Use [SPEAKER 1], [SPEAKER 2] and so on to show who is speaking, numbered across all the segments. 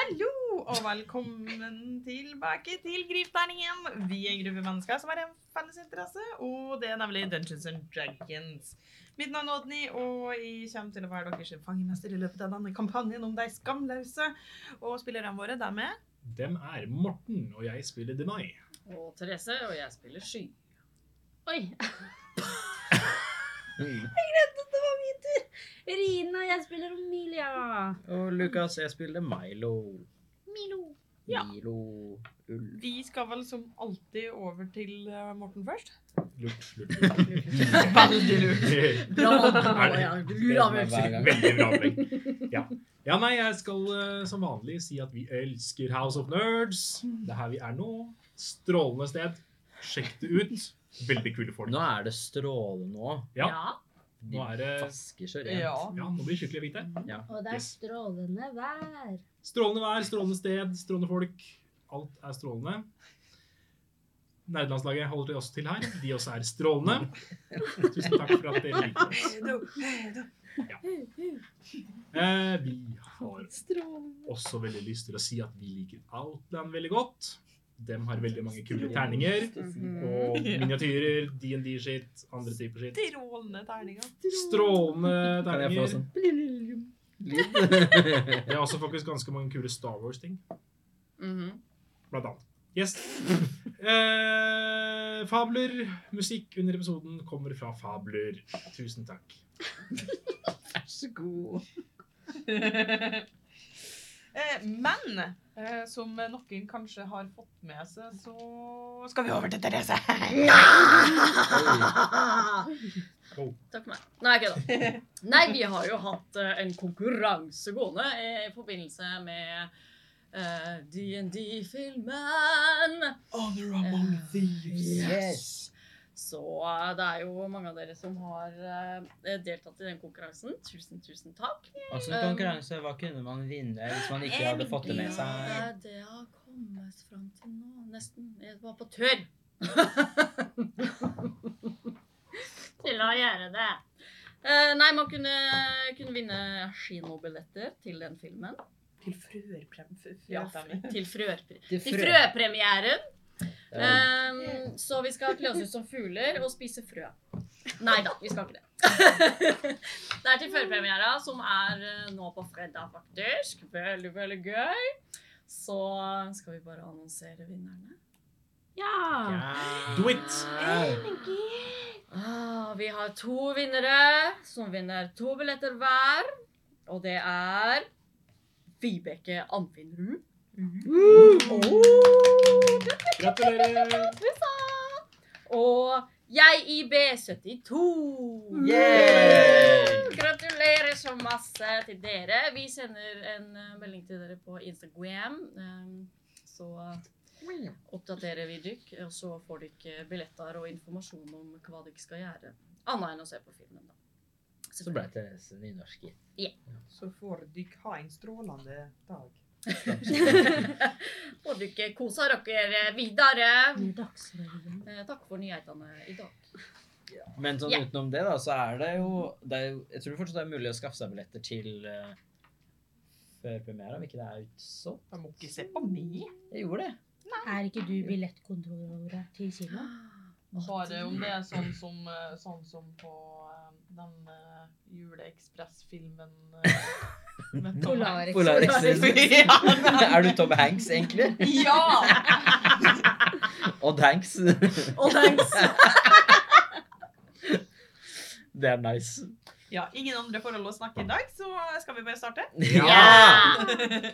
[SPEAKER 1] og velkommen tilbake til Gripterningen. Vi er en gruppe mennesker som har en felles interesse, og det er nemlig Dungeons and Dragons. Mitt navn er Odny, og jeg kommer til å være deres fangemester i løpet av denne kampanjen om de skamløse. Og spillerne våre, dem er
[SPEAKER 2] Dem er Morten, og jeg spiller Denai.
[SPEAKER 3] Og Therese, og jeg spiller Sky.
[SPEAKER 4] Oi.
[SPEAKER 5] Mm.
[SPEAKER 4] Det var min tur. Rina, jeg spiller Omilia.
[SPEAKER 5] Og Lukas, jeg spiller Milo.
[SPEAKER 4] Milo.
[SPEAKER 1] Ja.
[SPEAKER 5] Milo Ull.
[SPEAKER 1] Vi skal vel som alltid over til eh, Morten først.
[SPEAKER 2] Lurt, lurt, lurt.
[SPEAKER 1] Veldig lurt.
[SPEAKER 3] Bra!
[SPEAKER 2] Er det-
[SPEAKER 3] Ja, Gud,
[SPEAKER 5] Det
[SPEAKER 3] avgjørelse.
[SPEAKER 5] som er hver gang.
[SPEAKER 2] Veldig bra opplegg. Ja. ja, nei, jeg skal eh, som vanlig si at vi elsker House of Nerds. Det er her vi er nå. Strålende sted. Sjekk det ut. Veldig kule folk.
[SPEAKER 5] Nå er det strålende òg.
[SPEAKER 2] Ja.
[SPEAKER 3] Ja.
[SPEAKER 2] Nå er det
[SPEAKER 5] Vasker så rent.
[SPEAKER 1] Ja.
[SPEAKER 2] Ja, nå blir det skikkelig hvite.
[SPEAKER 4] Og det er
[SPEAKER 2] Yes.
[SPEAKER 4] strålende vær.
[SPEAKER 2] Strålende vær, strålende sted, strålende folk. Alt er strålende. Nerdelandslaget holder oss til her. De også er strålende. Tusen takk for at dere liker oss. Eh, vi har også veldig lyst til å si at vi liker Outland veldig godt. De har veldig mange kule terninger og miniatyrer, D&D-skitt, andre typer skitt.
[SPEAKER 1] Strålende terninger.
[SPEAKER 2] Strålende
[SPEAKER 5] Kan jeg få
[SPEAKER 2] terninger.
[SPEAKER 5] sånn lyd?
[SPEAKER 2] Vi har også faktisk ganske mange kule Star Wars-ting.
[SPEAKER 3] Mhm.
[SPEAKER 2] Blant annet. Yes. Eh, fabler. Musikk under episoden kommer fra Fabler. Tusen takk.
[SPEAKER 5] Vær så god.
[SPEAKER 1] Eh, Men eh, som noen kanskje har fått med seg, så skal vi over til Therese.
[SPEAKER 3] Takk for meg. Nei, ikke da. Nei, vi har jo hatt eh, en konkurranse gående eh, i forbindelse med eh, D&D-filmen.
[SPEAKER 1] Honor
[SPEAKER 3] among
[SPEAKER 1] thieves.
[SPEAKER 3] Så eh, det er jo mange av dere som har eh, deltatt i den konkurransen. Tusen, tusen takk.
[SPEAKER 5] Altså, konkurranse, hva kunne man vinne hvis man ikke hadde fått det med
[SPEAKER 1] Eh,
[SPEAKER 3] Ja,
[SPEAKER 5] seg?
[SPEAKER 3] det har kommet fram til nå. Nesten. Jeg var på tørr. til å gjøre det. Eh, nei, man kunne, kunne vinne kinobilletter til den filmen.
[SPEAKER 1] Til frøerprem.
[SPEAKER 3] Ja, til, frøpre
[SPEAKER 5] Til
[SPEAKER 3] til
[SPEAKER 5] frø.
[SPEAKER 3] frøpremieren.
[SPEAKER 5] Det var-
[SPEAKER 3] Eh, så vi skal kle oss ut som fugler og spise frø. Nei da, vi skal ikke det. det er til førpremiera, som er eh, nå på fredag, faktisk. Veldig, veldig gøy. Så skal vi bare annonsere vinnerne.
[SPEAKER 4] Ja.
[SPEAKER 5] Ja.
[SPEAKER 2] Do it!
[SPEAKER 3] Ah, vi har to vinnere som vinner to billetter hver. Og det er Vibeke Anfinrud.
[SPEAKER 2] Gratulerer!
[SPEAKER 3] Og jeg i B72.
[SPEAKER 5] Yay!
[SPEAKER 3] Gratulerer så masse til dere. Vi sender en eh, melding til dere på Instagram. eh, Så oppdaterer vi dere, og så får dere billetter og informasjon om hva dere skal gjøre. Annet enn å se på filmen, da.
[SPEAKER 5] Så ble Therese nynorsker.
[SPEAKER 1] Så får dere ha en strålende dag.
[SPEAKER 3] Får dere kosa dere videre.
[SPEAKER 4] Med Dagsrevyen.
[SPEAKER 3] Eh, Takk for nyhetene i dag.
[SPEAKER 5] Men sånn
[SPEAKER 3] Ja.
[SPEAKER 5] utenom det, da, så er det jo det er, jo- Jeg tror fortsatt det er mulig å skaffe seg billetter til eh, før premiere, om ikke det er utsolgt.
[SPEAKER 1] Da må ikke se på meg.
[SPEAKER 5] Jeg gjorde det.
[SPEAKER 4] Er ikke du billettkontrolloret til kino?
[SPEAKER 1] Bare om det er sånn som, eh, sånn som på eh, den eh, juleekspressfilmen eh, med Tom Hanks.
[SPEAKER 4] Polarex.
[SPEAKER 5] Polarex.
[SPEAKER 1] Ja, den-
[SPEAKER 5] er du Tom Hanks, egentlig?
[SPEAKER 1] Ja!
[SPEAKER 5] Odd Hanks.
[SPEAKER 3] Og thanks!
[SPEAKER 5] Det er nice.
[SPEAKER 1] Ja, ingen andre forhold å snakke i dag, så skal vi bare starte.
[SPEAKER 5] Ja!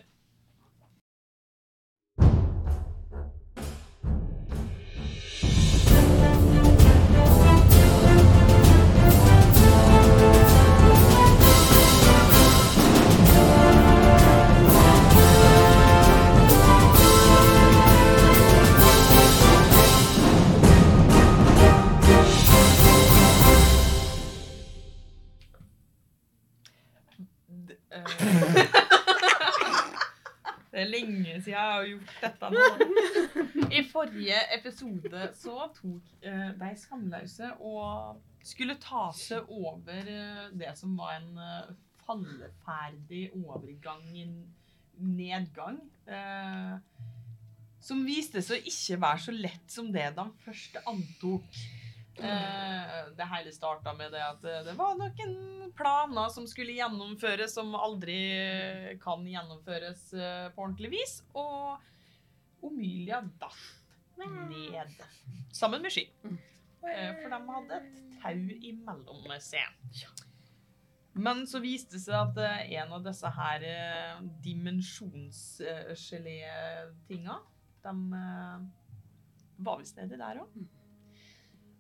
[SPEAKER 1] D- eh. Det er lenge siden jeg har gjort dette nå. I forrige episode så tok eh, de skamløse og skulle ta seg over eh, det som var en eh, falleferdig overgang inn nedgang. eh, som viste seg å ikke være så lett som det de først antok. Eh, det hele starta med det at eh, det var noen planer som skulle gjennomføres, som aldri kan gjennomføres eh, på ordentlig vis. Og Omilia datt ned. Sammen med Sky. Eh, For de hadde et tau imellom seg. Men så viste det seg at eh, en av disse her eh, dimensjonsgelé-tinga De eh, var visst nedi der òg.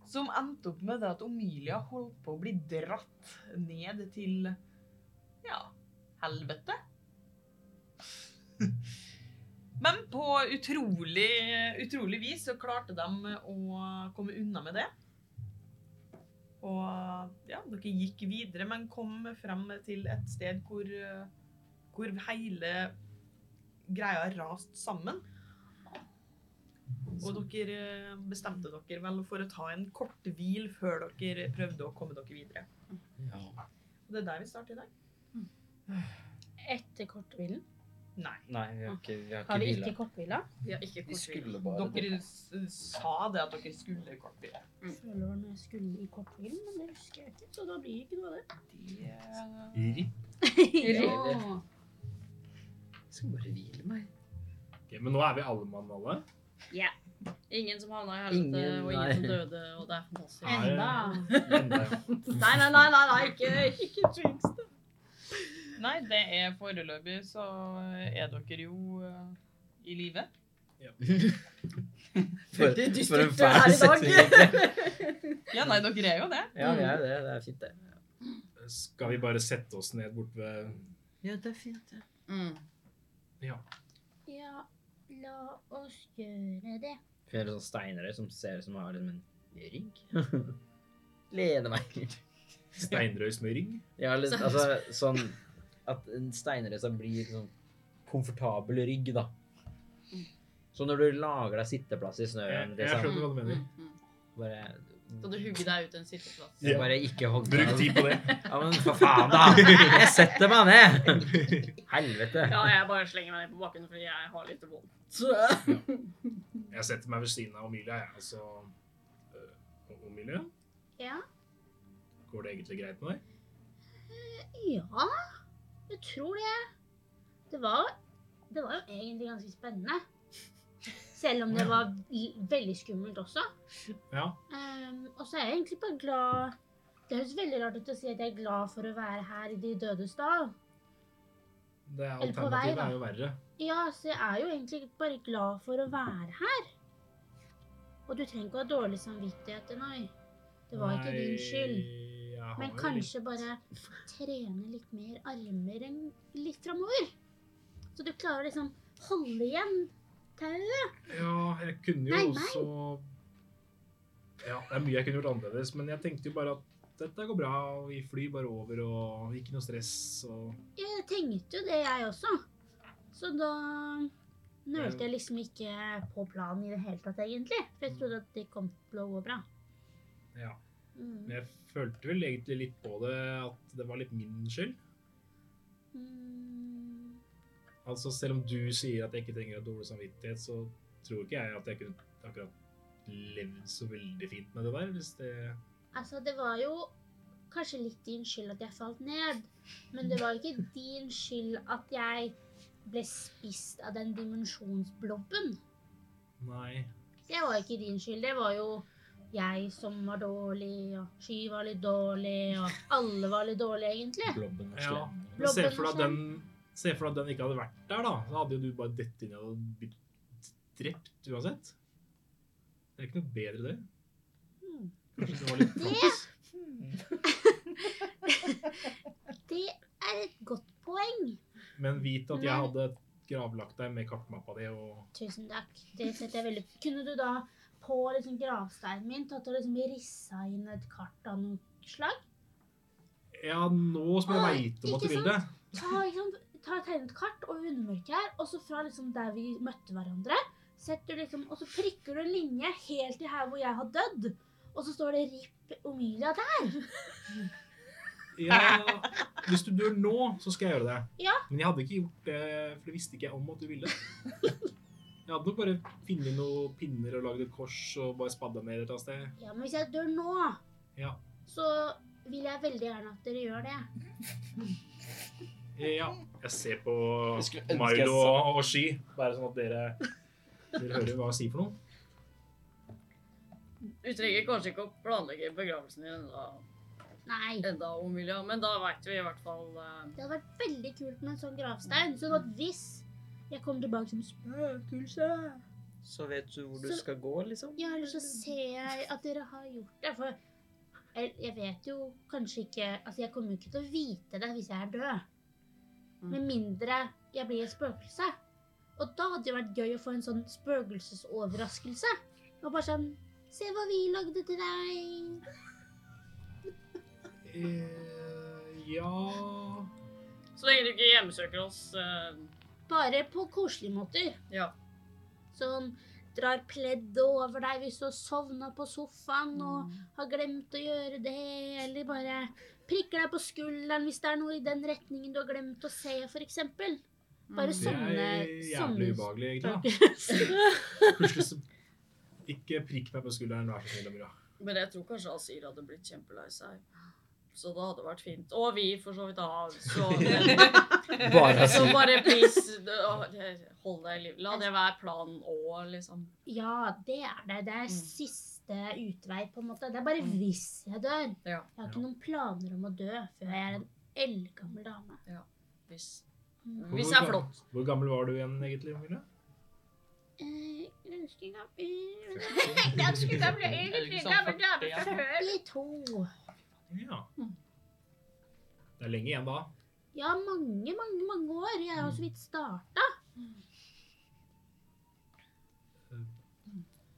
[SPEAKER 1] Som endte opp med det at Omilia holdt på å bli dratt ned til ja, helvete. Men på utrolig, utrolig vis så klarte de å komme unna med det. Og ja, dere gikk videre, men kom frem til et sted hvor, eh, hvor hele greia rast sammen. Og dere eh, bestemte dere vel for å ta en kort hvil før dere prøvde å komme dere videre.
[SPEAKER 5] Ja.
[SPEAKER 1] Og det er der vi starter i dag.
[SPEAKER 4] Etter korthvilen.
[SPEAKER 1] Nei.
[SPEAKER 5] Nei, vi har ikke, vi har
[SPEAKER 4] Har vi
[SPEAKER 5] ikke
[SPEAKER 4] ikke
[SPEAKER 5] hvila.
[SPEAKER 4] korthvila?
[SPEAKER 3] Vi har ikke
[SPEAKER 5] Vi
[SPEAKER 3] kortvil.
[SPEAKER 5] skulle bare
[SPEAKER 1] Dere s- sa det at dere skulle kort hvile.
[SPEAKER 4] Føler det var noe jeg skulle i korthvilen, men det husker jeg ikke, så da blir det ikke noe av det.
[SPEAKER 1] Det
[SPEAKER 2] Rip.
[SPEAKER 5] Ja. Jeg skal bare hvile meg.
[SPEAKER 2] Ok, men nå er vi alle mann alle.
[SPEAKER 3] Ingen som havna i helvete,
[SPEAKER 5] Ingen,
[SPEAKER 3] og
[SPEAKER 5] nei.
[SPEAKER 3] ingen som døde, og det er fantastisk.
[SPEAKER 2] Nei.
[SPEAKER 4] Enda.
[SPEAKER 2] Enda.
[SPEAKER 3] Nei, nei, nei, nei, nei ikke, ikke jinx det.
[SPEAKER 1] Nei, det er foreløpig, så er dere jo eh, i live.
[SPEAKER 5] For,
[SPEAKER 3] Veldig dystert
[SPEAKER 5] for
[SPEAKER 3] det her
[SPEAKER 5] en fæl
[SPEAKER 3] i dag.
[SPEAKER 5] setning. egentlig.
[SPEAKER 1] Ja, nei, dere er jo det.
[SPEAKER 5] Ja, vi er jo det. Det er fint, det.
[SPEAKER 2] Skal vi bare sette oss ned bort ved
[SPEAKER 5] Ja, det er fint, det.
[SPEAKER 3] Mm.
[SPEAKER 2] Ja.
[SPEAKER 4] Ja, la oss gjøre det.
[SPEAKER 5] Vi er sånn steinrøy som ser ut som har liksom en rygg. Lene meg.
[SPEAKER 2] Steinrøys med rygg?
[SPEAKER 5] Ja, litt, altså sånn at en steinresa blir sånn komfortabel rygg, da. Så når du lager deg sitteplass i
[SPEAKER 2] Jeg,
[SPEAKER 5] snøen,
[SPEAKER 2] jeg
[SPEAKER 5] liksom,
[SPEAKER 2] skjønner hva du mener.
[SPEAKER 5] bare,
[SPEAKER 3] mm, Skal du hugge deg ut en sitteplass?
[SPEAKER 2] Ja.
[SPEAKER 5] bare ikke hogg
[SPEAKER 2] Bruk
[SPEAKER 5] deg.
[SPEAKER 2] tid på det.
[SPEAKER 5] Ja, men for faen, da! Jeg setter meg ned! Helvete.
[SPEAKER 3] Ja, jeg bare slenger meg ned på bakken fordi jeg har litt vondt.
[SPEAKER 2] Jeg setter meg ved siden av Omilia, jeg. Altså øh, Omilia,
[SPEAKER 4] Ja.
[SPEAKER 2] går det egentlig greit med deg?
[SPEAKER 4] Ja, jeg tror det. Det var, det var jo egentlig ganske spennende. Selv om det var i- veldig skummelt også.
[SPEAKER 2] Ja.
[SPEAKER 4] Ehm, og så er jeg egentlig bare glad Det høres veldig rart ut å si at jeg er glad for å være her i De dødes dal.
[SPEAKER 2] Det
[SPEAKER 4] Eller på vei,
[SPEAKER 2] alternativet
[SPEAKER 4] da.
[SPEAKER 2] er jo verre.
[SPEAKER 4] Ja, så jeg er jo egentlig bare glad for å være her. Og du trenger ikke ha dårlig samvittighet, nei. Det var ikke din skyld.
[SPEAKER 2] Nei, jeg har
[SPEAKER 4] Men
[SPEAKER 2] jo
[SPEAKER 4] kanskje bare trene litt mer armer enn litt framover. Så du klarer å liksom holde igjen tauet.
[SPEAKER 2] litt- Ja, jeg kunne jo
[SPEAKER 4] Nei, nei.
[SPEAKER 2] også Ja, det er mye jeg kunne gjort annerledes, men jeg tenkte jo bare at dette går bra, og vi flyr bare over, og ikke noe stress, og
[SPEAKER 4] Jeg tenkte jo det, jeg også. Så da nølte jeg liksom ikke på planen i det hele tatt, egentlig. For jeg trodde at det kom til å gå bra.
[SPEAKER 2] Ja.
[SPEAKER 4] Mm.
[SPEAKER 2] Men jeg følte vel egentlig litt på det at det var litt min skyld.
[SPEAKER 4] Mm.
[SPEAKER 2] Altså, selv om du sier at jeg ikke trenger å ha dårlig samvittighet, så tror ikke jeg at jeg kunne akkurat levd så veldig fint med det der, hvis det
[SPEAKER 4] Altså, det var jo kanskje litt din skyld at jeg falt ned, men det var jo ikke din skyld at jeg ble spist av den dimensjonsblobben.
[SPEAKER 2] Nei.
[SPEAKER 4] Det var ikke din skyld. Det var jo jeg som var dårlig, og Sky var litt dårlig, og alle var litt dårlige, egentlig.
[SPEAKER 5] Blobben og
[SPEAKER 2] Ja.
[SPEAKER 5] slem.
[SPEAKER 2] Men se
[SPEAKER 4] Blobben
[SPEAKER 2] for deg at
[SPEAKER 4] og
[SPEAKER 2] den, se for deg at den ikke hadde vært der, da. Da hadde jo du bare dett inn og blitt drept uansett. Det er ikke noe bedre, det.
[SPEAKER 4] Hmm.
[SPEAKER 2] Kanskje det var litt flaks.
[SPEAKER 4] Det er et godt poeng.
[SPEAKER 2] Men vit at jeg
[SPEAKER 4] Nei.
[SPEAKER 2] hadde gravlagt deg med kartmappa di og
[SPEAKER 4] Tusen takk. Det setter jeg veldig Kunne du da på liksom gravsteinen min tatt og liksom rissa inn et kart av noe slag?
[SPEAKER 2] Ja, nå som jeg
[SPEAKER 4] Åh,
[SPEAKER 2] veit om at du
[SPEAKER 4] ikke
[SPEAKER 2] vil det.
[SPEAKER 4] ta, liksom, ta et tegnet kart og undermørket her, og så fra liksom der vi møtte hverandre, setter du liksom, og så prikker du en linje helt til her hvor jeg har dødd, og så står det RIP Omilia der.
[SPEAKER 2] Ja, hvis du dør nå, så skal jeg gjøre det.
[SPEAKER 4] Ja.
[SPEAKER 2] Men jeg hadde ikke gjort det, for det visste ikke jeg om at du ville. Jeg hadde nok bare funnet noen pinner og lagd et kors og bare spadda ned et eller annet sted.
[SPEAKER 4] Ja, men hvis jeg dør nå,
[SPEAKER 2] Ja.
[SPEAKER 4] så vil jeg veldig gjerne at dere gjør det.
[SPEAKER 2] ja. Jeg ser på
[SPEAKER 5] Jeg skulle ønske jeg
[SPEAKER 2] Milo
[SPEAKER 5] sa-
[SPEAKER 2] og, og Ski, bare sånn at dere, dere hører hva jeg sier for noe.
[SPEAKER 3] Du trenger kanskje ikke å planlegge begravelsen din enda,
[SPEAKER 4] Nei.
[SPEAKER 3] enda Omilia, men da vet vi i hvert fall eh,
[SPEAKER 4] Det hadde vært veldig kult med en sånn gravstein, sånn at hvis jeg kommer tilbake som spøkelse
[SPEAKER 5] Så vet du hvor du
[SPEAKER 4] Så-
[SPEAKER 5] skal gå, liksom?
[SPEAKER 4] Ja, eller så ser jeg at dere har gjort det, for jeg, jeg vet jo kanskje ikke Altså, jeg kommer jo ikke til å vite det hvis jeg er død. Med mindre jeg blir et spøkelse. Og da hadde det vært gøy å få en sånn spøkelsesoverraskelse. Og bare sånn Se hva vi lagde til deg!
[SPEAKER 2] Eh, ja
[SPEAKER 3] Så lenge du ikke hjemsøker oss eh,
[SPEAKER 4] Bare på koselige måter.
[SPEAKER 3] Ja.
[SPEAKER 4] Sånn drar pleddet over deg hvis du har sovna på sofaen og har glemt å gjøre det, eller bare prikker deg på skulderen hvis det er noe i den retningen du har glemt å se, f.eks.
[SPEAKER 3] Mm.
[SPEAKER 2] Det
[SPEAKER 4] Bare
[SPEAKER 2] er
[SPEAKER 4] sånne
[SPEAKER 2] jævlig
[SPEAKER 4] sånne
[SPEAKER 2] ubehagelig, egentlig.
[SPEAKER 4] spøkelser.
[SPEAKER 2] da. Plutselig så Ikke prikk meg på skulderen, vær så snill, Amira.
[SPEAKER 3] Men jeg tror kanskje Asir hadde blitt kjempelei seg. Så det hadde vært fint. Og vi, for så vidt. Ah, så,
[SPEAKER 5] Bare
[SPEAKER 3] så
[SPEAKER 5] si
[SPEAKER 3] bare please, d- å, det- hold deg i liv. La det være planen òg, liksom.
[SPEAKER 4] Ja, det er det. Det
[SPEAKER 3] Mm.
[SPEAKER 4] er siste utvei, på en måte. Det er bare hvis jeg dør.
[SPEAKER 3] Ja.
[SPEAKER 4] Jeg har ikke noen planer om å dø før jeg er en eldgammel dame.
[SPEAKER 3] Hvis,
[SPEAKER 4] Mm.
[SPEAKER 3] hvis det er flott.
[SPEAKER 2] Hvor gammel var du igjen, egentlig, Amira?
[SPEAKER 4] Eh, Ganske gammel Ganske gammel
[SPEAKER 1] egentlig
[SPEAKER 6] sånn
[SPEAKER 1] gammel dame fra
[SPEAKER 4] De to.
[SPEAKER 2] Ja.
[SPEAKER 4] Mm.
[SPEAKER 2] Det er lenge igjen da.
[SPEAKER 4] Ja, mange, mange, mange år. Jeg har så vidt starta.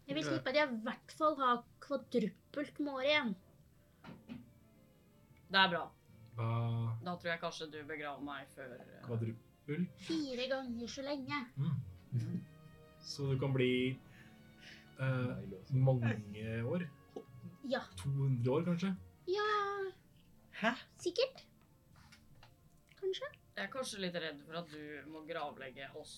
[SPEAKER 4] Jeg vil tippe at jeg i hvert fall har kvadruppelt med år igjen.
[SPEAKER 3] Det er bra.
[SPEAKER 2] Hva
[SPEAKER 3] Da tror jeg kanskje du begraver meg før eh,
[SPEAKER 2] kvadruppel?
[SPEAKER 4] Fire ganger så lenge.
[SPEAKER 2] Mm. Så du kan bli eh, mange år?
[SPEAKER 4] Ja.
[SPEAKER 2] 200 år, kanskje?
[SPEAKER 4] Ja
[SPEAKER 1] Hæ?
[SPEAKER 4] Sikkert. Kanskje.
[SPEAKER 3] Jeg er kanskje litt redd for at du må gravlegge oss.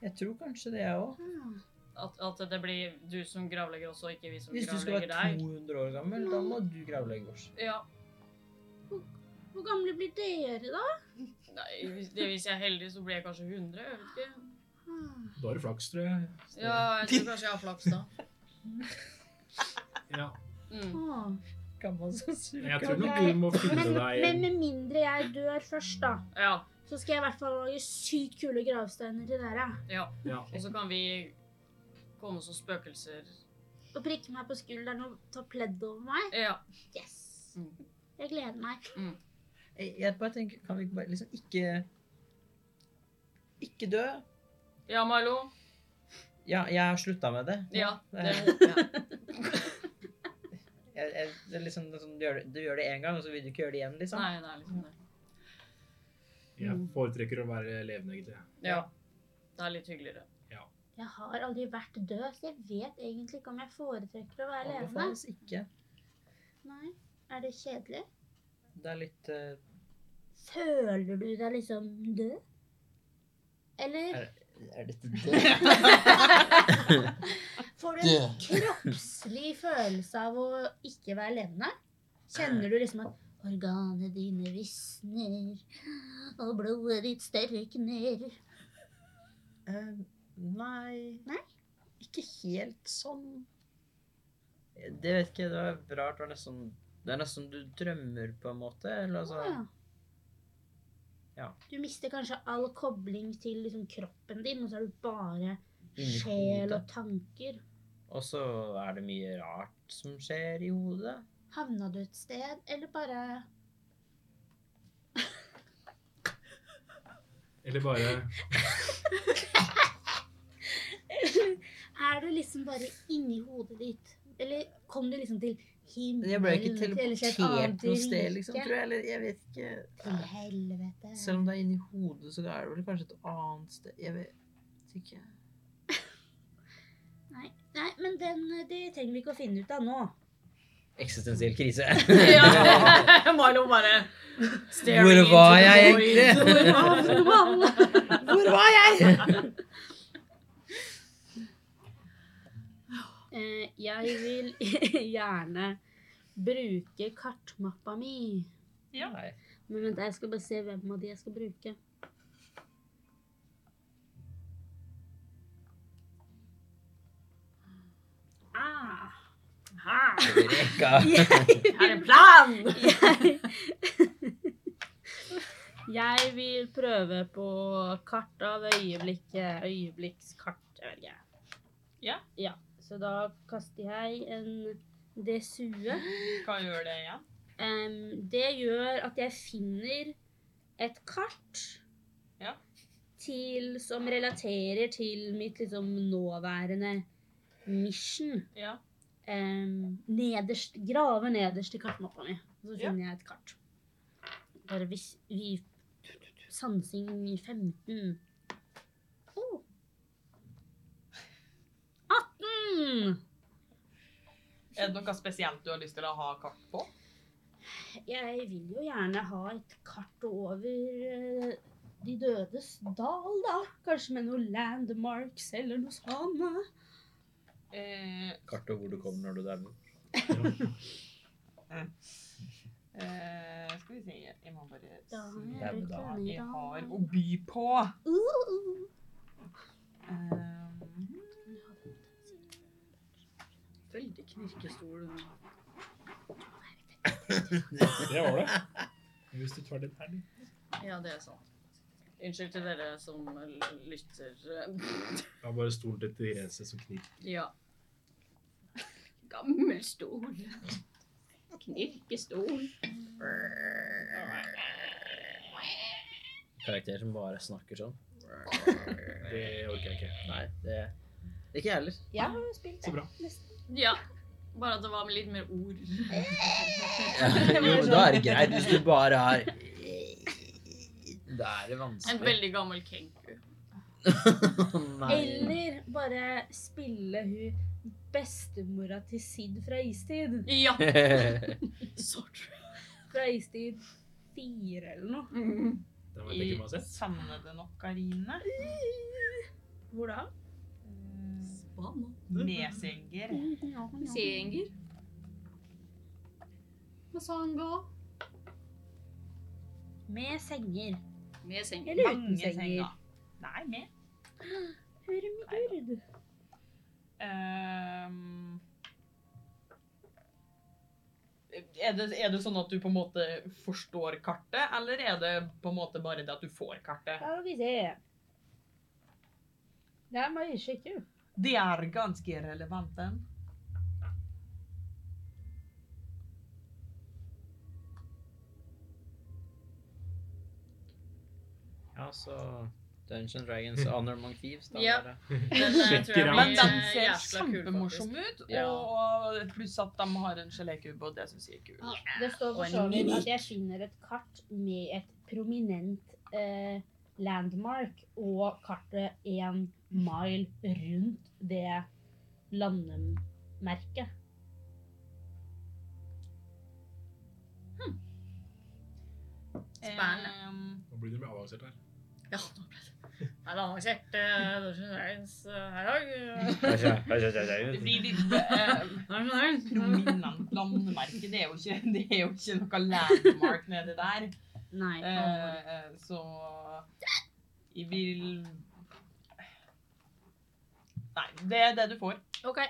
[SPEAKER 6] Jeg tror kanskje det, jeg òg.
[SPEAKER 4] Ah.
[SPEAKER 3] At, at det blir du som gravlegger oss, og ikke vi som
[SPEAKER 6] Hvis du skal
[SPEAKER 3] gravlegger
[SPEAKER 6] være
[SPEAKER 3] deg.
[SPEAKER 6] 200 år gammel, da må du gravlegge oss.
[SPEAKER 3] Ja.
[SPEAKER 4] Hvor gamle blir dere, da?
[SPEAKER 3] Nei, hvis, det, hvis jeg er heldig, så blir jeg kanskje 100. Jeg vet ikke.
[SPEAKER 4] Ah.
[SPEAKER 2] Da har du flaks, tror jeg. Så-
[SPEAKER 3] Ja, jeg tror kanskje jeg har flaks da.
[SPEAKER 2] ja.
[SPEAKER 3] Mm.
[SPEAKER 4] Ah.
[SPEAKER 6] Gammel som surker.
[SPEAKER 2] Jeg tror nok du må finne
[SPEAKER 4] Men, men
[SPEAKER 2] deg
[SPEAKER 4] med mindre jeg dør først, da,
[SPEAKER 3] Ja.
[SPEAKER 4] så skal jeg i hvert fall lage sykt kule gravsteiner til dere.
[SPEAKER 3] ja.
[SPEAKER 2] ja.
[SPEAKER 3] Og så kan vi komme som spøkelser.
[SPEAKER 4] Og prikke meg på skulderen og ta pledd over meg.
[SPEAKER 3] Ja.
[SPEAKER 4] Yes!
[SPEAKER 3] Mm.
[SPEAKER 4] Jeg gleder meg.
[SPEAKER 6] Jeg, jeg bare tenker, kan vi ikke bare liksom ikke Ikke dø?
[SPEAKER 3] Ja, Milo.
[SPEAKER 5] Ja, jeg har slutta med det.
[SPEAKER 3] Ja. Det, ja.
[SPEAKER 5] Jeg, jeg, det er liksom, det er sånn, du, gjør det, du gjør det én gang, og så vil du ikke gjøre det igjen, liksom.
[SPEAKER 3] Nei, det er liksom det.
[SPEAKER 2] Jeg foretrekker å være levende, egentlig.
[SPEAKER 3] Ja. Det er litt hyggeligere.
[SPEAKER 4] Jeg har aldri vært død, så jeg vet egentlig ikke om jeg foretrekker å være levende.
[SPEAKER 6] Anbefales ikke.
[SPEAKER 4] Nei. Er det kjedelig?
[SPEAKER 5] Det er litt eh,
[SPEAKER 4] Føler du deg liksom død? Eller
[SPEAKER 5] Er Er dette det?
[SPEAKER 4] får du en kroppslig følelse av å ikke være levende? Kjenner du liksom at organene dine visner, og blodet ditt størkner?
[SPEAKER 6] Eh, nei.
[SPEAKER 4] Nei?
[SPEAKER 6] Ikke helt sånn.
[SPEAKER 5] Det vet ikke, det var rart. Det, var nesten, det er nesten du drømmer, på en måte. Eller altså
[SPEAKER 4] Å,
[SPEAKER 5] Ja.
[SPEAKER 4] Du mister kanskje all kobling til liksom kroppen din, og så er du bare
[SPEAKER 5] inni
[SPEAKER 4] sjel
[SPEAKER 5] hodet.
[SPEAKER 4] og tanker.
[SPEAKER 5] Og så er det mye rart som skjer i hodet.
[SPEAKER 4] Havna du et sted, eller bare
[SPEAKER 2] Eller bare
[SPEAKER 4] Er du liksom bare inni hodet ditt? Eller kom du liksom til himmelen?
[SPEAKER 6] Jeg ble ikke
[SPEAKER 4] eller til et annet
[SPEAKER 6] teleportert noe sted, liksom,
[SPEAKER 4] rike?
[SPEAKER 6] tror jeg. Eller jeg vet ikke.
[SPEAKER 4] Til helvete.
[SPEAKER 6] Selv om det er inni hodet, så er det vel kanskje et annet sted. Jeg vet ikke.
[SPEAKER 4] Nei, men den, det trenger vi ikke å finne ut av nå.
[SPEAKER 5] Eksistensiell krise.
[SPEAKER 3] Ja. Milo bare staring
[SPEAKER 5] Hvor
[SPEAKER 3] into
[SPEAKER 5] var
[SPEAKER 3] the
[SPEAKER 5] jeg
[SPEAKER 3] void.
[SPEAKER 5] egentlig?
[SPEAKER 3] Hvor var han?
[SPEAKER 5] Hvor var jeg?
[SPEAKER 4] Eh, jeg vil gjerne bruke kartmappa mi.
[SPEAKER 1] Ja.
[SPEAKER 5] Nei.
[SPEAKER 4] Men vent, jeg skal bare se hvem av de jeg skal bruke. Ah,
[SPEAKER 3] Her
[SPEAKER 5] Eureka.
[SPEAKER 3] er en plan!
[SPEAKER 4] jeg Jeg vil prøve på kart av øyeblikket. Øyeblikkskart, jeg vet ikke.
[SPEAKER 1] Ja.
[SPEAKER 4] ja. Så da kaster jeg en D20.
[SPEAKER 1] Hva gjør det igjen?
[SPEAKER 4] Em, det gjør at jeg finner et kart
[SPEAKER 1] Ja.
[SPEAKER 4] til, som relaterer til mitt liksom, nåværende mission.
[SPEAKER 1] Ja.
[SPEAKER 4] Em, nederst, grave nederst i kartmappa mi, og så
[SPEAKER 1] Ja.
[SPEAKER 4] finner jeg et kart. Bare hvis vi Sansing 15. Oh. 18!
[SPEAKER 1] Er det noe spesielt du har lyst til å ha kart på?
[SPEAKER 4] Jeg vil jo gjerne ha et kart over eh, de dødes dal, da. Kanskje med noen landmarks eller noe sånt.
[SPEAKER 1] Eh,
[SPEAKER 5] Kart over hvor du kommer når du er der.
[SPEAKER 1] eh, skal vi se Jeg må bare
[SPEAKER 4] Da
[SPEAKER 1] se
[SPEAKER 5] er
[SPEAKER 4] er
[SPEAKER 5] det
[SPEAKER 4] det
[SPEAKER 5] da
[SPEAKER 1] hva
[SPEAKER 4] Kronidal.
[SPEAKER 1] jeg har å by på.
[SPEAKER 4] Uh, uh.
[SPEAKER 1] Eh,
[SPEAKER 3] Veldig knirkestol.
[SPEAKER 2] Det var det. Hvis du tar den her, du.
[SPEAKER 3] Ja, det er sånn. Unnskyld til dere som l- lytter.
[SPEAKER 2] Jeg har bare stolen til Therese som knirker.
[SPEAKER 3] Ja. Gammel stol. Knirkestol.
[SPEAKER 5] Karakter som bare snakker sånn.
[SPEAKER 2] Det orker jeg ikke.
[SPEAKER 5] Nei, det det er ikke jeg heller.
[SPEAKER 4] Jeg har jo spilt
[SPEAKER 2] Så
[SPEAKER 4] det.
[SPEAKER 2] bra.
[SPEAKER 3] Ja. Bare at det var med litt mer ord.
[SPEAKER 5] Jo, men da er det greit hvis du bare har Da er det
[SPEAKER 3] En
[SPEAKER 5] vanskelig.
[SPEAKER 3] veldig gammel kenku.
[SPEAKER 5] Nei.
[SPEAKER 4] Eller bare spille hun bestemora til Sid fra Istid.
[SPEAKER 3] Ja.
[SPEAKER 5] Det
[SPEAKER 3] Sort.
[SPEAKER 4] Fra Istid 4 eller noe.
[SPEAKER 3] Mm.
[SPEAKER 2] Den vet jeg ikke om jeg har
[SPEAKER 1] I
[SPEAKER 2] sett.
[SPEAKER 1] savnede nokarine.
[SPEAKER 4] Hvor da?
[SPEAKER 1] Eh, Nesenger.
[SPEAKER 3] Senger. Masanga.
[SPEAKER 4] Med senger.
[SPEAKER 3] Med senger.
[SPEAKER 4] Eller uten
[SPEAKER 1] Mange
[SPEAKER 4] senger.
[SPEAKER 1] senger. Nei, med.
[SPEAKER 4] Hurmurd.
[SPEAKER 1] Ehm, er, det, er det sånn at du på en måte forstår kartet, eller er det på en måte bare det at du får kartet?
[SPEAKER 4] Skal vi se. Det er mye skikkelig.
[SPEAKER 1] Det er ganske relevant, den.
[SPEAKER 5] Ja, så Dungeons and Dragons, Honor Among Thieves, da.
[SPEAKER 3] Ja.
[SPEAKER 5] bare.
[SPEAKER 3] Den eh, tror jeg
[SPEAKER 2] Ja,
[SPEAKER 1] Men
[SPEAKER 3] blir
[SPEAKER 1] den
[SPEAKER 3] eh,
[SPEAKER 1] ser
[SPEAKER 3] jæskla kul,
[SPEAKER 1] kjempemorsom ut,
[SPEAKER 5] Ja.
[SPEAKER 1] og pluss at de har en gelékube, og det syns jeg er
[SPEAKER 3] Ah,
[SPEAKER 1] kult.
[SPEAKER 4] Det står for så vidt at jeg finner et kart med et prominent eh, landmark, og kartet én mile rundt det landemerket.
[SPEAKER 3] Spennende.
[SPEAKER 1] Ehm,
[SPEAKER 2] Nå blir du mer avansert her.
[SPEAKER 3] Ja, nå ble det. Det er annonsert uh, Dungeon Dragons eh, her i dag.
[SPEAKER 1] det blir litt eh,
[SPEAKER 3] Dungeon Dragons.
[SPEAKER 1] prominent landemerke. Det er jo ikke, det er jo ikke noe landmark nedi der.
[SPEAKER 4] Nei.
[SPEAKER 1] Eh, så jeg vil Nei, det er det du får.
[SPEAKER 3] Ok.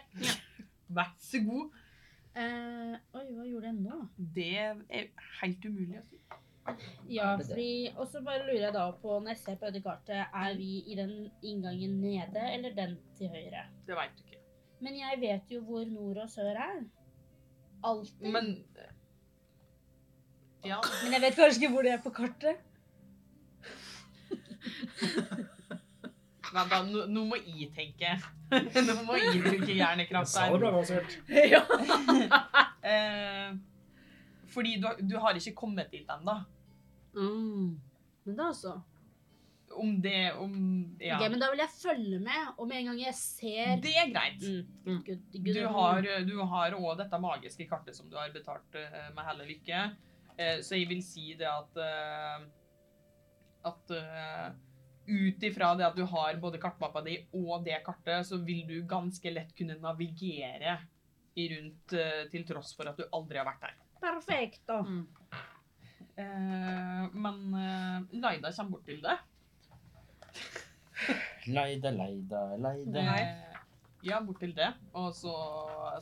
[SPEAKER 1] Vær så god.
[SPEAKER 4] Eh, oi, hva gjorde jeg nå?
[SPEAKER 1] Det er helt umulig å si.
[SPEAKER 4] Ja,
[SPEAKER 5] Er det det?
[SPEAKER 4] fordi, og så bare lurer jeg da på, når jeg ser på dette kartet, er vi i den inngangen nede, eller den til høyre?
[SPEAKER 1] Det veit du ikke.
[SPEAKER 4] Men jeg vet jo hvor nord og sør er. Alltid. Men,
[SPEAKER 1] Men eh, Ja.
[SPEAKER 4] jeg vet kanskje ikke hvor det er på kartet.
[SPEAKER 1] Vent, da. Nå, nå må jeg tenke. nå må jeg bruke
[SPEAKER 2] Jeg
[SPEAKER 1] hjernekraft
[SPEAKER 2] sa det ble
[SPEAKER 1] her.
[SPEAKER 2] avansert.
[SPEAKER 3] Ja.
[SPEAKER 1] Eh, fordi du, har- du har ikke kommet dit ennå.
[SPEAKER 4] Men da Mm. så.
[SPEAKER 1] Om det Om Ja.
[SPEAKER 4] Ok, men da vil jeg følge med, og med en gang jeg ser
[SPEAKER 1] Det er greit.
[SPEAKER 4] Gud, Gud,
[SPEAKER 1] Du har, du har også dette magiske kartet som du har betalt eh, med hell og lykke. Eh, Så jeg vil si det at eh, At eh, ut ifra det at du har både kartmappa di og det kartet, så vil du ganske lett kunne navigere i rundt eh, til tross for at du aldri har vært der.
[SPEAKER 4] Perfekt, da.
[SPEAKER 3] Mm.
[SPEAKER 1] Eh, Men eh, Laida kommer bort til det.
[SPEAKER 5] Leida, leida, leida.
[SPEAKER 1] Eh, Ja, bort til det. Og så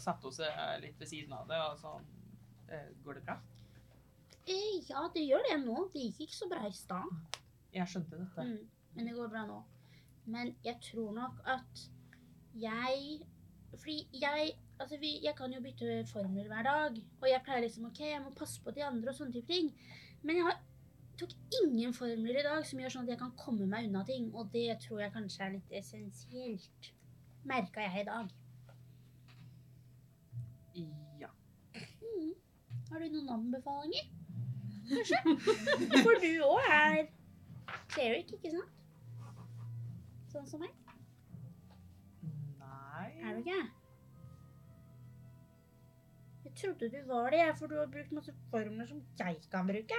[SPEAKER 1] setter hun seg litt ved siden av det, og så eh, går det bra.
[SPEAKER 4] Eh, ja, det gjør det nå. Det gikk ikke så bra i stad.
[SPEAKER 1] Jeg skjønte dette.
[SPEAKER 4] Mm, men det går bra nå. Men jeg tror nok at jeg Fordi jeg Altså, vi, jeg kan jo bytte formler hver dag. Og jeg pleier liksom OK, jeg må passe på de andre og sånne type ting. Men jeg har, tok ingen formler i dag som gjør sånn at jeg kan komme meg unna ting. Og det tror jeg kanskje er litt essensielt. Merka jeg i dag.
[SPEAKER 1] Ja.
[SPEAKER 4] Mm. Har du noen anbefalinger? Kanskje? For du òg er cleric, ikke sant? Sånn som meg. Er
[SPEAKER 1] Nei
[SPEAKER 4] du ikke? Jeg trodde du var det, jeg, for du har brukt masse formler som jeg kan bruke.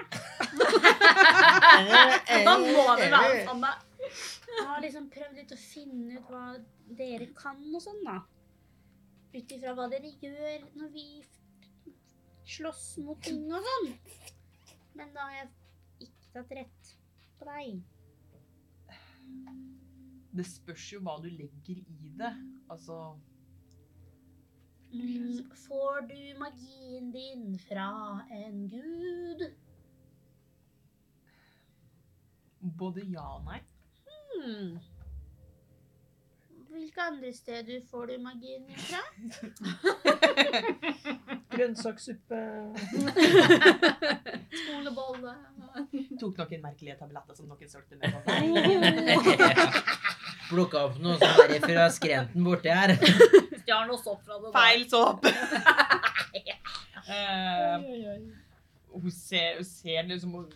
[SPEAKER 6] Da
[SPEAKER 4] samme. Jeg har liksom prøvd litt å finne ut hva dere kan og sånn, da. Ut ifra hva dere gjør når vi f- slåss mot ting og sånn. Men da har jeg ikke tatt rett på deg.
[SPEAKER 1] Det spørs jo hva du legger i det. Altså
[SPEAKER 4] Mm, får du magien din fra en gud?
[SPEAKER 1] både ja og nei.
[SPEAKER 4] Hmm. Hvilke andre steder får du magien din fra?
[SPEAKER 6] Grønnsakssuppe.
[SPEAKER 4] Skolebolle.
[SPEAKER 1] Tok noen merkelige tabletter som noen solgte med på vei.
[SPEAKER 5] Plukka opp noe som er fra skrenten borti her.
[SPEAKER 3] Stjal noe sopp fra det. da.
[SPEAKER 1] Feil såpe! Eh, hun, ser, hun ser liksom hun-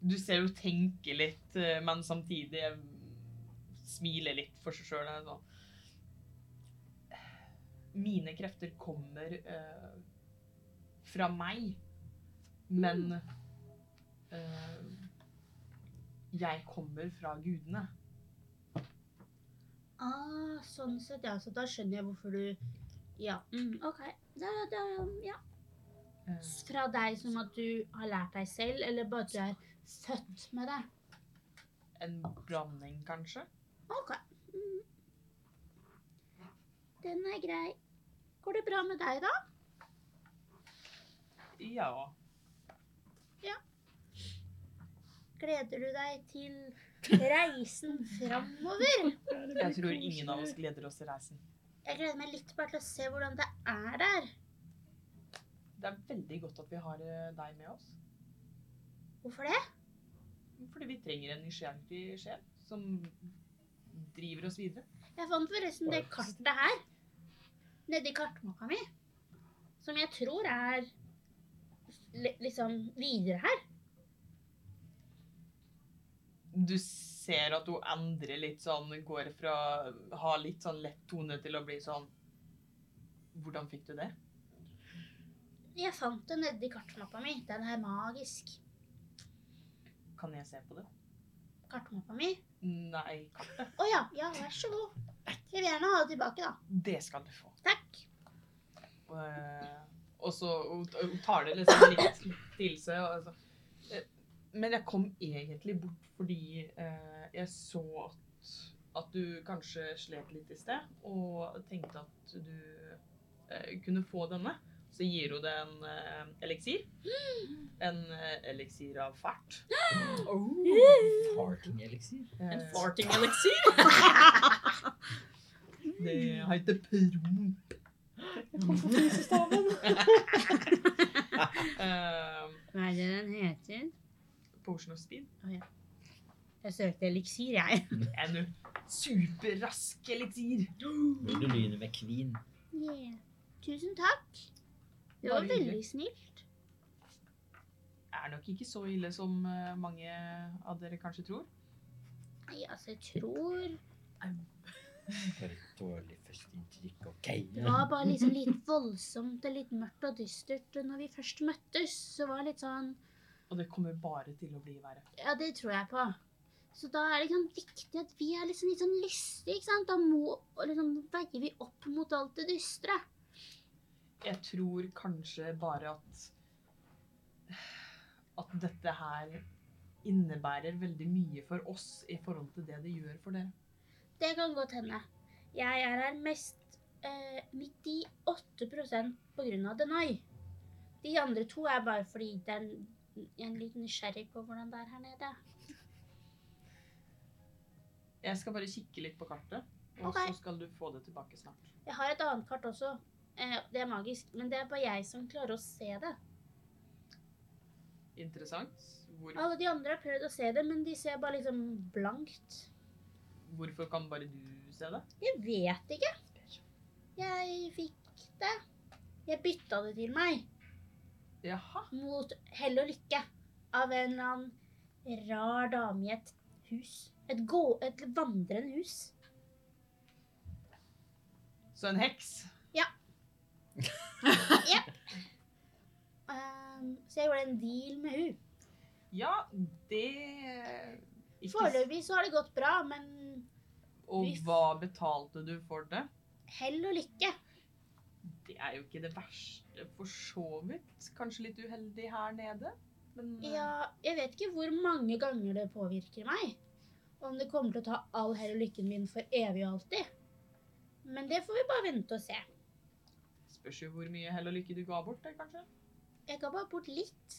[SPEAKER 1] Du ser hun tenker litt, eh, men samtidig eh, smiler litt for seg sjøl. Sånn. Mine krefter kommer eh, fra meg, men eh, jeg kommer fra gudene.
[SPEAKER 4] Ah, sånn sett, ja. Så da skjønner jeg hvorfor du Ja, mm, OK. Da, da, ja.
[SPEAKER 1] Eh,
[SPEAKER 4] Fra deg som at du har lært deg selv, eller bare at du er født med det?
[SPEAKER 1] Eh, en blanding, kanskje?
[SPEAKER 4] OK. Mm. Den er grei. Går det bra med deg, da?
[SPEAKER 1] Ja.
[SPEAKER 4] Gleder du deg til reisen framover?
[SPEAKER 1] Jeg tror ingen av oss gleder oss til reisen.
[SPEAKER 4] Jeg gleder meg litt bare til å se hvordan det er der.
[SPEAKER 1] Det er veldig godt at vi har eh, deg med oss.
[SPEAKER 4] Hvorfor det?
[SPEAKER 1] Fordi vi trenger en nysgjerrig sjel som driver oss videre.
[SPEAKER 4] Jeg fant forresten det kartet her. Nedi kartmakka mi. Som jeg tror er li liksom videre her.
[SPEAKER 1] Du ser at hun endrer litt sånn, går fra å ha litt sånn lett tone til å bli sånn Hvordan fikk du det?
[SPEAKER 4] Jeg fant det nedi kartmappa mi. Den er magisk.
[SPEAKER 1] Kan jeg se på det?
[SPEAKER 4] Kartmappa mi.
[SPEAKER 1] Nei, kartet.
[SPEAKER 4] Å ja. Ja, vær så god. Jeg vil gjerne ha det tilbake, da.
[SPEAKER 1] Det skal du få.
[SPEAKER 4] Takk.
[SPEAKER 1] Eh, Og så hun hun tar det liksom litt til seg. Og så. Eh, Men jeg kom egentlig bort fordi eh, jeg så at, at du kanskje slet litt i sted, og tenkte at du eh, kunne få denne. Så gir hun det en eh, eliksir. En eh, eliksir av fart.
[SPEAKER 5] Farting-eliksir.
[SPEAKER 3] En
[SPEAKER 1] Eh,
[SPEAKER 3] farting eliksir.
[SPEAKER 1] Det heter promp. Eh,
[SPEAKER 4] Hva er det den heter?
[SPEAKER 1] Potion of speed.
[SPEAKER 4] Jeg søkte eliksir, jeg.
[SPEAKER 1] En superrask eliksir.
[SPEAKER 5] Vil du begynne med kvin?
[SPEAKER 4] Yeah. Tusen takk. Det var
[SPEAKER 1] Bare hyggelig.
[SPEAKER 4] veldig snilt.
[SPEAKER 1] er nok ikke så ille som eh, mange av dere kanskje tror.
[SPEAKER 4] Nei, altså, jeg tror
[SPEAKER 5] For et dårlig førsteinntrykk, OK?
[SPEAKER 4] Det var bare liksom litt voldsomt og litt mørkt og dystert. Og når vi først møttes, så var det litt sånn
[SPEAKER 1] Og det kommer bare til å bli verre.
[SPEAKER 4] Ja, det tror jeg på. Så da er det liksom viktig at vi er liksom litt sånn lystige, ikke sant? Da må, og liksom, veier vi opp mot alt det dystre.
[SPEAKER 1] Jeg tror kanskje bare at at dette her innebærer veldig mye for oss i forhold til det det gjør for dere.
[SPEAKER 4] Det kan godt hende. Jeg er her mest eh, 98 på grunn av Denai. De andre to er bare fordi det er en, jeg er litt nysgjerrig på hvordan det er her nede.
[SPEAKER 1] Jeg skal bare kikke litt på kartet, og
[SPEAKER 4] Ok.
[SPEAKER 1] så skal du få det tilbake snart.
[SPEAKER 4] Jeg har et annet kart også. Eh, det er magisk, men det er bare jeg som klarer å se det.
[SPEAKER 1] Interessant. Hvor,
[SPEAKER 4] Alle de andre har prøvd å se det, men de ser bare liksom blankt.
[SPEAKER 1] hvorfor kan bare du se det?
[SPEAKER 4] Jeg vet ikke. Jeg fikk det. Jeg bytta det til meg
[SPEAKER 1] Jaha.
[SPEAKER 4] mot hell og lykke av en eller annen rar dame i et hus. Et, gå et vandrende hus.
[SPEAKER 1] Så en heks.
[SPEAKER 4] Ehm, så jeg gjorde en deal med hun.
[SPEAKER 1] Ja, det ikke s-
[SPEAKER 4] Foreløpig så har det gått bra, men
[SPEAKER 1] Og hva betalte du for det?
[SPEAKER 4] hell og lykke.
[SPEAKER 1] Det er jo ikke det verste for så vidt. Kanskje litt uheldig her nede, men eh,
[SPEAKER 4] Ja, jeg vet ikke hvor mange ganger det påvirker meg. Om det kommer til å ta all hell og lykken min for evig og alltid. Men det får vi bare vente og se.
[SPEAKER 1] spørs jo hvor mye hell og lykke du ga bort der, kanskje.
[SPEAKER 4] Jeg ga bare bort litt.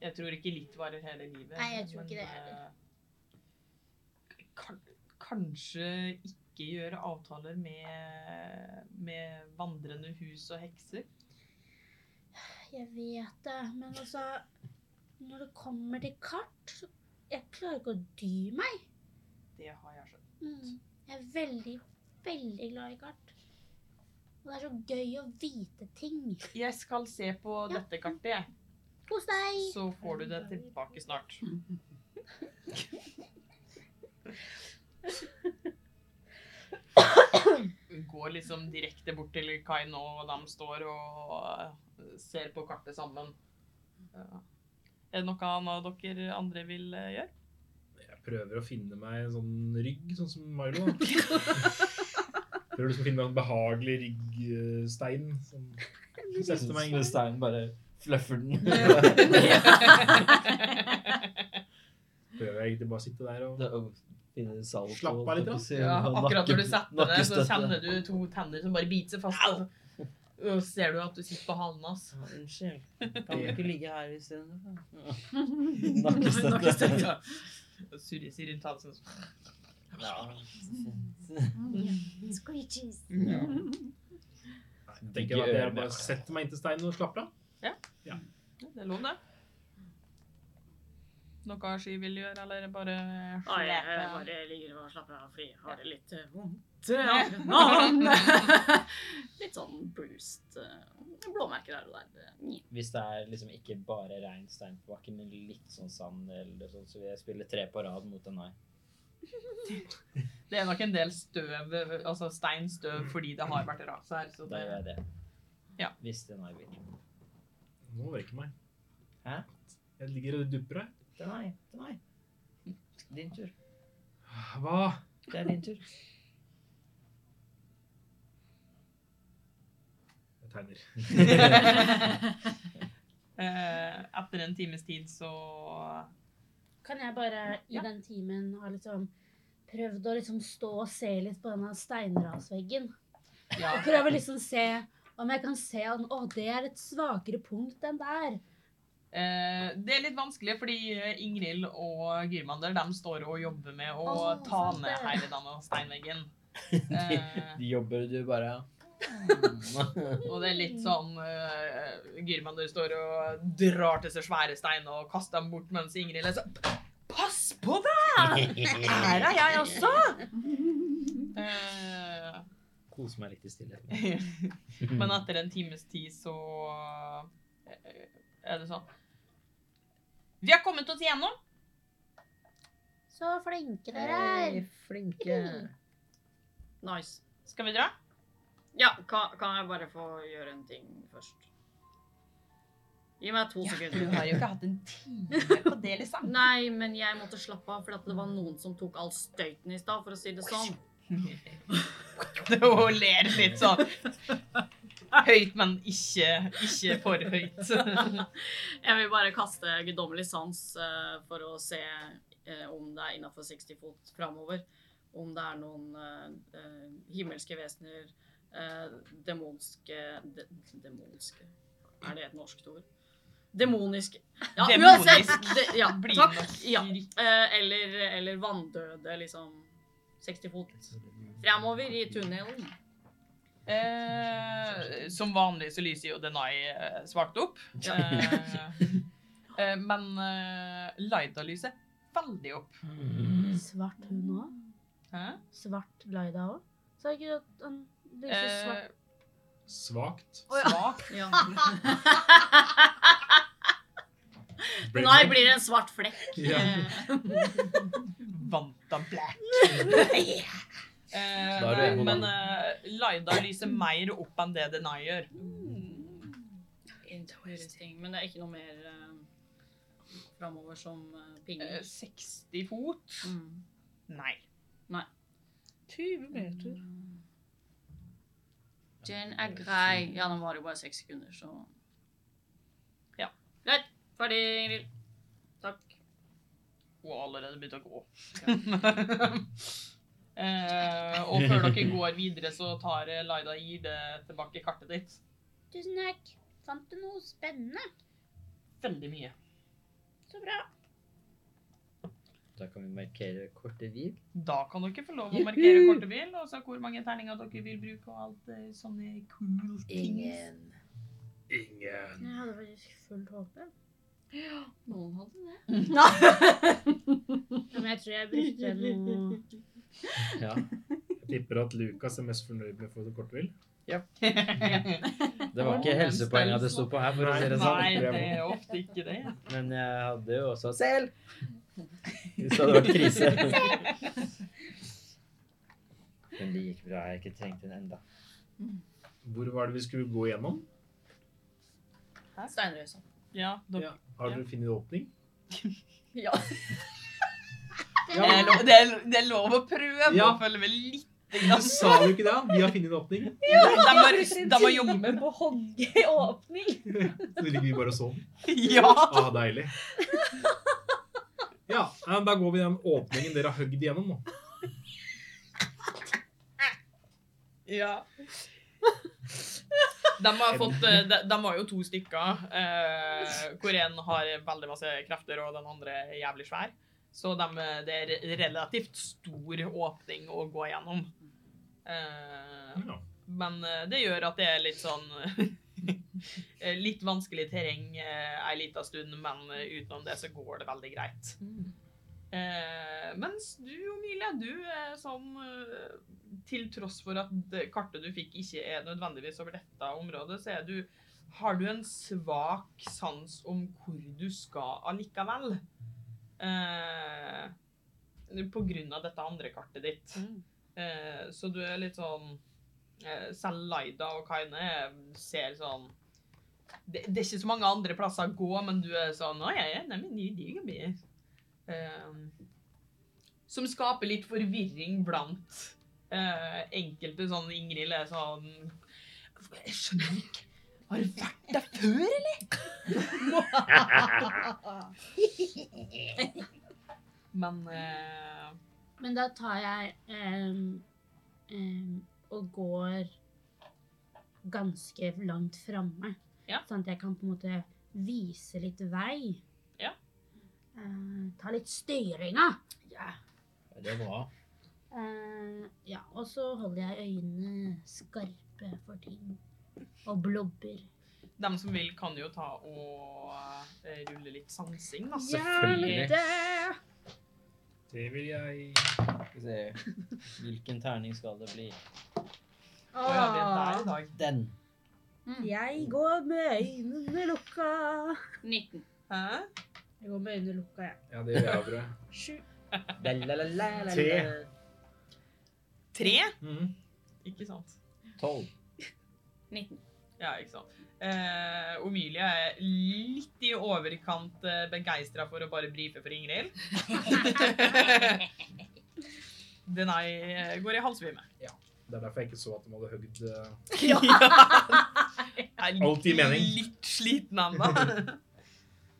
[SPEAKER 1] Jeg tror ikke litt varer hele livet.
[SPEAKER 4] Nei, jeg tror ikke det
[SPEAKER 1] eh, kan, kanskje ikke gjøre avtaler med, med vandrende hus og hekser.
[SPEAKER 4] Jeg vet det, men altså Når det kommer til kart så- Jeg klarer ikke å dy meg.
[SPEAKER 1] Det har jeg skjønt.
[SPEAKER 4] Mm. Jeg er veldig, veldig glad i kart. Og det er så gøy å vite ting.
[SPEAKER 1] Jeg skal se på
[SPEAKER 4] Ja.
[SPEAKER 1] dette kartet, jeg.
[SPEAKER 4] Kos deg!
[SPEAKER 1] Så får du det tilbake snart. Hun går liksom direkte bort til kai nå, og de står og eh, ser på kartet sammen. Ja. Er det noe annet dere andre vil eh, gjøre?
[SPEAKER 2] Jeg prøver å finne meg en sånn rygg, sånn som Milo. da. Prøver liksom å finne meg en behagelig ryggstein. Som setter meg inn.
[SPEAKER 5] steinen bare fluffer den.
[SPEAKER 2] Prøver jeg egentlig bare å sitte der og
[SPEAKER 5] Finne salto.
[SPEAKER 2] Slapp av litt, da.
[SPEAKER 5] og se
[SPEAKER 1] Ja,
[SPEAKER 5] om han
[SPEAKER 1] akkurat når du
[SPEAKER 5] nakke-
[SPEAKER 1] setter deg ned, så
[SPEAKER 5] nakkestøtte.
[SPEAKER 1] kjenner du to tenner som bare biter seg fast. Og så ser du at du sitter på halen hans.
[SPEAKER 6] Ja, Unnskyld. Kan du
[SPEAKER 2] Det-
[SPEAKER 6] ikke ligge her isteden?
[SPEAKER 5] Nakkestøtte.
[SPEAKER 1] Nakkestøtte. Og surrer seg rundt halsen.
[SPEAKER 4] Squeeches.
[SPEAKER 5] Ja.
[SPEAKER 2] Jeg tenker at jeg bare setter meg inntil steinen og slapper av.
[SPEAKER 1] Ja, Det er lov, det. Noe Sky vil gjøre, eller bare
[SPEAKER 3] Nei, jeg
[SPEAKER 1] slepe?
[SPEAKER 3] bare ligger og slapper av fordi jeg har det litt eh, vondt eh, akkurat nå. Litt sånn bruised. eh, Blåmerker her og der. eh,
[SPEAKER 5] Hvis det er liksom ikke bare rein stein på bakken, men litt sånn sand eller sånn, så vil jeg spille tre på rad mot en hai.
[SPEAKER 1] Det er nok en del støv, altså steinstøv, fordi det har vært ras her. Så
[SPEAKER 5] Da
[SPEAKER 1] det,
[SPEAKER 5] gjør jeg det.
[SPEAKER 1] Ja.
[SPEAKER 5] Hvis den hai vil.
[SPEAKER 2] Nå orker jeg meg.
[SPEAKER 5] Hæ?
[SPEAKER 2] Jeg ligger og dupper her.
[SPEAKER 5] Den hai. Den hai. Din tur.
[SPEAKER 2] Hva?
[SPEAKER 5] Det er din tur.
[SPEAKER 2] Jeg tegner.
[SPEAKER 1] eh, etter en times tid så
[SPEAKER 4] Kan jeg bare i
[SPEAKER 1] Ja.
[SPEAKER 4] den timen ha liksom prøvd å liksom stå og se litt på denne steinrasveggen?
[SPEAKER 1] ja.
[SPEAKER 4] Jeg prøver liksom se om jeg kan se om Å, det er et svakere punkt enn der.
[SPEAKER 1] Eh, det er litt vanskelig, fordi eh, Ingrid og Gyrmander de står og jobber med å
[SPEAKER 4] Å,
[SPEAKER 1] ta
[SPEAKER 4] sant
[SPEAKER 1] ned
[SPEAKER 4] det.
[SPEAKER 1] hele denne steinveggen. Eh,
[SPEAKER 5] De jobber du bare
[SPEAKER 1] Og det er litt sånn uh, Gyrmander står og drar til seg svære stein og kaster dem bort, mens Ingrid leser Pass på deg! Her er jeg også! Eh,
[SPEAKER 5] Kose meg litt i stillheten.
[SPEAKER 1] Men etter en times tid så eh, er det sånn. Vi har kommet oss igjennom.
[SPEAKER 4] Så flinke dere er.
[SPEAKER 6] Flinke.
[SPEAKER 3] Nice.
[SPEAKER 1] Skal vi dra?
[SPEAKER 3] Ja, kan, kan jeg bare få gjøre en ting først? Gi meg to sekunder.
[SPEAKER 1] har jo ikke hatt en time på det, liksom.
[SPEAKER 3] Nei, men jeg måtte slappe av, for at det var noen som tok all støyten i stad, for å si det sånn.
[SPEAKER 1] Og ler litt sånn. Høyt, men ikke, ikke for høyt.
[SPEAKER 3] Jeg vil bare kaste guddommelig sans eh, for å se eh, om det er innafor 60 fot framover. Om det er noen eh, eh, himmelske vesener, eh, demonske de, Demonske Er det et norsk ord? Demonisk. Ja,
[SPEAKER 1] Demonisk.
[SPEAKER 3] uansett! De, ja,
[SPEAKER 1] Blir
[SPEAKER 3] takk.
[SPEAKER 1] nok
[SPEAKER 3] Ja.
[SPEAKER 1] rik.
[SPEAKER 3] Eh, eller, eller vanndøde, liksom. 60 fot framover i tunnelen.
[SPEAKER 1] Eh, som vanlig så lyser jo Denai eh, svart opp. Eh, eh, men eh, Laida lyser veldig opp.
[SPEAKER 4] Svart hun òg?
[SPEAKER 1] Hæ?
[SPEAKER 4] Svart Laida òg? Sa jeg ikke at han lyser svart?
[SPEAKER 1] Eh,
[SPEAKER 2] Svakt.
[SPEAKER 1] svak.
[SPEAKER 3] Ja.
[SPEAKER 2] Ble-
[SPEAKER 3] Nei, blir det en svart flekk.
[SPEAKER 2] Ja.
[SPEAKER 3] Eh,
[SPEAKER 1] Vanta black. Eh,
[SPEAKER 5] Da er du
[SPEAKER 1] nei,
[SPEAKER 5] emo, da.
[SPEAKER 1] men eh, Laida lyser mer opp enn det Denai gjør.
[SPEAKER 3] Interesting. Men det er ikke noe mer uh, framover som eh,
[SPEAKER 1] Eh,
[SPEAKER 3] pinger.
[SPEAKER 1] 60 fot?
[SPEAKER 3] Mm.
[SPEAKER 1] Nei.
[SPEAKER 3] Nei.
[SPEAKER 1] 20
[SPEAKER 3] Jen er grei. Ja, den varer jo bare seks sekunder, så
[SPEAKER 1] Ja.
[SPEAKER 3] Greit. Ferdig, Ingrid. Takk.
[SPEAKER 1] Og allerede begynt å gå. eh, og før dere går videre, så tar eh, Laida og gir det tilbake kartet ditt.
[SPEAKER 4] Tusen takk. Fant du noe spennende?
[SPEAKER 1] Veldig mye.
[SPEAKER 4] Så bra.
[SPEAKER 5] Da kan vi markere korte hvil.
[SPEAKER 1] Da kan dere få lov å
[SPEAKER 5] Juhu!
[SPEAKER 1] markere kortebil, og så hvor mange terninger dere vil bruke, og alt eh, sånne cool things.
[SPEAKER 2] Ingen.
[SPEAKER 4] Jeg hadde faktisk fullt håp. jeg.
[SPEAKER 3] Noen hadde det.
[SPEAKER 4] Ja, men jeg tror jeg brukte noe
[SPEAKER 5] Ja.
[SPEAKER 2] Jeg tipper at Lukas er mest fornøyd med å få det kort hvil.
[SPEAKER 5] Det var ikke helsepoenga det sto på her, for å si det
[SPEAKER 1] Nei,
[SPEAKER 5] sånn.
[SPEAKER 1] det er ofte ikke det.
[SPEAKER 5] Men jeg hadde jo også selv. Hvis det hadde vært krise. Men det gikk bra. Jeg har ikke trengt den enda.
[SPEAKER 2] Hvor var det vi skulle gå gjennom?
[SPEAKER 3] Steinrøysa.
[SPEAKER 1] Ja, dere.
[SPEAKER 2] Har dere funnet åpning?
[SPEAKER 3] Ja.
[SPEAKER 1] Det, er lov, det, er, det er lov å prøve å
[SPEAKER 2] Ja.
[SPEAKER 1] følge med litt.
[SPEAKER 2] Du sa jo ikke det? Vi har funnet en åpning.
[SPEAKER 1] De må, de må jobbe.
[SPEAKER 7] på hogge i åpning.
[SPEAKER 2] Så ligger vi bare og sover.
[SPEAKER 1] Ja.
[SPEAKER 2] Ah, deilig. Ja, eh, da går vi den åpningen dere har høgd igjennom nå.
[SPEAKER 1] ja. De har, fått, eh, de, de har jo to stykker, eh, hvor en har veldig masse krefter, og den andre er jævlig svær. Så de, eh, det er relativt stor åpning å gå gjennom. Eh,
[SPEAKER 2] Ja.
[SPEAKER 1] Men eh, det gjør at det er litt sånn eh, Litt vanskelig terreng eh, ei lita stund, men eh, utenom det så går det veldig greit. Eh, mens du, Emilie, du er sånn eh, Til tross for at det kartet du fikk, ikke er nødvendigvis over dette området, så er du har du en svak sans om hvor du skal allikevel. Eh, på grunn av dette andre kartet ditt. Eh, så du er litt sånn Eh, Selv Laida og Kaine ser sånn det, det er ikke så mange andre plasser å gå, men du er sånn Å, jeg er enig med nye digerbier. Ehm, som skaper litt forvirring blant eh, enkelte. Sånn Ingrid er sånn Jeg skjønner ikke. Har du vært der før, eller? men eh,
[SPEAKER 4] Men da tar jeg em, em, og går ganske langt framme.
[SPEAKER 1] Ja.
[SPEAKER 4] Sånn at jeg kan på en måte vise litt vei.
[SPEAKER 1] Ja.
[SPEAKER 4] Eh, ta litt styringa.
[SPEAKER 5] Det er bra.
[SPEAKER 4] Eh, ja, og så holder jeg øynene skarpe for ting. Og blobber.
[SPEAKER 1] de som vil, kan jo ta og eh, rulle litt sansing, da.
[SPEAKER 5] Selvfølgelig.
[SPEAKER 4] Hjelpe!
[SPEAKER 2] Det vil jeg
[SPEAKER 5] Skal vi se. Hvilken terning skal det bli?
[SPEAKER 1] Å ja, vi er der i dag.
[SPEAKER 5] Den.
[SPEAKER 3] Mm.
[SPEAKER 7] Jeg går med øynene lukka.
[SPEAKER 3] 19.
[SPEAKER 1] Hæ?
[SPEAKER 7] Jeg går med øynene lukka, jeg.
[SPEAKER 2] Ja, det gjør jeg, tror jeg.
[SPEAKER 7] Sju.
[SPEAKER 5] La, la, la, la, la,
[SPEAKER 2] Tre.
[SPEAKER 5] la.
[SPEAKER 1] Tre?
[SPEAKER 2] Mhm.
[SPEAKER 1] Ikke sant.
[SPEAKER 5] Tolv.
[SPEAKER 3] 19.
[SPEAKER 1] Ja, ikke sant. Eh, Omilie er litt i overkant uh, begeistra for å bare brife for Ingrid. Denai eh, går i halvsvime.
[SPEAKER 2] Det er derfor jeg ikke så at de hadde høgd eh,
[SPEAKER 1] Ja. Er
[SPEAKER 2] Alt gir mening.
[SPEAKER 1] Litt sliten ennå.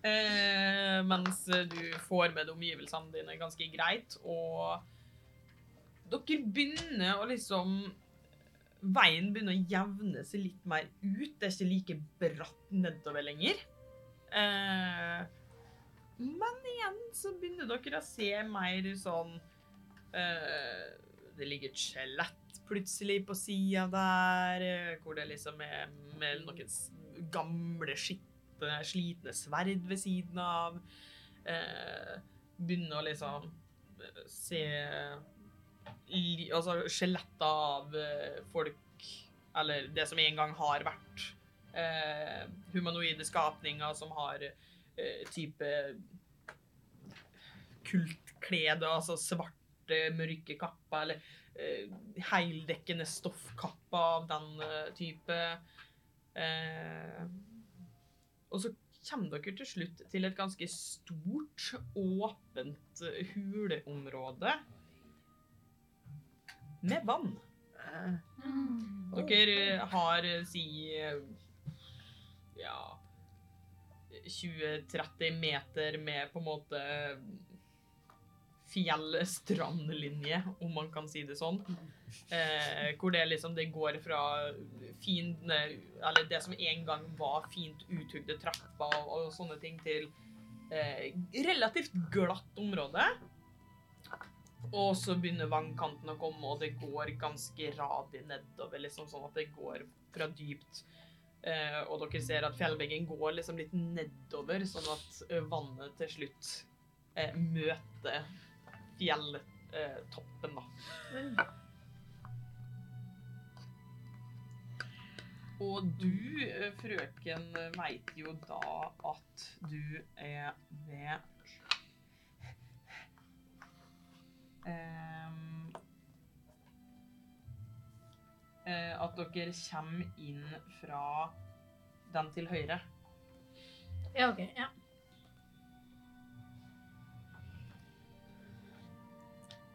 [SPEAKER 1] Eh, mens du får med de omgivelsene dine ganske greit, og dere begynner å liksom Veien begynner å jevne seg litt mer ut. Det er ikke like bratt nedover lenger. Eh, men igjen så begynner dere å se mer sånn eh, Det ligger et skjelett plutselig på sida der, eh, hvor det liksom er med noen s- gamle, skitne, slitne sverd ved siden av. Eh, begynner å liksom eh, se li, altså, skjeletter av eh, folk, eller det som en gang har vært eh, humanoide skapninger som har eh, type kultklede, altså svarte, mørke kapper, eller eh, heildekkende stoffkappa av den eh, type. Eh, og så kommer dere til slutt til et ganske stort, åpent eh, huleområde med vann. Dere eh, har eh, si eh, ja 20-30 meter med på en måte fjell-strandlinje, om man kan si det sånn. Eh, hvor det liksom det går fra fint Eller det som en gang var fint uthugde trapper og, og sånne ting, til eh, relativt glatt område. Og så begynner vannkanten å komme, og det går ganske radig nedover. liksom Sånn at det går fra dypt. Eh, og dere ser at fjellveggen går liksom litt nedover, sånn at eh, vannet til slutt eh, møter fjelltoppen, da. Og du, eh, frøken, veit jo da at du er ved Ehm, eh, At dere kommer inn fra den til høyre.
[SPEAKER 4] Ja, ok. Ja.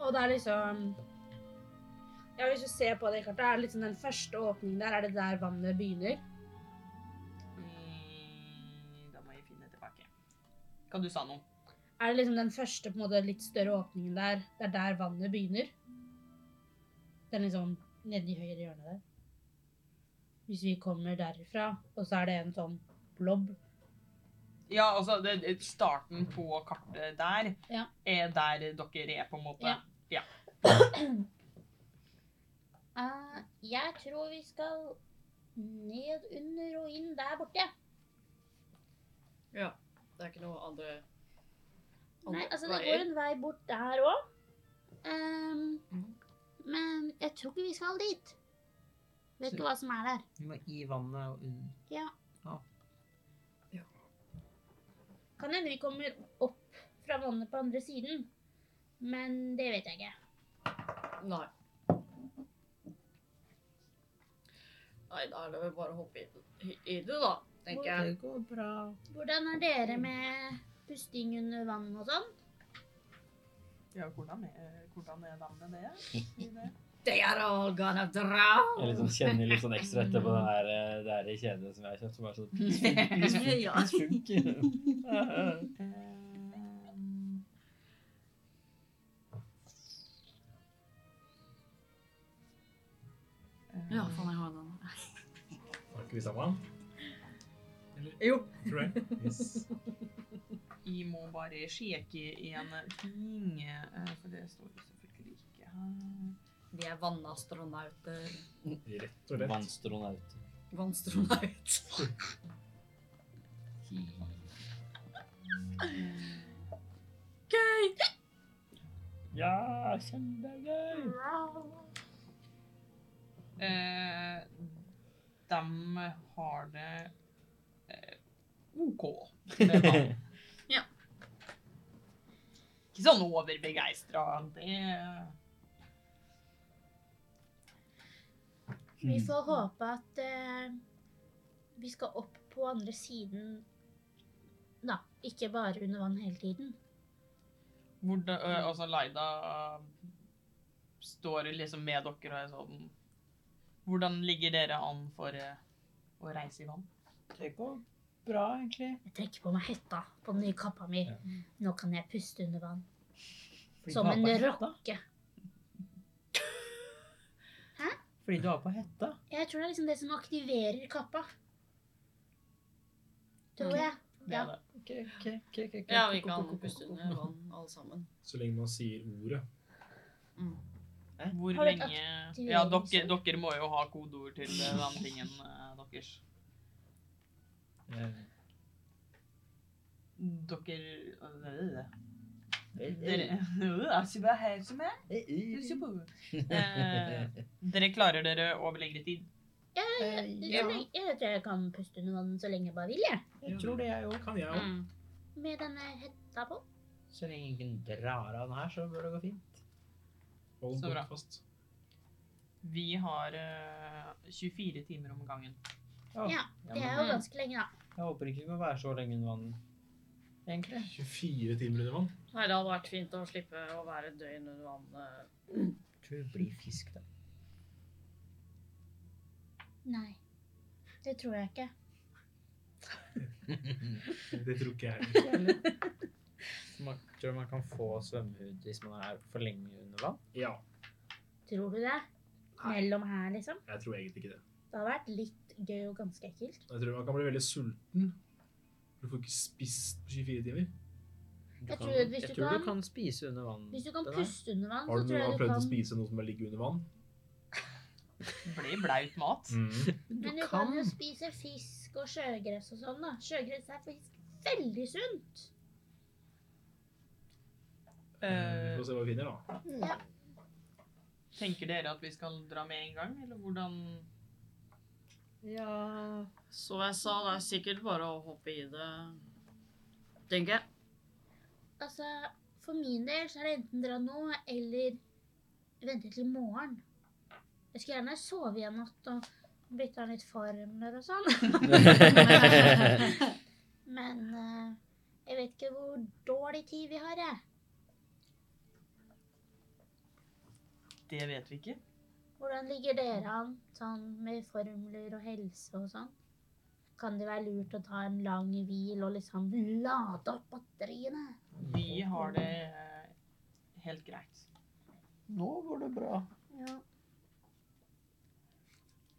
[SPEAKER 7] Og det er liksom Ja, hvis du ser på det kartet, er det liksom den første åpningen der, er det der vannet begynner?
[SPEAKER 1] Mm, Da må jeg finne tilbake. Hva du sa nå?
[SPEAKER 7] Er det liksom den første på en måte litt større åpningen der, det er der vannet begynner? Den liksom nedi høyre hjørne der. Hvis vi kommer derifra, og så er det en sånn blob.
[SPEAKER 1] Ja, altså det, det- starten på kartet der
[SPEAKER 7] Ja.
[SPEAKER 1] er der dere er, på en måte.
[SPEAKER 7] Ja.
[SPEAKER 4] Eh, jeg tror vi skal ned under og inn der borte.
[SPEAKER 3] Ja. Det er ikke noe andre, andre
[SPEAKER 4] Nei, altså det
[SPEAKER 3] veier.
[SPEAKER 4] går en vei bort der òg. Ehm, men jeg tror ikke vi skal dit. Vet ikke hva som er der.
[SPEAKER 6] Vi må i vannet og under.
[SPEAKER 4] Kan hende vi kommer opp fra vannet på andre siden. Men det vet jeg ikke.
[SPEAKER 3] Nei. Nei, da er det vel bare å hoppe i, i- i det, da, tenker jeg.
[SPEAKER 6] Det går bra.
[SPEAKER 4] Hvordan er dere med pusting under vann og sånn?
[SPEAKER 1] Ja, hvordan er, hvordan er den med det? I det?
[SPEAKER 3] They are all gonna drown!
[SPEAKER 8] Jeg liksom kjenner litt sånn ekstra etter på den her, eh, det her kjedet som jeg har kjøpt, som er sånn
[SPEAKER 3] ja.
[SPEAKER 8] pissfunk.
[SPEAKER 1] Ehm. ehm,
[SPEAKER 3] ja, faen, jeg har den.
[SPEAKER 2] Var ikke vi sammen?
[SPEAKER 3] Jo.
[SPEAKER 2] Tror jeg. Yes.
[SPEAKER 1] Jeg må bare sjekke en ting, eh, for det står jo selvfølgelig ikke her.
[SPEAKER 3] De er vannastronauter.
[SPEAKER 2] Rett og slett.
[SPEAKER 8] Vannstronaut.
[SPEAKER 3] Vannstronaut. Gøy!
[SPEAKER 8] Ja, kjempegøy!
[SPEAKER 1] Eh, de har det eh, OK. med vann.
[SPEAKER 3] Ja.
[SPEAKER 1] Ikke sånn overbegeistra. Det
[SPEAKER 4] Vi får håpe at eh, vi skal opp på andre siden da. Ikke bare under vann hele tiden.
[SPEAKER 1] Hvordan ø, Altså, Laida ø, står liksom med dere og er sånn Hvordan ligger dere an for ø, å reise i vann?
[SPEAKER 6] Det går bra, egentlig.
[SPEAKER 4] Jeg trekker på meg hetta på den nye kappa mi.
[SPEAKER 2] Ja.
[SPEAKER 4] Nå kan jeg puste under vann.
[SPEAKER 6] Fordi
[SPEAKER 4] Som
[SPEAKER 6] du har
[SPEAKER 4] en
[SPEAKER 6] på hetta.
[SPEAKER 4] rocke.
[SPEAKER 6] Fordi du har på hetta.
[SPEAKER 4] Jeg tror det er liksom det som aktiverer kappa. Tror jeg.
[SPEAKER 1] Det
[SPEAKER 4] Ja.
[SPEAKER 1] er det.
[SPEAKER 6] Ok, ok, ok. ok, ok.
[SPEAKER 3] Ja, vi kan puste under vann, alle sammen.
[SPEAKER 2] Så lenge man sier ordet.
[SPEAKER 3] Mm.
[SPEAKER 1] Hvor
[SPEAKER 4] Har dere
[SPEAKER 1] lenge Ja, dere,
[SPEAKER 4] aktiveringsord?
[SPEAKER 1] dere må jo ha kodeord til ø, den tingen øh, ø, deres.
[SPEAKER 5] Eh,
[SPEAKER 1] Dere ø, Dere Altså, hva er det som er?
[SPEAKER 5] eh,
[SPEAKER 1] Husk på. Eh, Dere klarer dere over lengre tid.
[SPEAKER 6] Eh,
[SPEAKER 4] Jeg, jeg, jeg tror jeg kan puste under vann så lenge jeg bare vil, jeg.
[SPEAKER 6] Jeg tror det, jeg òg.
[SPEAKER 2] Kan jeg òg.
[SPEAKER 3] Mm.
[SPEAKER 4] Med denne hetta på.
[SPEAKER 5] Så lenge ingen drar av den her, så bør det gå fint.
[SPEAKER 2] Hold
[SPEAKER 1] Så bra.
[SPEAKER 2] godt fast.
[SPEAKER 1] Vi har eh, 24 timer om gangen.
[SPEAKER 5] Å,
[SPEAKER 4] Ja,
[SPEAKER 5] ja,
[SPEAKER 4] Det
[SPEAKER 5] men
[SPEAKER 4] er jo ganske lenge, da.
[SPEAKER 5] Jeg håper ikke vi må være så lenge under vann, egentlig.
[SPEAKER 2] 24 timer under vann.
[SPEAKER 3] Nei, det hadde vært fint å slippe å være et døgn under vann. eh.
[SPEAKER 5] Jeg tror vi blir fisk, da.
[SPEAKER 4] Nei. Det tror jeg ikke.
[SPEAKER 2] Det tror ikke jeg heller.
[SPEAKER 5] Man tror man kan få svømmehud hvis man er for lenge under vann.
[SPEAKER 2] Ja,
[SPEAKER 4] Tror du det?
[SPEAKER 2] Nei.
[SPEAKER 4] Mellom her, liksom?
[SPEAKER 2] jeg tror egentlig ikke det.
[SPEAKER 4] Det hadde vært litt gøy og ganske ekkelt.
[SPEAKER 2] Jeg tror man kan bli veldig sulten. Du får ikke spist på 24 timer.
[SPEAKER 5] Du
[SPEAKER 4] Jeg
[SPEAKER 5] kan,
[SPEAKER 4] tror at hvis
[SPEAKER 5] jeg
[SPEAKER 4] du
[SPEAKER 5] tror
[SPEAKER 4] kan-
[SPEAKER 5] du kan spise under vann.
[SPEAKER 4] Hvis du kan
[SPEAKER 5] den her.
[SPEAKER 4] puste under vann,
[SPEAKER 2] Har
[SPEAKER 4] så
[SPEAKER 2] du
[SPEAKER 4] tror
[SPEAKER 2] noen gang
[SPEAKER 4] jeg du
[SPEAKER 2] prøvd å
[SPEAKER 4] kan
[SPEAKER 2] spise noe som bare ligger under vann?
[SPEAKER 1] Ble blaut mat.
[SPEAKER 4] Men du kan jo spise fisk og sjøgress og sånn, da. Sjøgress er faktisk veldig sunt.
[SPEAKER 2] Vi
[SPEAKER 1] Eh,
[SPEAKER 2] får se hva vi finner, da.
[SPEAKER 1] tenker dere at vi skal dra med en gang, eller hvordan
[SPEAKER 6] Ja
[SPEAKER 3] Så jeg sa, det er sikkert bare å hoppe i det, tenker jeg.
[SPEAKER 4] Altså, for min del så er det enten dra nå eller vente til i morgen. Jeg skulle gjerne sove i en natt og bytte av litt formler og sånn. Men eh, jeg vet ikke hvor dårlig tid vi har, jeg.
[SPEAKER 1] Det vet vi ikke.
[SPEAKER 4] Hvordan ligger dere an sånn med formler og helse og sånn? Kan det være lurt å ta en lang hvil og liksom lade opp batteriene?
[SPEAKER 1] Vi har det eh, helt greit.
[SPEAKER 6] Nå går det bra.
[SPEAKER 4] Ja.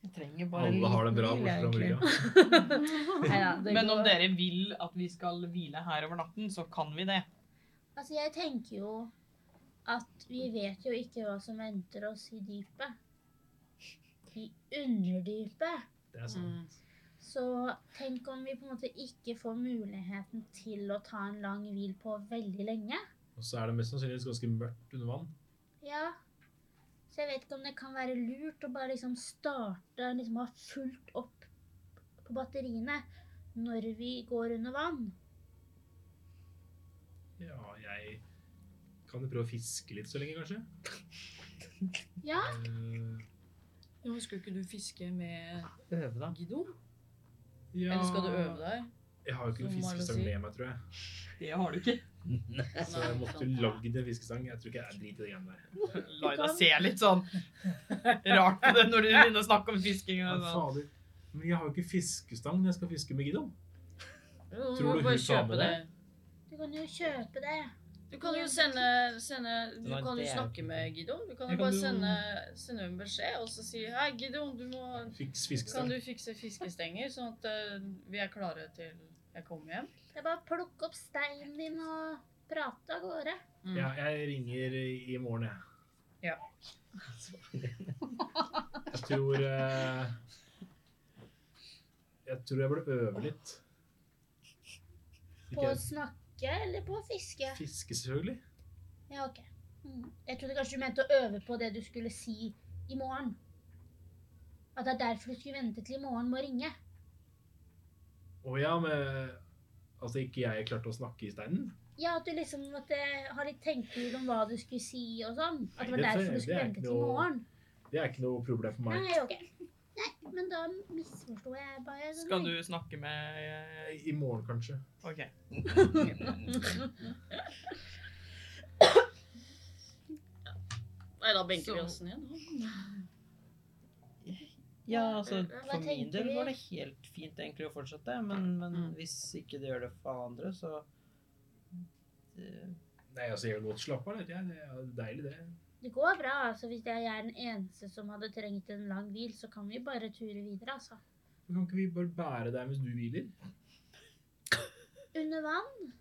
[SPEAKER 6] Jeg trenger bare
[SPEAKER 2] Alle har det bra
[SPEAKER 6] hvil,
[SPEAKER 2] bortsett fra
[SPEAKER 6] egentlig.
[SPEAKER 2] Maria.
[SPEAKER 7] Neida, det
[SPEAKER 1] Men om
[SPEAKER 7] går-
[SPEAKER 1] dere vil at vi skal hvile her over natten, så kan vi det.
[SPEAKER 4] Altså, jeg tenker jo at vi vet jo ikke hva som venter oss i dypet. I underdypet.
[SPEAKER 2] Det er sant.
[SPEAKER 3] Mm.
[SPEAKER 4] Så tenk om vi på en måte ikke får muligheten til å ta en lang hvil på veldig lenge.
[SPEAKER 2] Og så er det mest sannsynligvis ganske mørkt under vann.
[SPEAKER 4] Ja. Så jeg vet ikke om det kan være lurt å bare liksom starte liksom ha fullt opp på batteriene når vi går under vann.
[SPEAKER 2] Ja, jeg kan jo prøve å fiske litt så lenge, kanskje.
[SPEAKER 4] Ja.
[SPEAKER 2] Eh,
[SPEAKER 3] Jo, skulle ikke du fiske med
[SPEAKER 5] Øve, da.
[SPEAKER 3] Guido?
[SPEAKER 2] ja.
[SPEAKER 3] Eller skal du øve deg?
[SPEAKER 2] Jeg har jo ikke noen
[SPEAKER 3] Som Marlo
[SPEAKER 2] fiskestang
[SPEAKER 3] sier.
[SPEAKER 2] med meg, tror jeg.
[SPEAKER 1] Det har du ikke.
[SPEAKER 2] Så jeg måtte jo lagd en fiskestang. Jeg tror ikke jeg driter i det greiene der.
[SPEAKER 1] Laila ser litt sånn rart på det når du begynner å snakke om fisking.
[SPEAKER 2] Men
[SPEAKER 1] Og sånn.
[SPEAKER 2] fader, men jeg har jo ikke fiskestang når jeg skal fiske med Gideon.
[SPEAKER 3] Jo,
[SPEAKER 2] Tror
[SPEAKER 3] må
[SPEAKER 2] du
[SPEAKER 3] bare
[SPEAKER 2] hun tar med
[SPEAKER 3] kjøpe det.
[SPEAKER 4] Du kan jo kjøpe det.
[SPEAKER 3] Du kan jo sende, sende Du
[SPEAKER 5] var
[SPEAKER 3] kan jo
[SPEAKER 5] det jeg
[SPEAKER 3] snakke
[SPEAKER 5] tenkte.
[SPEAKER 3] med Gideon. Du kan
[SPEAKER 2] Jeg
[SPEAKER 3] jo
[SPEAKER 2] kan
[SPEAKER 3] bare
[SPEAKER 2] jo-
[SPEAKER 3] sende, sende en beskjed og så si Hei, Gideon, du må
[SPEAKER 2] Fiks
[SPEAKER 3] Kan
[SPEAKER 2] fiskestang.
[SPEAKER 3] du fikse fiskestenger, sånn at eh, vi er klare til jeg kommer hjem?
[SPEAKER 4] Det er bare å plukke opp steinen din og prate av gårde.
[SPEAKER 2] Ja, jeg ringer i morgen, jeg.
[SPEAKER 3] Ja.
[SPEAKER 2] Jeg tror eh, Jeg tror jeg burde øve litt.
[SPEAKER 4] På
[SPEAKER 2] Ikke
[SPEAKER 4] å snakke eller på å fiske?
[SPEAKER 2] fiske, selvfølgelig.
[SPEAKER 4] Ja, ok. Mm. Jeg trodde kanskje du mente å øve på det du skulle si i morgen. At det er derfor du skulle vente til i morgen med å ringe.
[SPEAKER 2] Å ja, med At ikke jeg klarte å snakke i steinen?
[SPEAKER 4] Ja, at du liksom måtte ha litt tenkehjul om hva du skulle si og sånn. At
[SPEAKER 2] Nei,
[SPEAKER 4] det var
[SPEAKER 2] dette-
[SPEAKER 4] derfor du
[SPEAKER 2] det
[SPEAKER 4] skulle
[SPEAKER 2] er
[SPEAKER 4] vente
[SPEAKER 2] ikke
[SPEAKER 4] til
[SPEAKER 2] noe-
[SPEAKER 4] morgen.
[SPEAKER 2] Det er ikke noe problem for meg.
[SPEAKER 4] Nei, ok. Nei, men da misforsto jeg bare. sånn,
[SPEAKER 1] Skal du
[SPEAKER 4] jeg.
[SPEAKER 1] snakke med eh,
[SPEAKER 2] I morgen, kanskje.
[SPEAKER 1] OK.
[SPEAKER 3] Nei, da benker vi
[SPEAKER 6] Så-
[SPEAKER 3] oss ned. nå.
[SPEAKER 9] Ja, altså,
[SPEAKER 4] Hva
[SPEAKER 9] for min
[SPEAKER 4] tenker
[SPEAKER 9] del
[SPEAKER 4] vi?
[SPEAKER 9] var det helt fint egentlig å fortsette, men, men
[SPEAKER 6] Mm.
[SPEAKER 9] hvis ikke det gjør det for alle andre, så eh,
[SPEAKER 2] Nei, altså, jeg vil godt slappe av litt. jeg. Det er deilig, det.
[SPEAKER 4] Det går bra, altså. Hvis jeg er den eneste som hadde trengt en lang hvil, så kan vi bare ture videre, altså.
[SPEAKER 2] Kan ikke vi bare bære deg mens du hviler?
[SPEAKER 4] Under vann?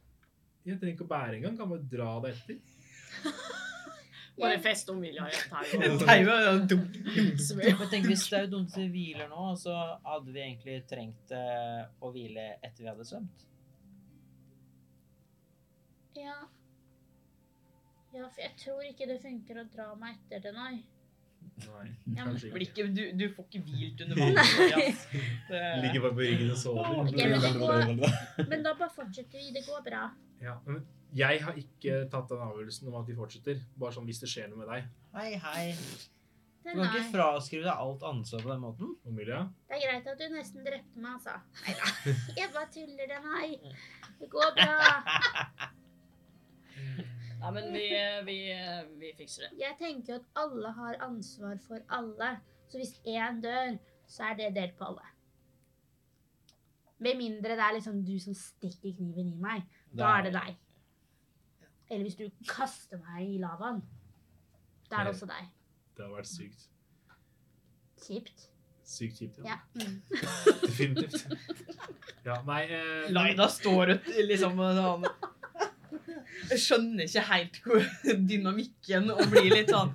[SPEAKER 2] Jeg trenger ikke å bære engang. Kan bare dra deg etter.
[SPEAKER 3] Bare fest om Vilja i et tau.
[SPEAKER 1] Det er jo dumt.
[SPEAKER 9] Men tenk hvis det er jo dumt at vi hviler nå, så hadde vi egentlig trengt eh, å hvile etter vi hadde svømt.
[SPEAKER 4] Ja. Ja, for jeg tror ikke det funker å dra meg etter det, nei.
[SPEAKER 2] Nei,
[SPEAKER 4] Ja, men-
[SPEAKER 2] kanskje
[SPEAKER 1] Blir
[SPEAKER 2] ikke.
[SPEAKER 1] ikke, du, du får ikke hvilt under vann. Andreas. Det-
[SPEAKER 2] Ligger bare på ryggen og sover.
[SPEAKER 4] Ok, men det går. Men da bare fortsetter vi. Det går bra.
[SPEAKER 2] Ja, men jeg har ikke tatt den avgjørelsen om at vi fortsetter. Bare sånn hvis det skjer noe med deg.
[SPEAKER 9] Hei, hei. Du
[SPEAKER 4] Det
[SPEAKER 9] kan
[SPEAKER 4] er,
[SPEAKER 9] ikke fraskrive deg alt ansvar på den måten.
[SPEAKER 2] Omilia?
[SPEAKER 4] det er greit at du nesten drepte meg, altså. Neida. Jeg bare tuller det, nei. Det går bra.
[SPEAKER 3] Nei, men vi, eh, vi, vi fikser det.
[SPEAKER 4] Jeg tenker jo at alle har ansvar for alle. Så hvis én dør, så er det delt på alle. Med mindre det er liksom du som stikker kniven i meg. Da er det deg. Eller hvis du kaster meg i lavaen. Da er det også deg.
[SPEAKER 2] Det hadde vært sykt.
[SPEAKER 4] Kjipt.
[SPEAKER 2] Sykt kjipt.
[SPEAKER 4] Ja. Mm.
[SPEAKER 2] Definitivt. Ja, nei eh,
[SPEAKER 1] Laila står og liksom sånn Jeg skjønner ikke helt hvor dynamikken og blir litt sånn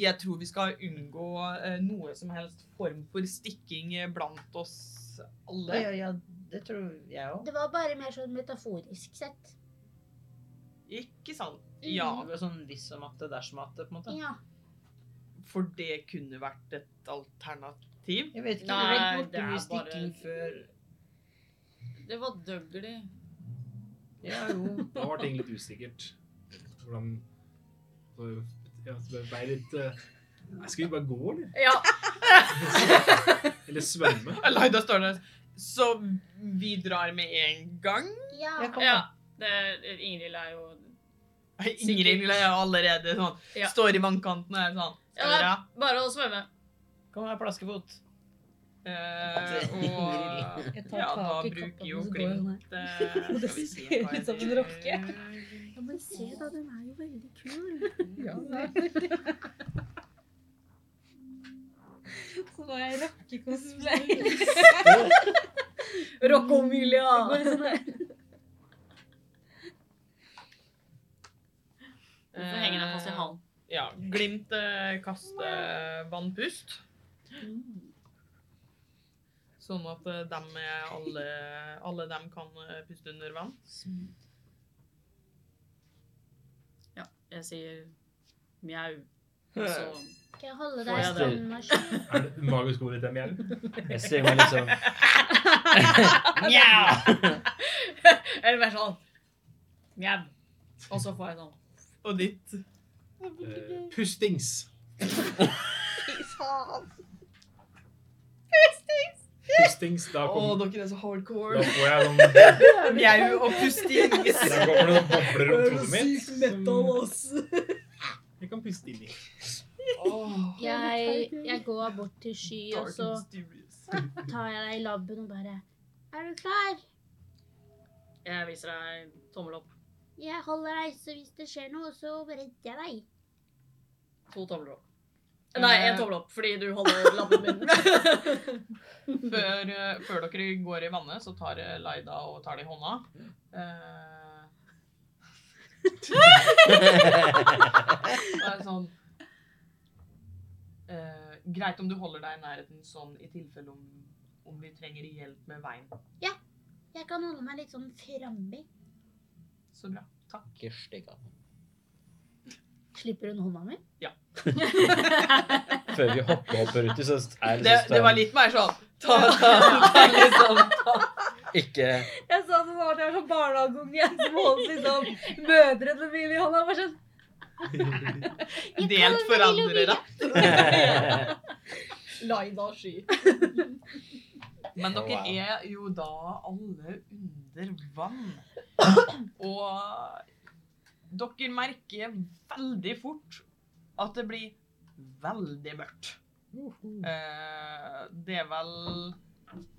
[SPEAKER 1] Jeg tror vi skal unngå eh, noe som helst form for stikking eh, blant oss
[SPEAKER 9] Ja,
[SPEAKER 1] alle.
[SPEAKER 9] ja, ja, det tror jeg òg.
[SPEAKER 4] Det var bare mer sånn metaforisk sett.
[SPEAKER 1] Ikke sant? Ja,
[SPEAKER 9] Sånn hvis og matte, dersom matte, på en måte.
[SPEAKER 4] Ja.
[SPEAKER 1] for det kunne vært et alternativ.
[SPEAKER 9] Jeg vet ikke,
[SPEAKER 3] Nei,
[SPEAKER 9] jeg vet ikke
[SPEAKER 3] det
[SPEAKER 9] hvor
[SPEAKER 3] er
[SPEAKER 9] mye stikking
[SPEAKER 3] bare-
[SPEAKER 9] før
[SPEAKER 3] Det var døglig.
[SPEAKER 9] Ja, jo.
[SPEAKER 2] Da var ting litt usikkert. Hvordan så, ja, så ble jeg litt eh, nei, Skal vi bare gå, eller?
[SPEAKER 3] Ja.
[SPEAKER 2] Eller svømme?
[SPEAKER 1] Laila står der. Så vi drar med en gang?
[SPEAKER 4] ja.
[SPEAKER 9] Jeg kan-
[SPEAKER 3] ja. Det, Ingrid er jo
[SPEAKER 1] Ingrid er allerede sånn.
[SPEAKER 3] Ja.
[SPEAKER 1] Står i vannkanten og er sånn. Skal
[SPEAKER 3] Ja.
[SPEAKER 1] dere?
[SPEAKER 3] Bare å svømme.
[SPEAKER 9] Kom her, plaskefot.
[SPEAKER 1] Eh, og
[SPEAKER 7] Jeg tar
[SPEAKER 1] ja, da
[SPEAKER 7] tak i
[SPEAKER 1] bruker
[SPEAKER 7] koppen,
[SPEAKER 1] jo
[SPEAKER 7] så går jeg
[SPEAKER 1] Glimt eh,
[SPEAKER 7] Og det
[SPEAKER 1] skal vi si
[SPEAKER 7] ser
[SPEAKER 1] hva
[SPEAKER 7] ut som en
[SPEAKER 1] heter-
[SPEAKER 4] Ja, men se da, den er jo veldig kul.
[SPEAKER 7] Så nå er jeg rockecosplay.
[SPEAKER 3] Rockomilia! Hvorfor henger den fast i halen?
[SPEAKER 1] Ja, Glimt eh, kaster vannpust.
[SPEAKER 3] Mm.
[SPEAKER 1] Sånn at eh, dem er alle, alle dem kan eh, puste under vann.
[SPEAKER 3] Jeg sier mjau. og Så
[SPEAKER 4] Skal jeg holde
[SPEAKER 3] Får
[SPEAKER 4] deg
[SPEAKER 3] jeg
[SPEAKER 4] sånn, vær så god?
[SPEAKER 2] Er det magisk ord i dem igjen?
[SPEAKER 8] Jeg ser meg liksom
[SPEAKER 3] mjau! Eller bare sånn mjau. Og så får jeg sånn.
[SPEAKER 1] Og ditt.
[SPEAKER 2] Eh, pustings. Pustings. Da,
[SPEAKER 1] Å,
[SPEAKER 2] kom,
[SPEAKER 1] dere er så
[SPEAKER 2] da
[SPEAKER 1] hardcore.
[SPEAKER 2] får jeg sånn
[SPEAKER 1] Mjau og pusting.
[SPEAKER 2] Da kommer det noen bobler rundt hodet mitt. som Jeg kan puste inn i.
[SPEAKER 4] Jeg, jeg går bort til Sky, og
[SPEAKER 1] Dark
[SPEAKER 4] så
[SPEAKER 1] and mysterious.
[SPEAKER 4] tar jeg deg i labben og bare Er du klar?
[SPEAKER 3] Jeg viser deg tommel opp.
[SPEAKER 4] Jeg holder deg, så hvis det skjer noe, så redder jeg deg.
[SPEAKER 3] To tomler opp. Eh. Nei, én tommel opp, fordi du holder labben min.
[SPEAKER 1] Før, eh, før dere går i vannet, så tar eh, Laida og tar det i hånda. Eh, det er sånn eh, Greit om du holder deg i nærheten sånn i tilfelle om, om vi trenger hjelp med veien.
[SPEAKER 4] Jeg kan holde meg litt sånn framme.
[SPEAKER 1] Så bra. Takk.
[SPEAKER 5] Ikke stikk av.
[SPEAKER 2] liksom-
[SPEAKER 4] Slipper hun hånda mi?
[SPEAKER 8] Før vi hopper, hopper uti, så er det,
[SPEAKER 1] Det,
[SPEAKER 8] så
[SPEAKER 1] det var litt mer sånn ta, ta, ta, litt sånn, ta,
[SPEAKER 5] Ikke
[SPEAKER 10] Jeg sa det var det er sånn barnehageunge igjen som holdt liksom mødre til Willy. Han er bare sånn
[SPEAKER 1] Delt forandrere.
[SPEAKER 10] Laida sky.
[SPEAKER 1] Men dere
[SPEAKER 5] Wow.
[SPEAKER 1] er jo da alle under vann. Og dere merker veldig fort at det blir veldig mørkt. Eh, Det er vel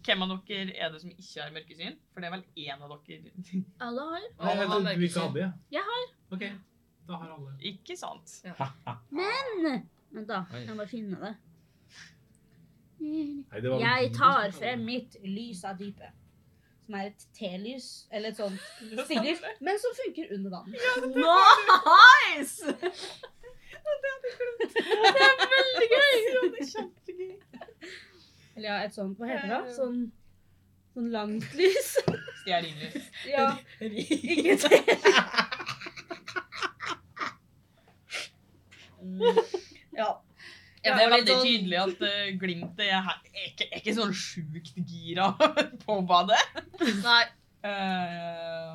[SPEAKER 1] Hvem av dere er det som ikke har mørkesyn? For det er vel én av dere.
[SPEAKER 4] Alle har.
[SPEAKER 2] Nei, jeg trodde du ikke hadde det.
[SPEAKER 4] Jeg
[SPEAKER 2] har. Ok, da har alle.
[SPEAKER 1] Ikke sant?
[SPEAKER 4] Men Vent, da.
[SPEAKER 5] Oi.
[SPEAKER 4] Jeg må bare finne det.
[SPEAKER 2] Nei, det var-
[SPEAKER 7] Jeg tar frem mitt lys av dypet. Som er et telys, eller et sånt stilys, men som funker under vann.
[SPEAKER 10] Nice!
[SPEAKER 1] Veldig gøy! Det er kjempegøy.
[SPEAKER 7] Eller ja, et sånt, hva heter det da? Sånn, sånn langt lys.
[SPEAKER 1] Stearinlys.
[SPEAKER 7] Ja, ikke det. Ja.
[SPEAKER 1] Ja, det
[SPEAKER 7] Ja,
[SPEAKER 1] er
[SPEAKER 7] og litt
[SPEAKER 1] veldig
[SPEAKER 7] sånn-
[SPEAKER 1] tydelig at eh, Glimt er, her, er, ikke, er ikke sånn sjukt gira på badet.
[SPEAKER 10] Nei.
[SPEAKER 1] Eh,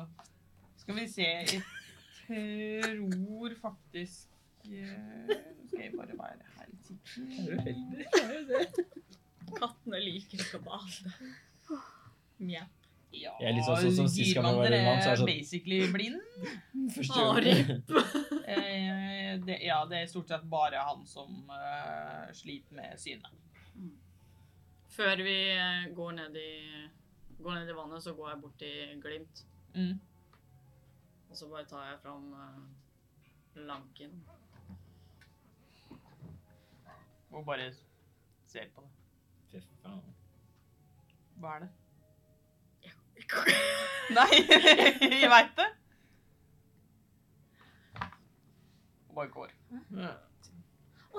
[SPEAKER 1] skal vi se Jeg tror faktisk eh, Skal jeg bare være her litt sikker
[SPEAKER 10] Kattene liker ikke å bade. Mjau.
[SPEAKER 1] Ja,
[SPEAKER 8] Jeg er litt sånn som sist gang vi var i
[SPEAKER 1] Girvandre
[SPEAKER 8] vann, så er det
[SPEAKER 1] er
[SPEAKER 8] sånn-
[SPEAKER 1] basically blind. Eh, det, ja, det er stort sett bare han som eh, sliter med synet.
[SPEAKER 3] Før vi eh, går ned i, går ned i vannet, så går jeg bort til Glimt.
[SPEAKER 1] Mm.
[SPEAKER 3] Og så bare tar jeg fram eh, lanken.
[SPEAKER 1] Og bare ser på det.
[SPEAKER 8] Fy faen.
[SPEAKER 1] Hva er det? Nei, jeg veit det. Og bare går.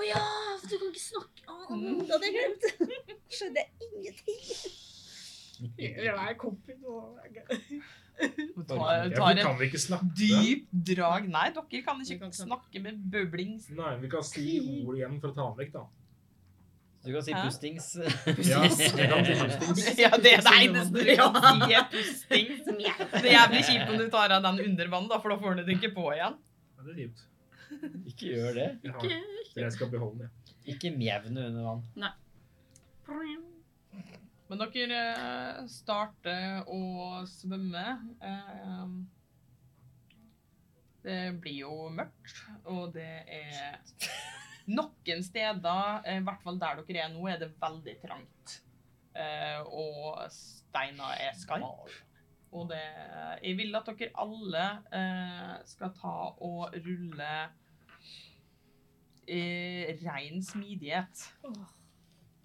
[SPEAKER 4] Å ja, for du kan ikke snakke Å, Det hadde jeg glemt.
[SPEAKER 7] Mm. Skjønner jeg ingenting.
[SPEAKER 10] Jeg er kompis nå.
[SPEAKER 1] Og tar,
[SPEAKER 2] Jeg
[SPEAKER 1] tar
[SPEAKER 2] kan
[SPEAKER 1] et
[SPEAKER 2] vi ikke snakke?
[SPEAKER 1] dypt drag. Nei, dere kan
[SPEAKER 3] Vi kan
[SPEAKER 1] ikke
[SPEAKER 3] ikke
[SPEAKER 1] snakke med bubling.
[SPEAKER 2] Nei, vi kan si ord igjen for å ta den vekk, da.
[SPEAKER 8] Du kan si
[SPEAKER 1] Hæ?
[SPEAKER 8] pustings.
[SPEAKER 2] Ja, vi kan si hustings.
[SPEAKER 1] Ja, det er det eneste du kan si. er Pusting. Det er jævlig kjipt om du tar av den under vann, da, for da får du det ikke på igjen.
[SPEAKER 2] Ja, det er kjipt.
[SPEAKER 8] Ikke gjør det.
[SPEAKER 2] Jeg, har, jeg skal beholde den, jeg.
[SPEAKER 8] Ikke mjevne under vann.
[SPEAKER 1] Men dere eh, starter å svømme. Eh, Det blir jo mørkt, og det er Noen steder, eh, i hvert fall der dere er nå, er det veldig trangt. Eh, Og steiner er skarpe. Og det Jeg vil at dere alle eh, skal ta og rulle eh, rein smidighet.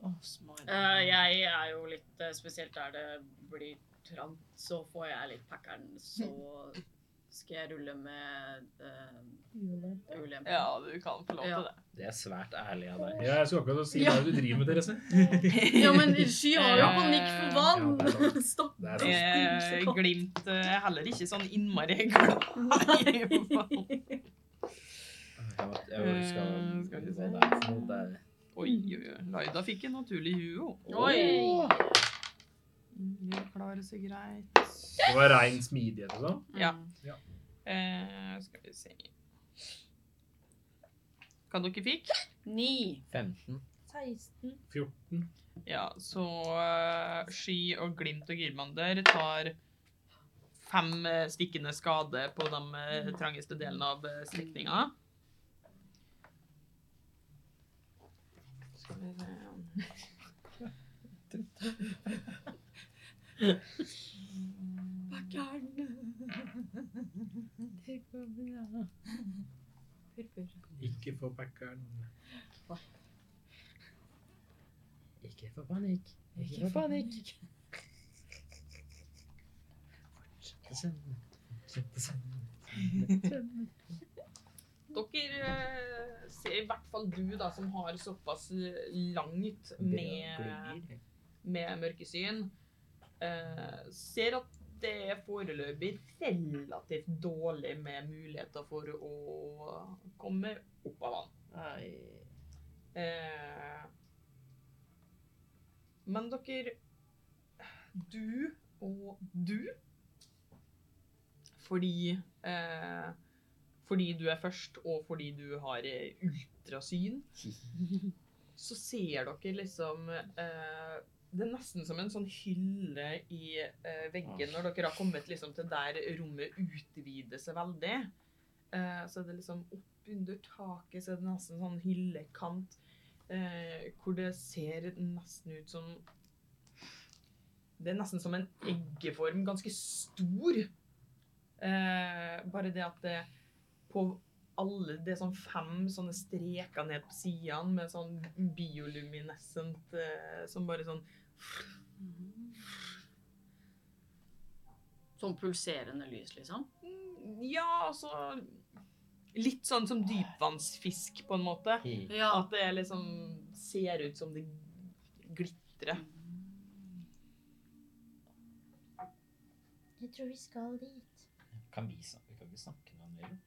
[SPEAKER 3] Eh, jeg er jo litt eh, Spesielt der det blir trant, så får jeg litt packeren. Så skal jeg rulle med uh, ulempe.
[SPEAKER 1] Ja, du kan få lov
[SPEAKER 3] Ja.
[SPEAKER 1] til det.
[SPEAKER 8] Det er svært ærlig av deg.
[SPEAKER 2] Ja, jeg skal akkurat si hva er det du driver med, Therese.
[SPEAKER 10] Ja, men sky har jo
[SPEAKER 1] Eh,
[SPEAKER 10] panikk for
[SPEAKER 2] ja, det er
[SPEAKER 10] vann. Stopp.
[SPEAKER 2] Det er sånn. sant.
[SPEAKER 1] Eh, Glimt eh, er heller ikke sånn innmari glad i vann.
[SPEAKER 8] Jeg vet- jeg vet- skal,
[SPEAKER 1] Eh, skal vi se.
[SPEAKER 8] hva det er for noe. Det er-
[SPEAKER 1] Oi, oi, oi. Laida fikk en naturlig huo. Mm,
[SPEAKER 3] Oi!
[SPEAKER 1] Det klarer seg greit.
[SPEAKER 2] Det var rein smidighet og sånn.
[SPEAKER 1] Ja.
[SPEAKER 3] Mm.
[SPEAKER 2] Ja.
[SPEAKER 1] Eh, skal vi se Hva dere fikk?
[SPEAKER 3] Ni.
[SPEAKER 5] 15.
[SPEAKER 7] 16.
[SPEAKER 2] 14.
[SPEAKER 1] Ja, så eh, Sky og Glimt og Gyrmander tar fem eh, stikkende skade på de eh, trangeste delene av eh, strekninga. Skal vi se
[SPEAKER 2] Ikke få packeren.
[SPEAKER 5] Ikke få panikk. Ikke få panikk. Fortsette søvnen. Fortsette søvnen.
[SPEAKER 1] Dere eh, ser i hvert fall du da, som har såpass eh, langt med,
[SPEAKER 5] Glugger.
[SPEAKER 1] med mørkesyn, eh, ser at det er foreløpig relativt dårlig med muligheter for å komme opp av vann. Eh, men dere Du og du. Fordi eh, Fordi du er først, og fordi du har eh, ultrasyn, så ser dere liksom eh, Det er nesten som en sånn hylle i eh, veggen når dere har kommet liksom til der rommet utvider seg veldig. Eh, så er det liksom oppunder taket, så er det nesten sånn hyllekant eh, hvor det ser nesten ut som det er nesten som en eggeform, ganske stor. Eh, bare det at det på alle Det er sånn fem sånne streker ned på sidene med sånn bioluminescent eh, som bare sånn
[SPEAKER 3] Sånn pulserende lys, liksom.
[SPEAKER 1] Ja, altså Litt sånn som dypvannsfisk, på en måte.
[SPEAKER 3] Ja.
[SPEAKER 1] At det liksom ser ut som det glitrer.
[SPEAKER 4] Jeg tror vi skal dit.
[SPEAKER 8] Kan vi snakke, kan vi snakke med han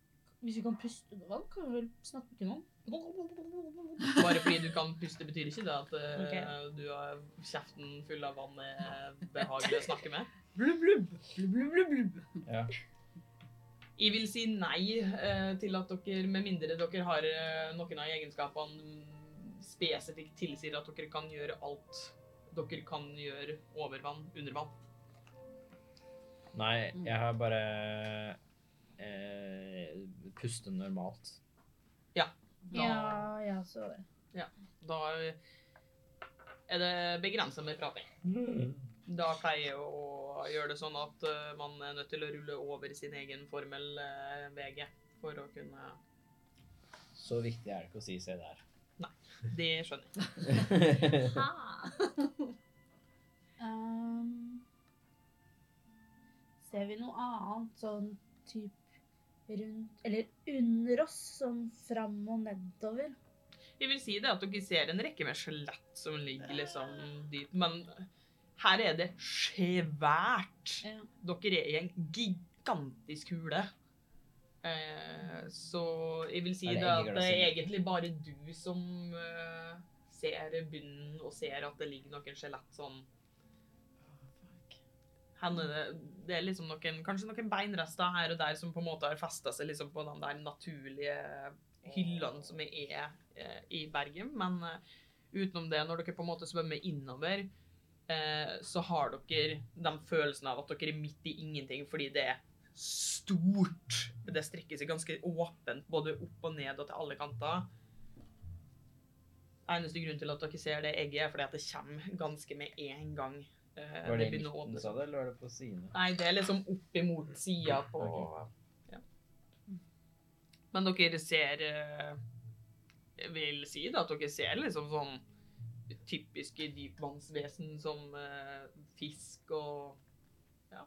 [SPEAKER 7] Hvis vi kan puste under vann, kan vi vel snakke til noen?
[SPEAKER 1] Bare fordi du kan puste, betyr ikke det at eh,
[SPEAKER 7] Ok.
[SPEAKER 1] du har kjeften full av vann er behagelig å snakke med.
[SPEAKER 7] Blubb, blubb, blubb, blubb, blubb, blubb.
[SPEAKER 1] Jeg vil si nei eh, til at dere, med mindre dere har eh, noen av egenskapene spesifikt tilsier at dere kan gjøre alt dere kan gjøre over vann, under vann.
[SPEAKER 5] Nei,
[SPEAKER 1] Mm.
[SPEAKER 5] jeg har bare eh, puste normalt.
[SPEAKER 1] Ja.
[SPEAKER 7] Ja, ja, så det.
[SPEAKER 1] Ja. Da er det begrenset med prating. Da pleier jeg å gjøre det sånn at eh, man er nødt til å rulle over sin egen formel eh, VG for å kunne
[SPEAKER 8] Så viktig er det ikke å si se der.
[SPEAKER 1] Nei, det skjønner jeg.
[SPEAKER 7] Ehm, ser vi noe annet sånn typ rundt Eller under oss, sånn fram og nedover?
[SPEAKER 1] Jeg vil si det at dere ser en rekke med skjelett som ligger liksom dit, men her er det svært. Dere er i en gigantisk hule. Eh, så jeg vil si
[SPEAKER 5] Er det
[SPEAKER 1] det at
[SPEAKER 5] egger
[SPEAKER 1] det
[SPEAKER 5] der
[SPEAKER 1] er
[SPEAKER 5] som-
[SPEAKER 1] egentlig bare du som eh, ser bunnen og ser at det ligger noen skjelett sånn Henne, det er liksom noen, kanskje noen beinrester her og der som på en måte har festa seg liksom på den der naturlige hyllene som er eh, i Bergen. Men eh, utenom det, når dere på en måte svømmer innover, eh, så har dere den følelsen av at dere er midt i ingenting fordi det er stort. Det strekker seg ganske åpent både opp og ned og til alle kanter. Eneste grunn til at dere ser det egget, er fordi at det kommer ganske med en gang. Eh,
[SPEAKER 8] Var det i
[SPEAKER 1] begynner å
[SPEAKER 8] midten,
[SPEAKER 1] åpne
[SPEAKER 8] sa
[SPEAKER 1] seg.
[SPEAKER 8] du, eller var det på sidene?
[SPEAKER 1] Nei, det er liksom opp imot sida på
[SPEAKER 8] Ok.
[SPEAKER 1] ja. Men dere ser eh, Jeg vil si da, at dere ser liksom sånn typiske dypvannsvesen som eh, fisk og Ja.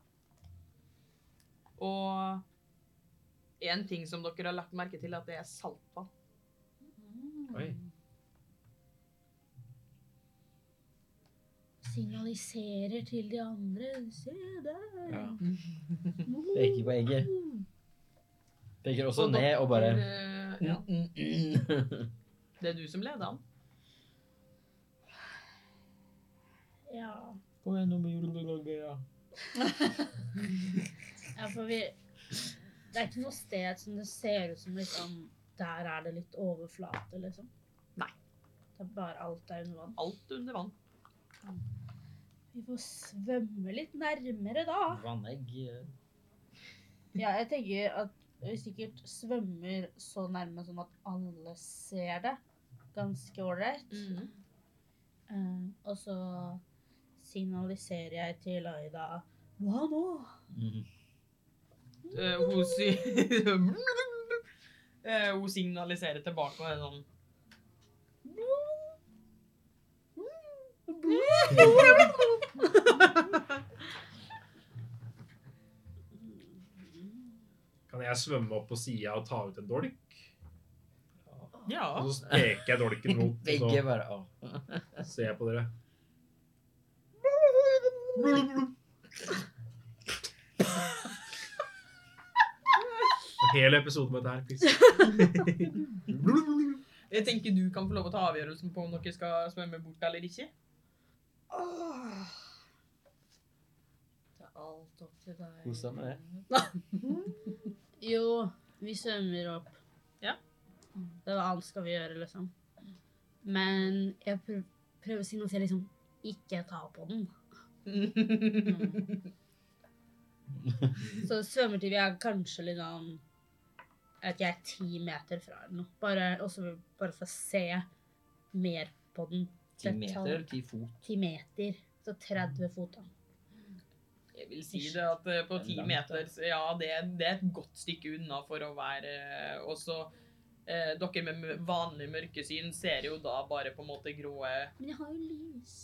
[SPEAKER 1] Og en ting som dere har lagt merke til, er at det er saltvann.
[SPEAKER 7] Mm.
[SPEAKER 2] Oi.
[SPEAKER 4] Signaliserer til de andre. Se der!
[SPEAKER 5] Ja. Peker på egget. Peker også
[SPEAKER 1] Og
[SPEAKER 5] ned og bare Mm,
[SPEAKER 1] dere- eh, ja. Det er du som leder an.
[SPEAKER 7] Ja.
[SPEAKER 8] Kom igjen, nå må julebølge, ja.
[SPEAKER 7] ja, for vi Det er ikke noe sted som det ser ut som liksom Der er det litt overflate, liksom.
[SPEAKER 1] Nei.
[SPEAKER 7] Det er bare alt er under vann.
[SPEAKER 1] Alt under vann.
[SPEAKER 7] Vi får svømme litt nærmere, da.
[SPEAKER 8] Vannegg.
[SPEAKER 7] Ja, jeg tenker at vi sikkert svømmer så nærme sånn at alle ser det. Ganske ålreit. Eh, og så signaliserer jeg til Aida Hva nå?
[SPEAKER 5] Mm.
[SPEAKER 1] Eh, hun, si Eh, hun signaliserer tilbake og er sånn
[SPEAKER 2] Kan jeg svømme opp på sida og ta ut en dolk?
[SPEAKER 1] Ja.
[SPEAKER 2] Og så peker jeg dolken mot, og
[SPEAKER 5] Begge
[SPEAKER 2] så
[SPEAKER 5] bare å.
[SPEAKER 2] ser jeg på dere. En hel episode med dette her. please.
[SPEAKER 1] Jeg tenker du kan få lov å ta avgjørelsen på om dere skal svømme bort eller ikke.
[SPEAKER 7] Åh. Da
[SPEAKER 3] alt opp til deg.
[SPEAKER 5] Kos deg med det.
[SPEAKER 4] Jo, vi svømmer opp.
[SPEAKER 1] Ja.
[SPEAKER 4] Det var alt skal vi gjøre, liksom. Men jeg prøv, prøver å signalisere liksom ikke ta på den. Så svømmer til vi er kanskje litt sånn Jeg vet ikke, jeg er ti meter fra eller noe. Bare, også bare for å se mer på den.
[SPEAKER 11] Ti
[SPEAKER 4] Detalj.
[SPEAKER 11] meter eller ti fot?
[SPEAKER 4] Ti meter. Så 30 fot, da.
[SPEAKER 1] Jeg vil si det at eh, på
[SPEAKER 11] Det er
[SPEAKER 1] ti
[SPEAKER 11] langt,
[SPEAKER 1] meter så Ja, det, det er et godt stykke unna for å være eh, Også eh, dere med m- vanlig mørkesyn ser jo da bare på en måte grå
[SPEAKER 12] Men jeg har jo lys.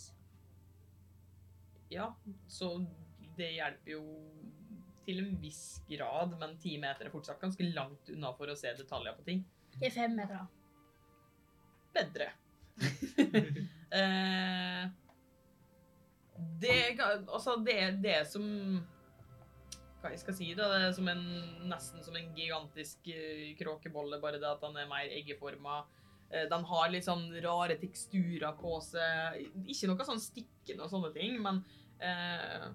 [SPEAKER 1] Ja, så det hjelper jo til en viss grad, men ti meter er fortsatt ganske langt unna for å se detaljer på ting.
[SPEAKER 4] Jeg er fem meter, da.
[SPEAKER 1] bedre. eh, det, er ga- altså det, det er som Hva jeg skal si, da? Det er som en, nesten som en gigantisk eh, kråkebolle, bare det at han er mer eggeforma. Eh, den har litt sånn rare teksturer på seg. Ikke noe sånn stikkende og sånne ting, men eh,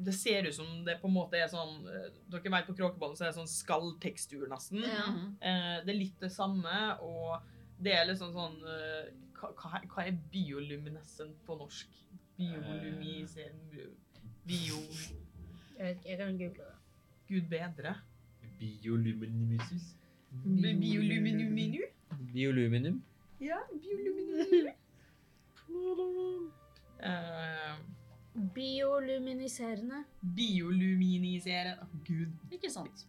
[SPEAKER 1] det ser ut som det på en måte er sånn eh, Dere vet på kråkebollen så er det sånn skalltekstur, nesten. Eh, det er litt det samme, og det er liksom sånn eh, hva, hva- hva er bioluminescent på norsk? Biolumisen Bio...
[SPEAKER 4] Jeg vet ikke, jeg kan google det.
[SPEAKER 1] Gud bedre.
[SPEAKER 13] Bioluminumisus.
[SPEAKER 1] Bi- Bioluminuminu?
[SPEAKER 13] Bioluminum.
[SPEAKER 1] Ja, bioluminuminu. Eh,
[SPEAKER 4] Bioluminiserende.
[SPEAKER 1] Bioluminisere Å, Gud.
[SPEAKER 3] Ikke sant?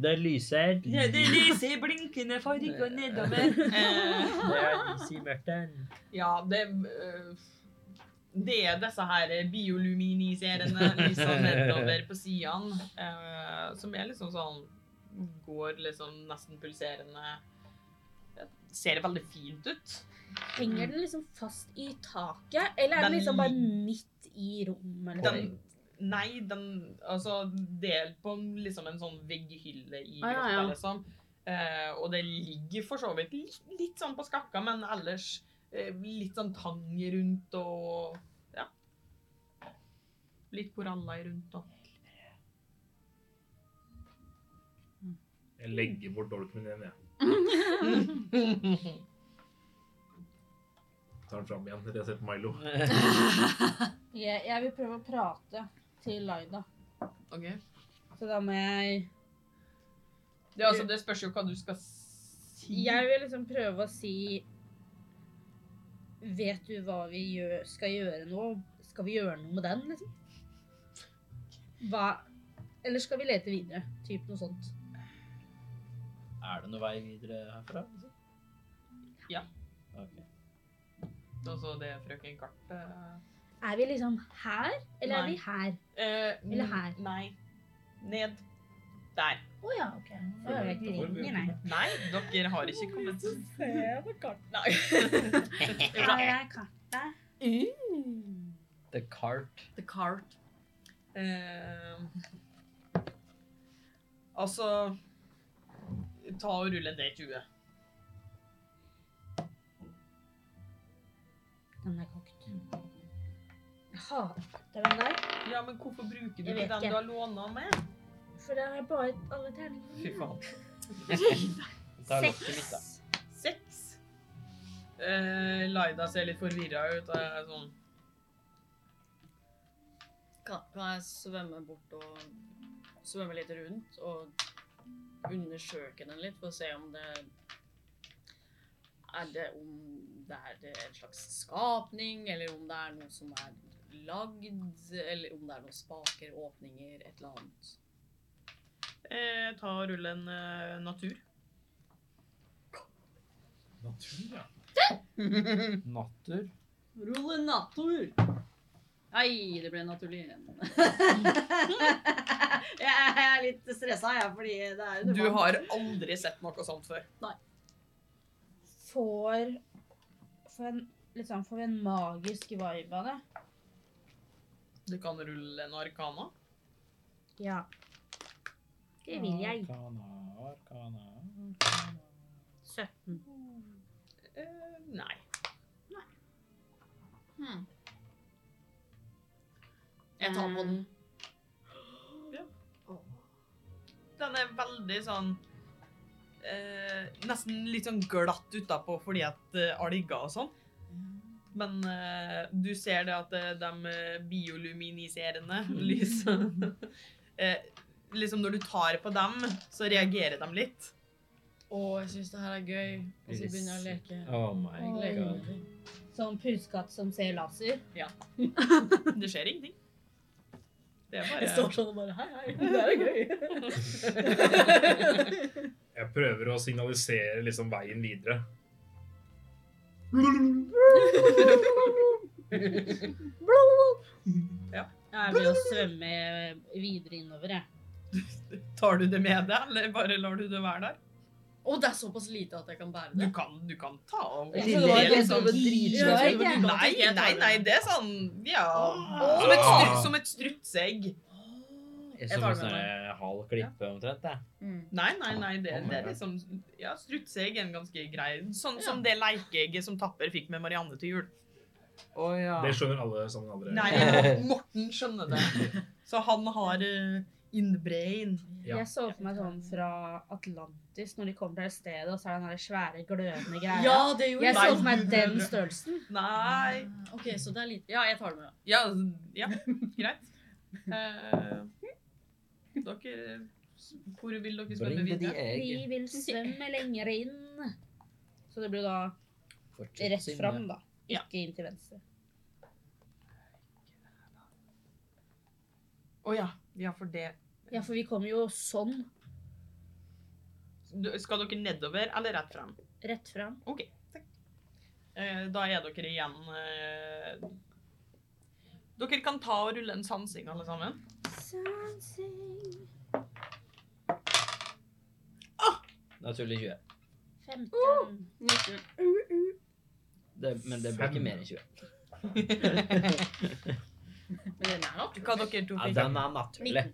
[SPEAKER 13] Det lyser.
[SPEAKER 1] lyser blinkende farger nedover. Eh,
[SPEAKER 13] Det er lys i mørket.
[SPEAKER 1] ja, det eh, Det er disse her bioluminiserende lysene nedover på sidene, eh, som er liksom sånn Går liksom nesten pulserende. Ser veldig fint ut.
[SPEAKER 4] Henger den liksom fast i taket, eller er den
[SPEAKER 1] Den
[SPEAKER 4] liksom bare
[SPEAKER 1] lig-
[SPEAKER 4] midt i rommet? Eller?
[SPEAKER 1] Den, nei, den Altså, det er på en- liksom en sånn vegghylle i
[SPEAKER 4] Ah, ja, ja.
[SPEAKER 1] grotta, liksom. Eh, og det ligger for så vidt litt, litt sånn på skakka, men ellers eh, litt sånn tang rundt og Ja. Litt koraller rundt og
[SPEAKER 2] Jeg legger bort dolken min igjen, jeg. Tar den fram igjen. Jeg har sett Milo.
[SPEAKER 4] Jeg, jeg vil prøve å prate til Laida.
[SPEAKER 1] OK.
[SPEAKER 4] Så da må jeg
[SPEAKER 1] Det, er altså, det spørs jo hva du skal si.
[SPEAKER 4] Jeg vil liksom prøve å si Vet du hva vi gjør, skal gjøre nå? Skal vi gjøre noe med den, liksom? Hva Eller skal vi lete videre? Typ noe sånt.
[SPEAKER 5] Er det noen vei videre herfra? liksom?
[SPEAKER 1] Ja.
[SPEAKER 5] Ok.
[SPEAKER 1] Altså, det er frøken Kart eh,
[SPEAKER 4] Er vi liksom her, eller
[SPEAKER 1] Nei.
[SPEAKER 4] er vi her?
[SPEAKER 1] eh, n-
[SPEAKER 4] Eller her.
[SPEAKER 1] Nei. Ned. Der.
[SPEAKER 4] Å ja, OK. Da er vi ikke lenger, nei.
[SPEAKER 1] Nei, dere har ikke kommet
[SPEAKER 4] Her er kartet.
[SPEAKER 11] The cart.
[SPEAKER 3] The cart.
[SPEAKER 1] Eh, altså Ta og rull en D20.
[SPEAKER 4] Den er kokt. Jeg hater den der,
[SPEAKER 1] Ja, men hvorfor bruker du
[SPEAKER 4] Jeg
[SPEAKER 1] ikke
[SPEAKER 4] vet
[SPEAKER 1] den
[SPEAKER 4] ikke.
[SPEAKER 1] du har låna med?
[SPEAKER 4] for det er bare alle terningene.
[SPEAKER 1] Fy faen.
[SPEAKER 5] Ta lokket mitt, da.
[SPEAKER 1] Seks. Eh, Laida ser litt forvirra ut. og er sånn
[SPEAKER 3] Kan, kan jeg svømme bort og svømme litt rundt og undersøke den litt for å se om det er det om det er det en slags skapning, eller om det er noe som er lagd, eller om det er noen spaker, åpninger, et eller annet.
[SPEAKER 1] eh, Ta og rull en eh, natur.
[SPEAKER 2] Natur, ja.
[SPEAKER 11] Natter.
[SPEAKER 3] Rulle natur! Nei, det ble naturlig igjen. jeg er litt stressa, jeg, fordi det er
[SPEAKER 1] Du har aldri sett noe sånt før.
[SPEAKER 4] Får, får, en,
[SPEAKER 7] sånn,
[SPEAKER 4] liksom, får vi en magisk vibe av det?
[SPEAKER 1] Du kan rulle en arkana.
[SPEAKER 4] Ja. Det vil jeg.
[SPEAKER 5] Arkana, arkana.
[SPEAKER 4] 17.
[SPEAKER 1] Eh, nei.
[SPEAKER 3] Jeg tar på den.
[SPEAKER 1] Den er veldig sånn eh, Nesten litt sånn glatt utapå fordi at eh, alger og sånn. Men eh, du ser det at eh, de bioluminiserende lysene eh, Liksom når du tar på dem, så reagerer de litt.
[SPEAKER 3] Å, jeg syns det her er gøy. Og så begynner jeg å leke.
[SPEAKER 5] Oh my
[SPEAKER 3] Jeg
[SPEAKER 5] god.
[SPEAKER 3] gleder meg.
[SPEAKER 7] Sånn puskatt som ser laser.
[SPEAKER 1] Det skjer ingenting. Det er
[SPEAKER 3] Jeg står
[SPEAKER 1] bare
[SPEAKER 3] sånn og bare Hei, hei, det her er gøy.
[SPEAKER 2] Jeg prøver å signalisere liksom veien videre.
[SPEAKER 7] Jeg vil jo svømme videre innover, jeg.
[SPEAKER 3] sånn.
[SPEAKER 1] Tar du det med deg, eller bare lar du det være der?
[SPEAKER 3] Å, det er såpass lite at jeg kan bære
[SPEAKER 1] Du
[SPEAKER 3] det.
[SPEAKER 1] kan, du kan ta og
[SPEAKER 3] Jeg trodde det var
[SPEAKER 1] Det er
[SPEAKER 3] helt
[SPEAKER 1] liksom-
[SPEAKER 3] sånn
[SPEAKER 4] jeg
[SPEAKER 3] dritsvært.
[SPEAKER 4] ikke.
[SPEAKER 1] Nei,
[SPEAKER 3] Jeg tar
[SPEAKER 1] nei,
[SPEAKER 3] det.
[SPEAKER 1] nei, det er sånn Ja.
[SPEAKER 3] Åh.
[SPEAKER 1] Som et,
[SPEAKER 2] Ah.
[SPEAKER 1] stru, som et strutseegg.
[SPEAKER 5] Jeg
[SPEAKER 3] Jeg
[SPEAKER 5] så
[SPEAKER 3] tar
[SPEAKER 5] en
[SPEAKER 3] det med
[SPEAKER 5] sånn eh, halv klippe omtrent, jeg.
[SPEAKER 1] Nei, nei, nei, det,
[SPEAKER 5] Oh my
[SPEAKER 1] det er
[SPEAKER 5] God.
[SPEAKER 1] liksom Ja, strutseegg er en ganske grei Sånn som det lekeegget som Tapper fikk med Marianne til jul.
[SPEAKER 6] Å ja.
[SPEAKER 2] Det skjønner alle sammen allerede.
[SPEAKER 1] Nei, Morten skjønner det. Så han har eh, in the brain.
[SPEAKER 2] Ja.
[SPEAKER 7] Jeg så for meg sånn fra Atlantis, når de kommer til det stedet, og så er det den der svære, glødende greia.
[SPEAKER 3] Ja, det gjorde
[SPEAKER 7] jeg så
[SPEAKER 1] Nei.
[SPEAKER 7] for meg den størrelsen.
[SPEAKER 1] Nei
[SPEAKER 3] OK, så det er lite. Ja, jeg tar det med.
[SPEAKER 1] Ja, ja greit. Eh, dere Hvor vil dere svømme
[SPEAKER 5] Bring med de
[SPEAKER 1] videre?
[SPEAKER 5] egg.
[SPEAKER 7] Vi vil svømme lenger inn. Så det blir da
[SPEAKER 5] Fortsett
[SPEAKER 7] rett
[SPEAKER 5] synd,
[SPEAKER 7] fram, da.
[SPEAKER 1] Ja.
[SPEAKER 7] Ikke inn til venstre.
[SPEAKER 1] Å ja. Ja, for det
[SPEAKER 7] Ja, for vi kommer jo sånn
[SPEAKER 1] Du- Skal dere nedover eller rett frem?
[SPEAKER 7] rett fram.
[SPEAKER 1] OK. Takk. Eh, Da er dere igjen eh, Dere kan ta og rulle en sansing, alle sammen.
[SPEAKER 4] Sansing
[SPEAKER 5] Naturlig 20.
[SPEAKER 7] 15.
[SPEAKER 5] Det, men det blir
[SPEAKER 2] Fem.
[SPEAKER 5] ikke mer enn 20.
[SPEAKER 3] Men den er nok.
[SPEAKER 1] Hva dere to
[SPEAKER 5] Ja,
[SPEAKER 1] fikk?
[SPEAKER 5] den er naturlig.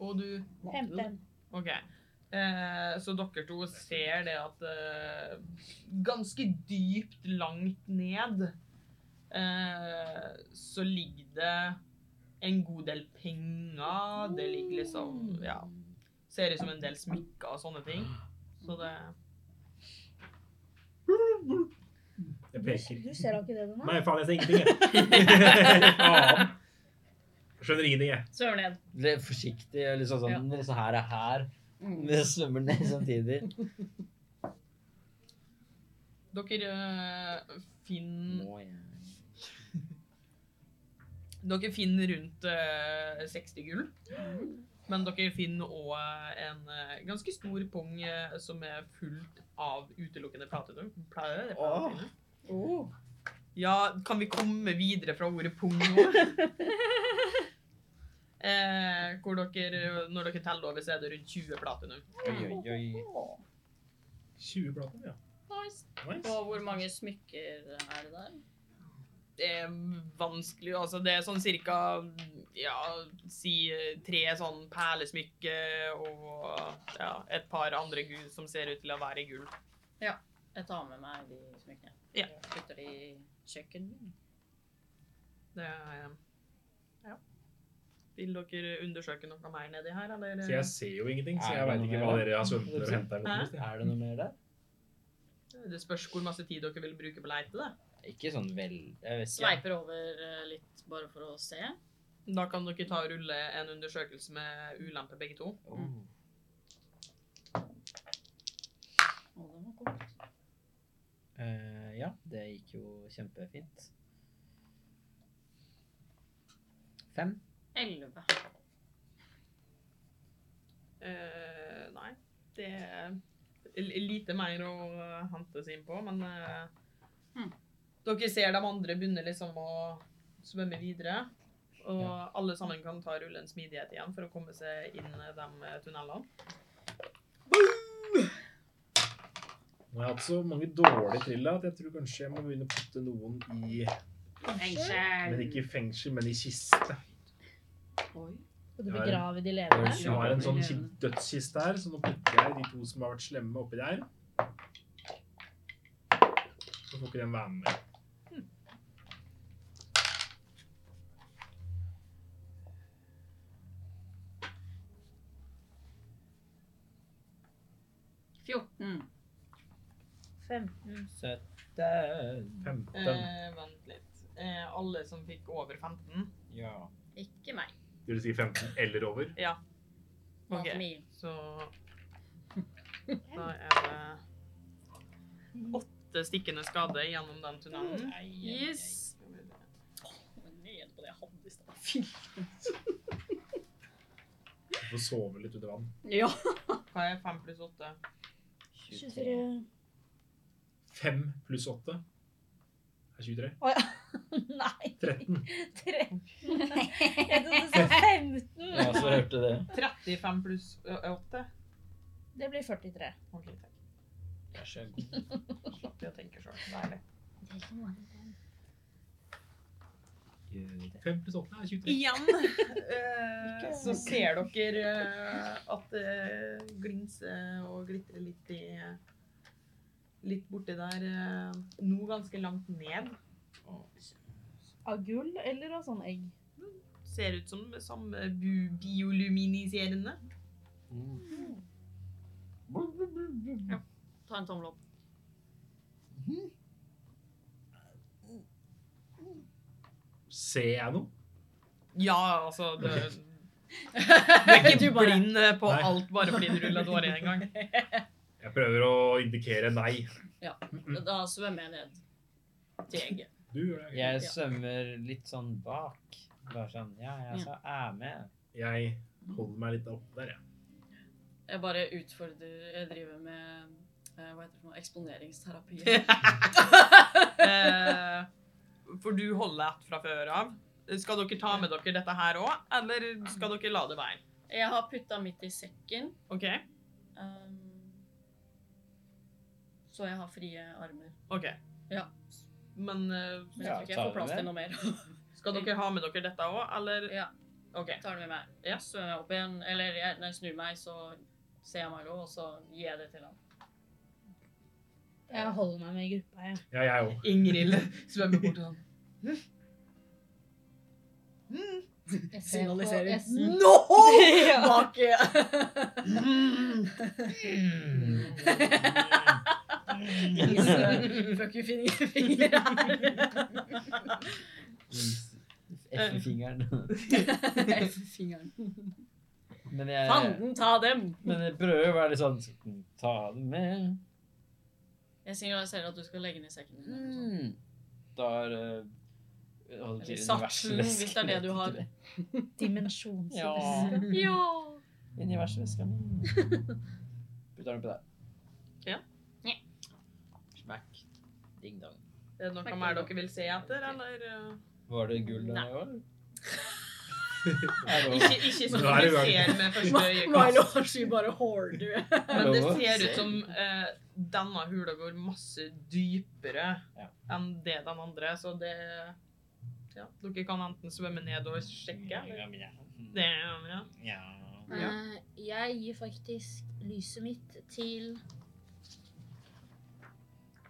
[SPEAKER 1] Og du
[SPEAKER 7] 15.
[SPEAKER 1] OK. Eh, så dere to ser det at eh, Ganske dypt, langt ned, eh, så ligger det en god del penger. Det ligger liksom Ja. Ser ut som en del smykker og sånne ting. Så det
[SPEAKER 2] Jeg
[SPEAKER 7] Du,
[SPEAKER 2] peker.
[SPEAKER 7] du ser da ikke det, Donna?
[SPEAKER 2] Nei, faen, jeg ser ingenting, jeg. Faen. Skjønner ingenting, jeg.
[SPEAKER 3] Svømmer ned.
[SPEAKER 5] Litt forsiktig, og liksom sånn så her er her. Vi svømmer ned samtidig.
[SPEAKER 1] Dere eh, finner
[SPEAKER 5] Må jeg
[SPEAKER 1] Dere finner rundt eh, 60 gull. Men dere finner òg en eh, ganske stor pung eh, som er fullt av utelukkende platinum. Pla- platinum.
[SPEAKER 3] Oh.
[SPEAKER 1] Ja, kan vi komme videre fra ordet pung nå? eh, hvor dere, når dere teller over, så er det rundt 20 platinum.
[SPEAKER 5] Oi, oi, oi.
[SPEAKER 2] 20 plater, ja.
[SPEAKER 3] Nice.
[SPEAKER 2] Nice.
[SPEAKER 3] Og hvor mange smykker er det der?
[SPEAKER 1] Det er eh, vanskelig, altså. Det er sånn cirka Ja, si eh, tre sånn perlesmykker og ja, et par andre gull som ser ut til å være i gull.
[SPEAKER 3] Jeg tar med meg de smykkene.
[SPEAKER 1] Ja.
[SPEAKER 3] Jeg Putter de i kjøkkenet.
[SPEAKER 1] Det er eh, Ja. Vil dere undersøke noe mer nedi her, eller? eh,
[SPEAKER 2] Så jeg ser jo ingenting, så
[SPEAKER 8] Er
[SPEAKER 2] jeg
[SPEAKER 8] det
[SPEAKER 2] veit
[SPEAKER 8] noe
[SPEAKER 2] ikke
[SPEAKER 8] mer,
[SPEAKER 2] hva
[SPEAKER 8] da?
[SPEAKER 2] dere har svømt og henta.
[SPEAKER 8] Er det noe mer der?
[SPEAKER 1] Det spørs hvor masse tid dere vil bruke på leite, da.
[SPEAKER 5] Ikke sånn vel... Jeg vet ikke.
[SPEAKER 3] Sveiper over eh, litt bare for å se.
[SPEAKER 1] Da kan dere ta og rulle en undersøkelse med ulempe, begge to.
[SPEAKER 5] Oh.
[SPEAKER 3] Å, det var godt.
[SPEAKER 5] Eh, ja, det gikk jo kjempefint. Fem.
[SPEAKER 3] Elleve.
[SPEAKER 1] Eh, nei. Det er l- lite mer å eh, hente seg inn på, men eh,
[SPEAKER 3] Hmm.
[SPEAKER 1] Dere ser de andre begynner liksom å svømme videre. Og alle sammen kan ta rulle en smidighet igjen for å komme seg inn eh, de eh, tunnelene.
[SPEAKER 2] Nå har jeg hatt så mange dårlige triller at jeg tror kanskje jeg må begynne å putte noen i Men ikke i fengsel, men i kiste.
[SPEAKER 7] Skal du
[SPEAKER 2] Ja, ja.
[SPEAKER 7] begrave de levende?
[SPEAKER 2] Jeg har en sånn ki- dødskiste her, så nå putter jeg de to som har vært slemme, oppi der. Så får ikke den være med.
[SPEAKER 9] 17.
[SPEAKER 1] Eh, vent litt. Eh, alle som fikk over 15?
[SPEAKER 9] Ja.
[SPEAKER 3] Ikke meg.
[SPEAKER 2] Det vil si 15 eller over.
[SPEAKER 1] Ja.
[SPEAKER 3] Not
[SPEAKER 1] Ok,
[SPEAKER 3] me.
[SPEAKER 1] så Da er det åtte stikkende skade gjennom den
[SPEAKER 5] Mm.
[SPEAKER 1] tunnelen.
[SPEAKER 3] Yes. Ned på det jeg hadde i stad. Fy.
[SPEAKER 2] Du får sove litt under vann.
[SPEAKER 3] Ja.
[SPEAKER 1] Hva er fem pluss åtte?
[SPEAKER 2] 5 pluss 8 er 23.
[SPEAKER 7] Å ja. Nei.
[SPEAKER 2] 13.
[SPEAKER 7] 13. Jeg trodde du sa 15.
[SPEAKER 8] Ja, så hørte det.
[SPEAKER 1] 35 pluss ø- åtte?
[SPEAKER 7] Det blir 43.
[SPEAKER 1] OK, takk.
[SPEAKER 8] Jeg skjønner.
[SPEAKER 1] Slapp i å tenke sjøl. Deilig.
[SPEAKER 4] Det er ikke noe annet.
[SPEAKER 2] 5 pluss 8 er 23.
[SPEAKER 1] Igjen eh, så ser dere eh, at det glinser og glitrer litt i eh, Litt borti der. eh, Nå ganske langt ned.
[SPEAKER 7] Av gull eller av sånn egg?
[SPEAKER 1] Ser ut som det samme bu- bioluminiserende.
[SPEAKER 3] Ta en tommel opp.
[SPEAKER 2] Ser jeg noe?
[SPEAKER 1] Ja, altså det, Du er ikke blind eh, på
[SPEAKER 2] Nei.
[SPEAKER 1] alt bare fordi du rulla dårlig en gang.
[SPEAKER 2] Jeg prøver å indikere nei.
[SPEAKER 3] Da svømmer jeg ned til egget.
[SPEAKER 2] Du gjør det.
[SPEAKER 9] Jeg
[SPEAKER 3] Ja.
[SPEAKER 9] svømmer litt sånn bak. Bare sånn Ja, jeg så er med.
[SPEAKER 2] Jeg holder meg litt opp der, jeg.
[SPEAKER 3] Jeg bare utfordrer Jeg driver med eh, hva heter det for noe? Eksponeringsterapi.
[SPEAKER 1] Eh, For du holder ett fra før av. Skal dere ta med dere dette her òg, eller skal dere la det være?
[SPEAKER 3] Jeg har putta mitt i sekken,
[SPEAKER 1] OK?
[SPEAKER 3] ehm, så jeg har frie armer.
[SPEAKER 1] ok.
[SPEAKER 3] Ja.
[SPEAKER 1] Men eh,
[SPEAKER 3] Men jeg
[SPEAKER 9] Ja,
[SPEAKER 3] tror ikke jeg
[SPEAKER 9] tar
[SPEAKER 3] får
[SPEAKER 9] du
[SPEAKER 3] plass
[SPEAKER 9] det?
[SPEAKER 3] til noe mer.
[SPEAKER 1] skal dere ha med dere dette òg, eller?
[SPEAKER 3] Ja.
[SPEAKER 1] OK.
[SPEAKER 3] Jeg tar det med meg.
[SPEAKER 1] Ja.
[SPEAKER 3] Så svømmer jeg opp igjen, eller jeg, når jeg snur meg, så ser jeg Marlo, og så gir jeg det til han.
[SPEAKER 7] Jeg holder meg med i gruppa, jeg.
[SPEAKER 2] Ja, jeg òg.
[SPEAKER 1] Ingrid svømmer bort sånn.
[SPEAKER 7] jeg ser på-
[SPEAKER 3] Signaliserer.
[SPEAKER 7] jeg s-
[SPEAKER 3] Fuck you, fingre, fingre her. Eh.
[SPEAKER 9] F-fingeren.
[SPEAKER 3] Fingeren.
[SPEAKER 9] Men jeg
[SPEAKER 3] Fanden ta dem!
[SPEAKER 9] Men jeg prøver å være litt sånn Ta det med.
[SPEAKER 3] Jeg signaliserer at du skal legge den i sekken. din, eller sånn.
[SPEAKER 9] Mm. Da er eh, holder
[SPEAKER 3] Eller
[SPEAKER 9] til
[SPEAKER 3] satsen,
[SPEAKER 9] universveske,
[SPEAKER 3] hvis det er det du har.
[SPEAKER 9] vet ikke det.
[SPEAKER 7] Dimensjonsvis.
[SPEAKER 9] Ja.
[SPEAKER 3] Ja!
[SPEAKER 9] Universveska mi. Putter den på der.
[SPEAKER 1] Ja.
[SPEAKER 3] Ja.
[SPEAKER 9] Smack. Ding dong.
[SPEAKER 1] Er det noe mer dere vil se etter, eller? eh?
[SPEAKER 9] Var det gull
[SPEAKER 3] Nei.
[SPEAKER 9] denne gangen? Er det
[SPEAKER 1] Ikke, ikke som
[SPEAKER 2] Nå er det
[SPEAKER 1] dere
[SPEAKER 2] i gang.
[SPEAKER 1] ser med første øyekast.
[SPEAKER 3] Milo skyr bare hoarder.
[SPEAKER 1] Men det
[SPEAKER 9] Hallo.
[SPEAKER 1] ser ut som eh, denne hula går masse dypere
[SPEAKER 9] Ja.
[SPEAKER 1] enn det den andre, så det ja, Dere kan enten svømme ned og sjekke. eller- Det, ja.
[SPEAKER 9] Ja.
[SPEAKER 1] Ja.
[SPEAKER 4] Eh, Jeg gir faktisk lyset mitt til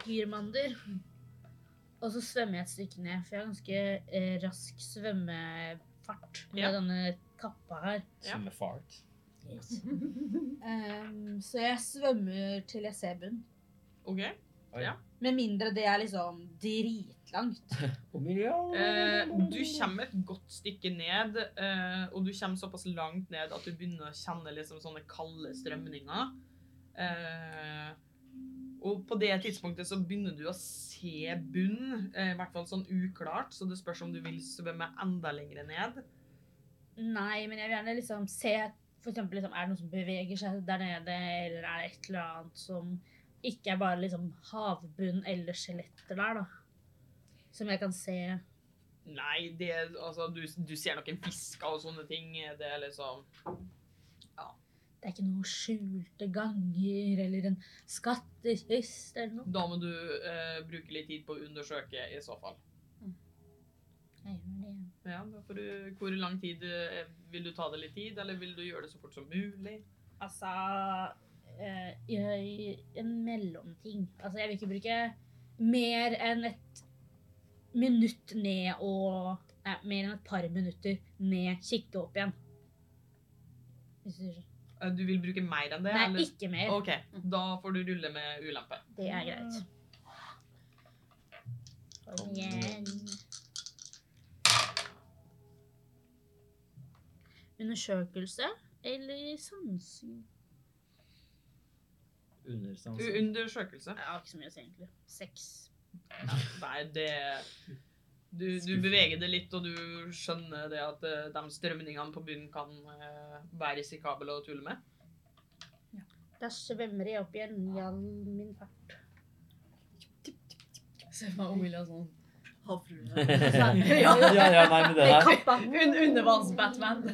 [SPEAKER 4] Gyrmander. Og så svømmer jeg et stykke ned, for jeg har ganske eh, rask svømmefart med
[SPEAKER 1] Ja.
[SPEAKER 4] denne kappa her.
[SPEAKER 1] Ja.
[SPEAKER 9] Som er fart.
[SPEAKER 7] Ehm, så jeg svømmer til jeg ser bunn.
[SPEAKER 1] OK.
[SPEAKER 7] Med mindre det er liksom dritlangt.
[SPEAKER 1] Eh, du kommer et godt stykke ned, eh, og du kommer såpass langt ned at du begynner å kjenne liksom sånne kalde strømninger. Eh, og på det tidspunktet så begynner du å se bunn, eh, i hvert fall sånn uklart, så det spørs om du vil svømme enda lengre ned.
[SPEAKER 4] Nei, men jeg vil gjerne liksom se for eksempel, liksom, Er det noe som beveger seg der nede, eller er det et eller annet som ikke er bare liksom havbunn eller skjeletter der, da? Som jeg kan se.
[SPEAKER 1] Nei, det, altså, du, du ser noen fisker og sånne ting. Det er liksom
[SPEAKER 4] Det er ikke noen skjulte ganger eller en skattkist eller noe.
[SPEAKER 1] Da må du eh, bruke litt tid på å undersøke, i så fall.
[SPEAKER 4] Jeg gjør det.
[SPEAKER 1] Ja, da får du, Hvor lang tid eh, vil du ta det litt tid, eller vil du gjøre det så fort som mulig?
[SPEAKER 4] Altså eh, jeg, En mellomting. Altså, jeg vil ikke bruke mer enn et minutt ned og Nei, mer enn et par minutter ned, kikke opp igjen. Hvis du skjønner.
[SPEAKER 1] Eh, Du vil bruke mer enn det?
[SPEAKER 4] Nei,
[SPEAKER 1] eller?
[SPEAKER 4] ikke mer.
[SPEAKER 1] OK, da får du rulle med ulempe.
[SPEAKER 4] Det er greit. igjen. Undersøkelse eller sansing?
[SPEAKER 1] U-
[SPEAKER 5] Altså-
[SPEAKER 14] Understansen.
[SPEAKER 1] Undersøkelse.
[SPEAKER 4] Jeg har ikke så mye å si, egentlig. Seks.
[SPEAKER 1] Nei, det du, du beveger det litt, og du skjønner det at eh, de strømningene på bunnen kan eh, være risikable å tulle med.
[SPEAKER 4] Da svømmer jeg opp igjen i all min fart.
[SPEAKER 3] Se for meg Omilla sånn
[SPEAKER 4] Svømmer.
[SPEAKER 3] Ja,
[SPEAKER 5] Ja, ja, nei, men det der
[SPEAKER 4] Kappa.
[SPEAKER 3] Un Undervanns-Batman.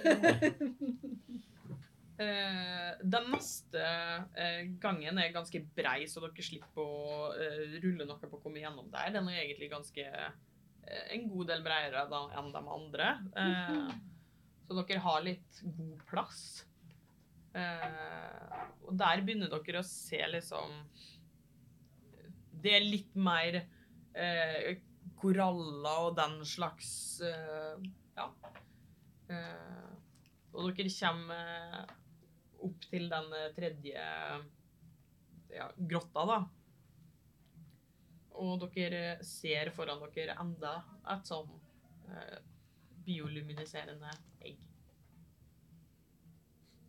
[SPEAKER 1] Eh, den neste eh, gangen er ganske brei, så dere slipper å eh, rulle noe på å komme gjennom der. Den er egentlig ganske eh, en god del breiere da, enn de andre. Eh, så dere har litt god plass. Eh, og der begynner dere å se liksom Det er litt mer eh, koraller og den slags eh, Ja. Eh, og dere kommer eh, opp til den eh, tredje ja, grotta, da. Og dere ser foran dere enda et sånn eh, bioluminiserende egg.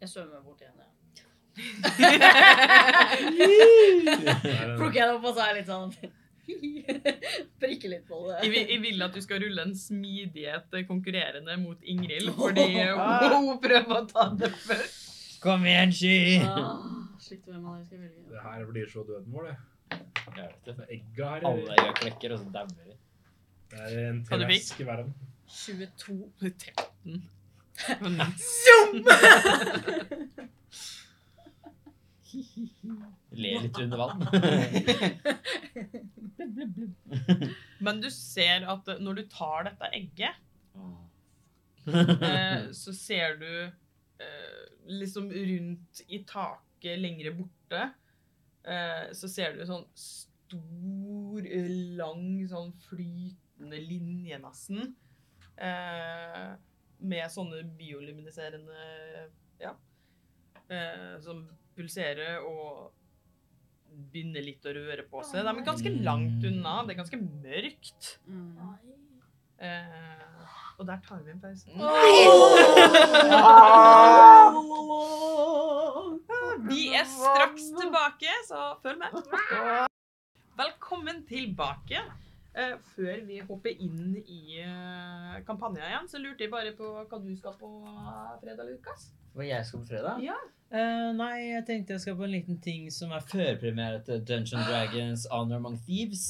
[SPEAKER 3] Jeg svømmer bort til henne.
[SPEAKER 2] Det
[SPEAKER 3] Plukker henne opp og så er jeg litt sånn Prikker litt på det.
[SPEAKER 1] Jeg vil, jeg vil at du skal rulle en smidighet eh, konkurrerende mot Ingrid, fordi hun prøver å ta det først.
[SPEAKER 15] Kom igjen, sky!
[SPEAKER 3] Ah, Shit, hvem av dere skal jeg velge?
[SPEAKER 2] her blir så døden vår, det.
[SPEAKER 5] Jeg vet
[SPEAKER 2] Det
[SPEAKER 5] det.
[SPEAKER 2] er egga her.
[SPEAKER 5] Alle øya klekker, og så dauer de.
[SPEAKER 2] Det er en
[SPEAKER 1] Hva du fikk?
[SPEAKER 2] trask i verden.
[SPEAKER 3] 22.
[SPEAKER 1] 13. Men
[SPEAKER 5] Ler litt under vann.
[SPEAKER 1] Men du ser at eh, når du tar dette egget, eh,
[SPEAKER 5] Åh.
[SPEAKER 1] så ser du eh, liksom rundt i taket lengre borte, eh, så ser du sånn stor, eh, lang, sånn flytende linje nesten, eh, med sånne bioluminiserende, ja, eh, som pulserer og begynner litt å røre på seg. De er ganske langt unna, det er ganske mørkt. Eh, og der tar vi en pause.
[SPEAKER 3] Mm.
[SPEAKER 1] Vi er straks tilbake, så følg med. Velkommen tilbake. Eh, før vi hopper inn i uh, kampanjen igjen, så lurte jeg bare på hva du skal på fredag, Lukas.
[SPEAKER 14] Hva jeg skal på fredag?
[SPEAKER 15] Eh, nei, jeg tenkte jeg skal på en liten ting som er
[SPEAKER 5] Førpremiere til Dungeon Dragons Honor Among Thieves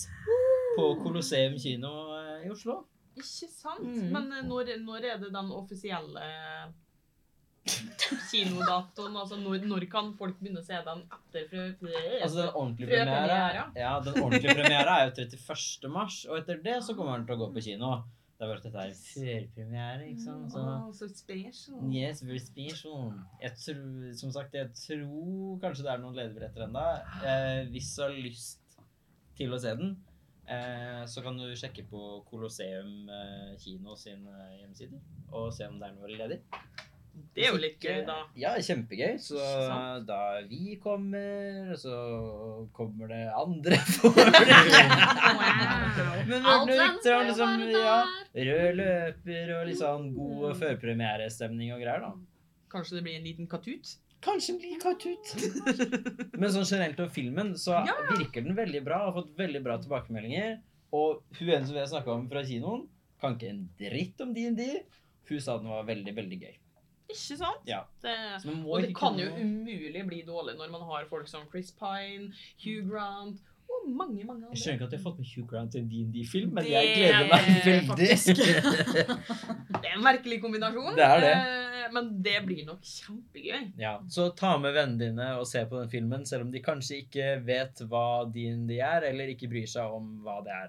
[SPEAKER 5] på Colosseum kino eh, i Oslo.
[SPEAKER 1] Ikke sant?
[SPEAKER 15] Mm.
[SPEAKER 1] Men eh, når, når er det den offisielle kinodatoen? Altså, når, når kan folk begynne å se den etter fre-
[SPEAKER 5] Altså Den ordentlige
[SPEAKER 1] Før
[SPEAKER 5] premiera
[SPEAKER 1] premiera.
[SPEAKER 5] ja, den ordentlige premiera er jo 31. mars, og etter det så kommer den til å gå på kino. Det er bare at dette er Mm, førpremiere, ikke sant. Så
[SPEAKER 1] Åh, så special.
[SPEAKER 5] Yes, we're special. Jeg tror, som sagt, jeg tror kanskje det er noen lederbilletter ennå. Eh, hvis du har lyst til å se den, eh, så kan du sjekke på Colosseum eh, kino sin eh, hjemmeside og se om det er noe ledig.
[SPEAKER 1] Det er jo litt gøy, da.
[SPEAKER 5] Ja, kjempegøy. Så
[SPEAKER 1] Ikke sant?
[SPEAKER 5] da vi kommer, og så kommer det andre folk.
[SPEAKER 4] Wow.
[SPEAKER 5] Men
[SPEAKER 4] Alt land
[SPEAKER 5] Magne Victor,
[SPEAKER 4] skal jo
[SPEAKER 5] liksom,
[SPEAKER 4] være
[SPEAKER 5] ja,
[SPEAKER 4] der.
[SPEAKER 5] rød løper og litt sånn god førpremierestemning og greier, da.
[SPEAKER 1] Kanskje det blir en liten katut?
[SPEAKER 5] Kanskje den blir katt ut. Men sånn generelt om filmen, så virker den veldig bra. Har fått veldig bra tilbakemeldinger. Og hun ene som vi har snakka om fra kinoen, kan ikke en dritt om D&D. Hun sa den var veldig, veldig gøy.
[SPEAKER 1] Ikke sant?
[SPEAKER 5] Ja.
[SPEAKER 1] Det,
[SPEAKER 5] Så man må
[SPEAKER 1] og det
[SPEAKER 5] ikke
[SPEAKER 1] kan jo um-
[SPEAKER 5] noe-
[SPEAKER 1] umulig bli dårlig når man har folk som Chris Pine, Hugh Grant og mange, mange
[SPEAKER 5] Jeg
[SPEAKER 1] andre.
[SPEAKER 5] skjønner ikke at jeg har fått med Hugh Grant i en D&D-film, men
[SPEAKER 1] Det
[SPEAKER 5] jeg gleder meg
[SPEAKER 1] er
[SPEAKER 5] veldig.
[SPEAKER 1] Det er en merkelig kombinasjon.
[SPEAKER 5] Det er det.
[SPEAKER 1] eh, Men det blir nok kjempegøy.
[SPEAKER 5] ja, så ta med vennene dine og se på den filmen, selv om de kanskje ikke vet hva D&D er, eller ikke bryr seg om hva det er,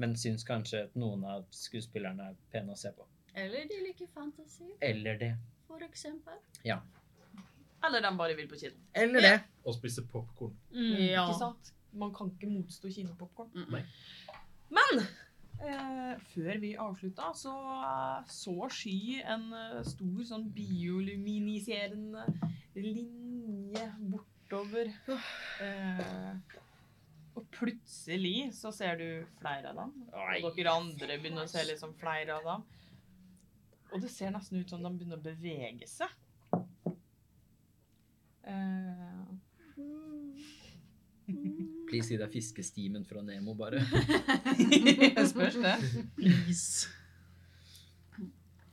[SPEAKER 5] men syns kanskje at noen av skuespillerne er pene å se på.
[SPEAKER 3] Eller de liker fantasy,
[SPEAKER 5] Eller det.
[SPEAKER 3] for eksempel.
[SPEAKER 1] Eller de bare vil på kino.
[SPEAKER 5] Eller det.
[SPEAKER 2] Og spise popkorn.
[SPEAKER 3] Mm. Ja.
[SPEAKER 1] Ikke sant? Man kan ikke motstå kinopopkorn.
[SPEAKER 3] Mm.
[SPEAKER 2] Nei.
[SPEAKER 1] Men eh, før vi avslutta, så eh, så Sky en eh, stor sånn bioluminiserende linje bortover. Eh, Og plutselig så ser du flere av dem. Og dere andre begynner å se liksom flere av dem. Og det ser nesten ut som de begynner å bevege seg. Eh,
[SPEAKER 5] Please si det er fiskestimen fra Nemo, bare.
[SPEAKER 1] Jeg spørs det.
[SPEAKER 5] Please.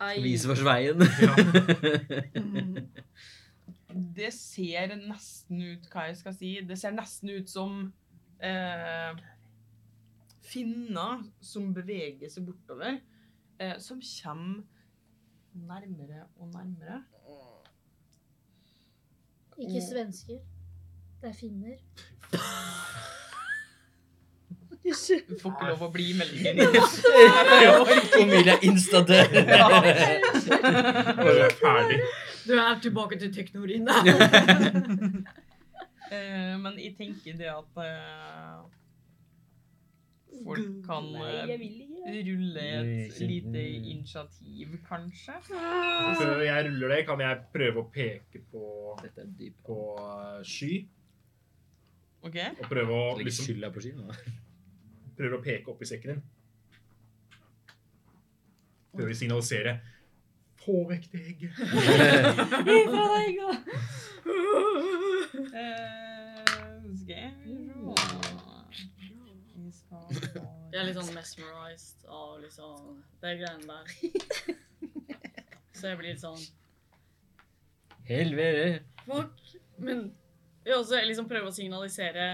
[SPEAKER 3] Ai.
[SPEAKER 5] Vis oss veien.
[SPEAKER 1] Det ser nesten ut Hva jeg skal si? Det ser nesten ut som eh, finner som beveger seg bortover, eh, som kommer nærmere og nærmere.
[SPEAKER 4] Ikke svensker. Det er finner.
[SPEAKER 1] Du får ikke lov å bli i meldingen.
[SPEAKER 8] Familie er instadør.
[SPEAKER 2] Bare ferdig.
[SPEAKER 10] Du er tilbake til teknorina.
[SPEAKER 1] Eh, men jeg tenker det at eh, folk kan eh, rulle et lite initiativ, kanskje.
[SPEAKER 2] Før jeg ruller det, kan jeg prøve å peke på,
[SPEAKER 5] Dette er dyp.
[SPEAKER 2] på eh, sky.
[SPEAKER 1] OK?
[SPEAKER 2] Og prøve å,
[SPEAKER 5] Legg
[SPEAKER 2] liksom,
[SPEAKER 5] skylda på skyen, da.
[SPEAKER 2] prøve å peke opp i sekken din. Prøve å signalisere. Få vekk det egget.
[SPEAKER 1] Eh, skal vi se. Vi skal
[SPEAKER 3] Jeg er litt sånn mesmerized av liksom de greiene der. Så jeg blir litt sånn
[SPEAKER 5] Helvete.
[SPEAKER 3] fort. Men jeg også liksom prøver å signalisere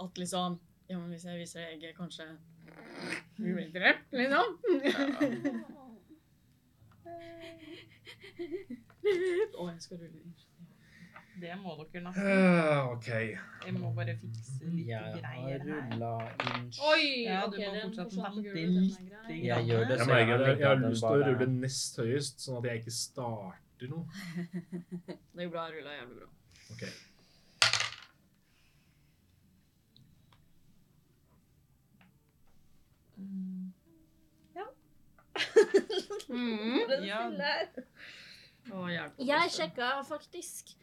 [SPEAKER 3] at liksom Ja, men hvis jeg viser egget, kanskje vi blir drept, liksom. Å, jeg skal rulle inn.
[SPEAKER 1] Det må dere nok.
[SPEAKER 2] Eh, OK.
[SPEAKER 1] Jeg må bare fikse litt
[SPEAKER 5] Jeg har
[SPEAKER 1] greier her.
[SPEAKER 5] rulla inn
[SPEAKER 10] Oi!
[SPEAKER 1] Ja, du
[SPEAKER 10] ok,
[SPEAKER 1] må
[SPEAKER 10] den
[SPEAKER 1] fortsatt
[SPEAKER 10] fortsatt på
[SPEAKER 1] vente
[SPEAKER 10] gulvet, den er grei.
[SPEAKER 1] lite
[SPEAKER 5] Jeg gjør det,
[SPEAKER 2] Jeg,
[SPEAKER 5] så jeg
[SPEAKER 2] merker det. jeg har
[SPEAKER 5] den
[SPEAKER 2] lyst til å
[SPEAKER 5] bare-
[SPEAKER 2] rulle nest høyest, sånn at jeg ikke starter noe.
[SPEAKER 3] Det går bra. Jeg rulla jævlig bra.
[SPEAKER 2] OK.
[SPEAKER 3] Mm.
[SPEAKER 1] Ja,
[SPEAKER 3] Å, hjelp.
[SPEAKER 4] Jeg sjekka faktisk.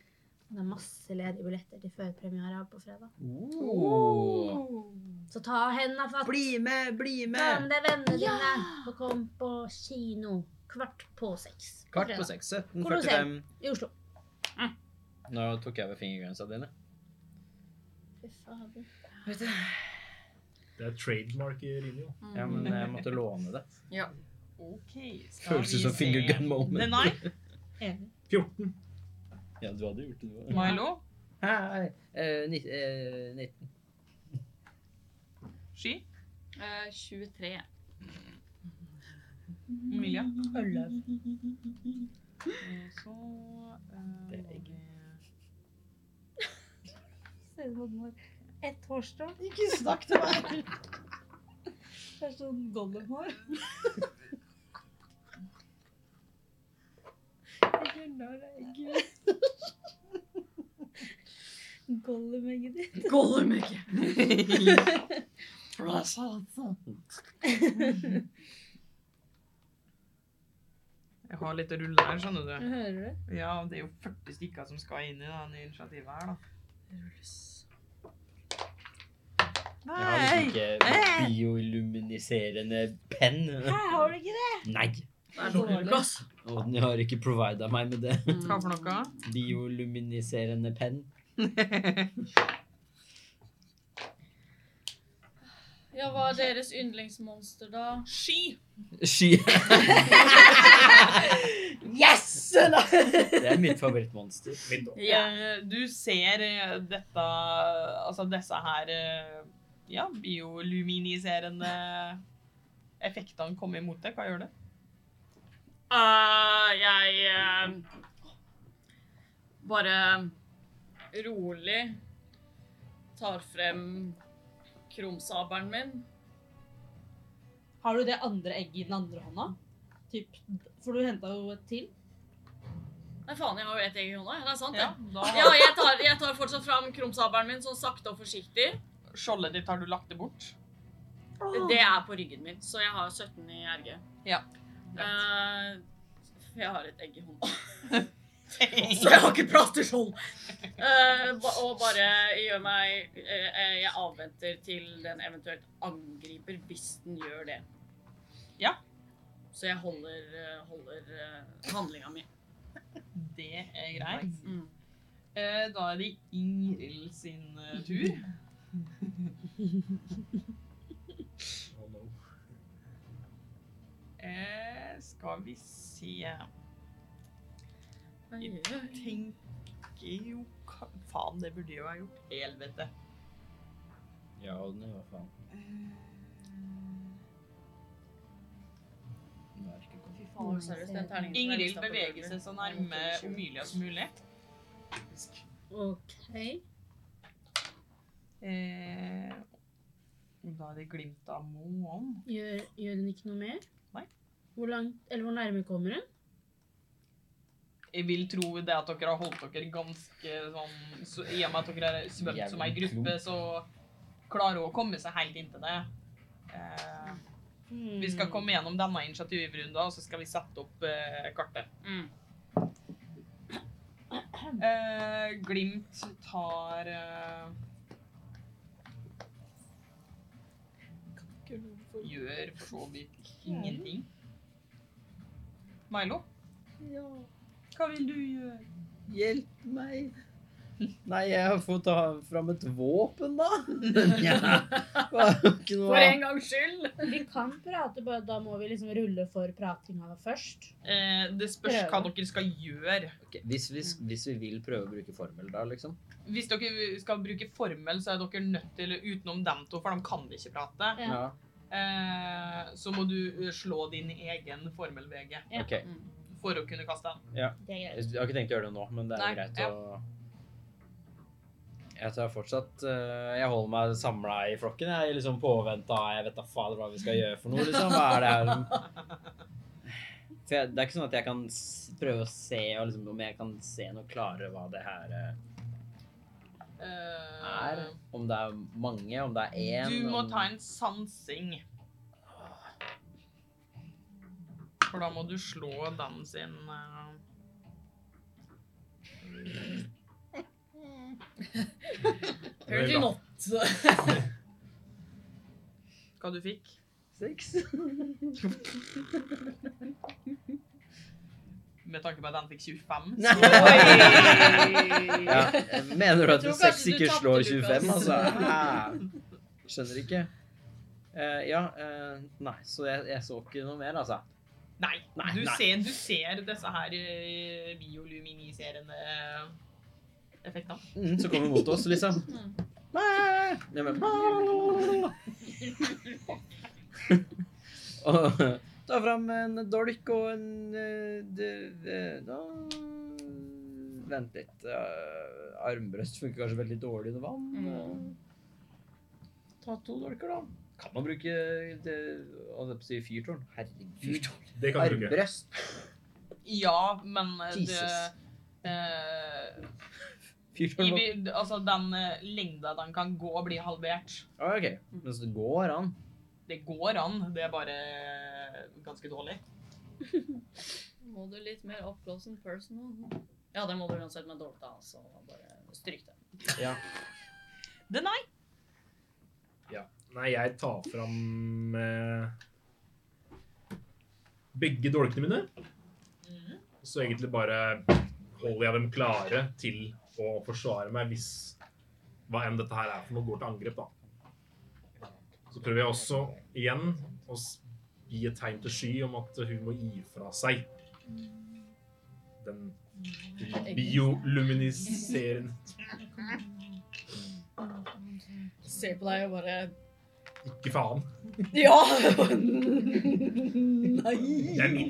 [SPEAKER 4] Det er masse ledige billetter til førpremiera på fredag. Så ta henda fatt.
[SPEAKER 6] Bli med, bli
[SPEAKER 4] Ta
[SPEAKER 6] med!
[SPEAKER 4] med deg vennene dine og kom på kino kvart på seks. på
[SPEAKER 8] Kvart på
[SPEAKER 4] fredag.
[SPEAKER 8] seks. 17.45.
[SPEAKER 4] I Oslo.
[SPEAKER 5] Nå tok jeg ved fingergrensa dine.
[SPEAKER 4] Fy fader.
[SPEAKER 2] Det er trademark i Rinio.
[SPEAKER 5] Mm.
[SPEAKER 8] Ja, men jeg måtte låne det.
[SPEAKER 1] OK. skal
[SPEAKER 5] Føles
[SPEAKER 1] vi
[SPEAKER 5] ut som
[SPEAKER 1] se.
[SPEAKER 5] fingergun
[SPEAKER 1] The
[SPEAKER 5] moment.
[SPEAKER 1] Night,
[SPEAKER 2] 14.
[SPEAKER 5] Ja, du hadde gjort det, du òg.
[SPEAKER 1] Milo,
[SPEAKER 5] Hei. Eh, nitt- eh, nitt-
[SPEAKER 1] Sky,
[SPEAKER 3] Eh, 23.
[SPEAKER 1] Emilia.
[SPEAKER 7] Øløv.
[SPEAKER 1] Og så eh,
[SPEAKER 5] Det er
[SPEAKER 1] var
[SPEAKER 5] egg.
[SPEAKER 1] det-
[SPEAKER 7] Ser du hva den har? Ett hårstrå.
[SPEAKER 6] Ikke snakk til meg!
[SPEAKER 7] Det er sånn gollumhår. Jeg gjør narr av egget mitt. Gollum-egget ditt.
[SPEAKER 3] Gollum ikke.
[SPEAKER 1] Jeg har litt å rulle her, skjønner du.
[SPEAKER 7] Hører du?
[SPEAKER 1] Ja, det er jo 40 stykker som skal inn i det initiativet her, da.
[SPEAKER 8] Jeg har liksom
[SPEAKER 1] Nei!
[SPEAKER 8] ikke bioluminiserende penn.
[SPEAKER 7] Her har du ikke det!
[SPEAKER 8] Nei.
[SPEAKER 3] Det er dårlig plass.
[SPEAKER 8] Og den har ikke provida meg med det.
[SPEAKER 1] Hva for noe?
[SPEAKER 8] Bioluminiserende penn.
[SPEAKER 3] Ja, hva er deres yndlingsmonster, da?
[SPEAKER 1] Sky!
[SPEAKER 8] Sky.
[SPEAKER 6] Yes!
[SPEAKER 8] Det er mitt favorittmonster.
[SPEAKER 2] Mitt da.
[SPEAKER 1] Eh, Du ser eh, dette Altså disse her eh, Ja, bioluminiserende effektene komme imot deg. Hva gjør det?
[SPEAKER 3] Eh, jeg eh, bare rolig tar frem krumsabelen min.
[SPEAKER 7] Har du det andre egget i den andre hånda? Typ, for du henta jo et til.
[SPEAKER 3] Nei, faen, jeg har jo ett egg i hånda. Det er sant,
[SPEAKER 1] Ja,
[SPEAKER 3] det.
[SPEAKER 1] da
[SPEAKER 3] Ja, jeg tar, jeg tar fortsatt fram krumsabelen min sånn sakte og forsiktig.
[SPEAKER 1] Skjoldet ditt har du lagt det bort.
[SPEAKER 3] Det er på ryggen min, så jeg har 17 i RG.
[SPEAKER 1] Ja.
[SPEAKER 3] Eh, for jeg har et egg i hånda. Så jeg har ikke plass til skjold! Eh, ba- og bare gjør meg eh, eh, Jeg avventer til den eventuelt angriper, hvis den gjør det.
[SPEAKER 1] Ja.
[SPEAKER 3] Så jeg holder, eh, holder eh, handlinga mi.
[SPEAKER 1] Det er greit.
[SPEAKER 3] Mm.
[SPEAKER 1] Eh, Da er det Ingrid sin eh, tur.
[SPEAKER 2] Oh, no.
[SPEAKER 1] Eh, skal vi se Jeg tenker jo ka- Faen, det burde jeg jo ha gjort. Helvete.
[SPEAKER 8] Ja, Odny, hva faen? Nå er det ikke kommet.
[SPEAKER 3] Faen, seriøst, den terningen som er
[SPEAKER 1] Ingrid
[SPEAKER 3] listet på
[SPEAKER 1] beveger
[SPEAKER 3] gulvet.
[SPEAKER 1] seg så nærme Omilia som mulig.
[SPEAKER 7] OK.
[SPEAKER 1] Eh, da er det glimt av månen.
[SPEAKER 7] Gjør, gjør hun ikke noe mer?
[SPEAKER 1] Nei.
[SPEAKER 7] Hvor langt, eller hvor nærme kommer hun?
[SPEAKER 1] Jeg vil tro det at dere har holdt dere ganske sånn så, I og med at dere har svømt som ei gruppe, så klarer hun å komme seg helt inntil det. Eh, vi
[SPEAKER 7] Hmm.
[SPEAKER 4] Mm.
[SPEAKER 1] skal komme gjennom denne initiativrunden, og så skal vi sette opp eh, kartet.
[SPEAKER 3] Mm.
[SPEAKER 1] Eh, Glimt tar eh, Gjør for så vidt ingenting. Milo,
[SPEAKER 6] Ja.
[SPEAKER 1] hva vil du gjøre?
[SPEAKER 6] Hjelp meg. Nei, jeg får ta fram et våpen, da. Ikke noe
[SPEAKER 3] For en gangs skyld!
[SPEAKER 7] Vi kan prate, bare da må vi liksom rulle for pratinga først.
[SPEAKER 1] Eh, det spørs hva dere skal gjøre.
[SPEAKER 5] Ok, Hvis, hvis, hvis vi vil prøve å bruke formel, da, liksom.
[SPEAKER 1] Hvis dere skal bruke formel, så er dere nødt til, utenom dem to, for de kan ikke prate,
[SPEAKER 5] Ja.
[SPEAKER 1] eh, så må du slå din egen formel, VG,
[SPEAKER 7] Ja.
[SPEAKER 5] Ok.
[SPEAKER 1] for å kunne kaste den.
[SPEAKER 7] Det er greit.
[SPEAKER 5] Jeg har ikke tenkt å gjøre det nå, men det er
[SPEAKER 1] Nei,
[SPEAKER 5] jo greit å Jeg tar fortsatt eh, Jeg holder meg samla i flokken. Jeg er liksom påventa Jeg vet da fader hva vi skal gjøre for noe, liksom. Hva er det her som
[SPEAKER 8] For jeg, det er ikke sånn at jeg kan s- prøve å se og liksom, om jeg kan se noe klarere hva det her eh,
[SPEAKER 1] Eh,
[SPEAKER 8] er. Om det er mange, om det er én
[SPEAKER 1] du må
[SPEAKER 8] om...
[SPEAKER 1] ta en sansing. For da må du slå den sin eh,
[SPEAKER 3] Apparently not.
[SPEAKER 1] Hva du fikk?
[SPEAKER 6] Seks.
[SPEAKER 1] Med tanke på at den fikk 25.
[SPEAKER 6] Nei.
[SPEAKER 5] ja. Mener du at
[SPEAKER 3] tror
[SPEAKER 5] du seks
[SPEAKER 3] kanskje du
[SPEAKER 5] ikke
[SPEAKER 3] tapte,
[SPEAKER 5] slår
[SPEAKER 3] Lukas.
[SPEAKER 5] 25, altså? Hæ? Skjønner ikke. Eh, ja, eh, nei, så jeg, jeg så ikke noe mer, altså.
[SPEAKER 1] Nei.
[SPEAKER 5] Nei,
[SPEAKER 1] du,
[SPEAKER 5] nei.
[SPEAKER 1] Ser, du ser disse her eh, bioluminiserende effektene.
[SPEAKER 5] Mm, så kommer hun mot oss, liksom. Bæ! Ja, men, bæ! og ta fram en dolk og en eh, d- d- da, Vent litt. eh, armbrøst funker kanskje veldig dårlig under vann. Ta to dolker, da. Kan man bruke det, å, det på å si fyrtårn? Herregud. Fyrtårn.
[SPEAKER 2] Det kan du bruke.
[SPEAKER 5] Armbrøst.
[SPEAKER 1] Ja, men eh,
[SPEAKER 5] Jesus.
[SPEAKER 1] det eh, i,
[SPEAKER 5] Fyrtårn. var-
[SPEAKER 1] vi- Altså, den eh, lengda den kan gå, blir halvert.
[SPEAKER 5] Ah, OK. Men så det går an.
[SPEAKER 1] Det går an, det er bare ganske dårlig.
[SPEAKER 3] Må du litt mer up close and personal? Ja, det må du uansett, men dårlig da, så bare stryk det.
[SPEAKER 1] Det nei.
[SPEAKER 2] Nei, jeg tar fram eh, begge dolkene mine. Så egentlig bare holder jeg dem klare til å forsvare meg hvis hva enn dette her er for noe, går til angrep, da. Så prøver jeg også igjen å s- gi et tegn til Sky om at hun må gi fra seg den bioluminiserende
[SPEAKER 3] Se på deg og bare
[SPEAKER 2] Ikke faen.
[SPEAKER 3] Ja!
[SPEAKER 2] Det er min.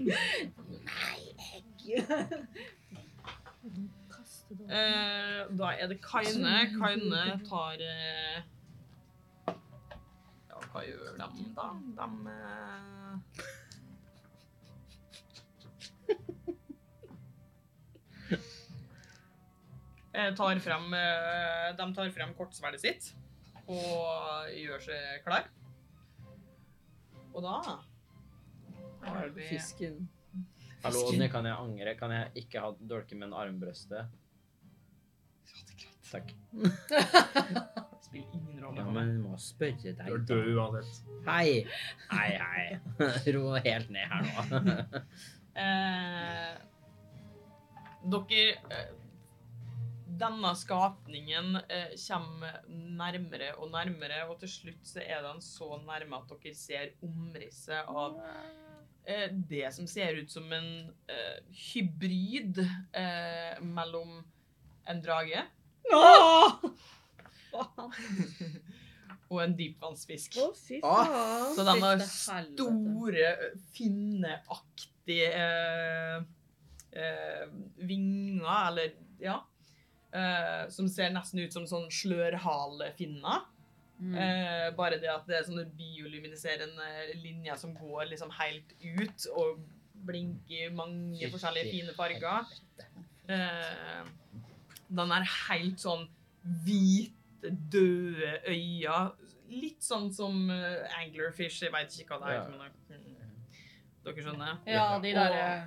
[SPEAKER 1] Eh, da er det Kaine. Kaine tar eh, Ja, hva gjør de, da? De eh, eh, tar frem, eh, De tar frem kortsverdet sitt og gjør seg klar. Og da har vi
[SPEAKER 6] Fisken.
[SPEAKER 5] Hallo, Odny, kan jeg angre? Kan jeg ikke ha dolke, men armbrøstet?
[SPEAKER 1] Ja, det er klart.
[SPEAKER 7] Takk.
[SPEAKER 1] Spiller ingen rolle.
[SPEAKER 7] Ja, men du må spørre
[SPEAKER 2] Du er
[SPEAKER 7] deg.
[SPEAKER 2] død uansett.
[SPEAKER 7] Hei! Hei, hei. Ro helt ned her nå.
[SPEAKER 1] Eh, dere eh, Denne skapningen eh, kommer nærmere og nærmere, og til slutt så er den så nærme at dere ser omrisset av eh, det som ser ut som en eh, hybrid eh, mellom en drage og en dypvannsfisk.
[SPEAKER 16] fy
[SPEAKER 7] Å,
[SPEAKER 1] Så den har
[SPEAKER 16] Fytte helvete.
[SPEAKER 1] store, finneaktige eh, eh, vinger, eller ja, eh, som ser nesten ut som sånn slørhalefinner.
[SPEAKER 3] Mm.
[SPEAKER 16] Mm.
[SPEAKER 1] Eh, bare det at det er sånne bioluminiserende linjer som går liksom helt ut og blinker i mange
[SPEAKER 7] Fy
[SPEAKER 1] forskjellige fine farger. Eh, den er helt sånn hvite, døde øyne. Litt sånn som eh, anglerfish, jeg vet ikke hva det er. Men, mm, dere skjønner?
[SPEAKER 3] Ja, de der eh,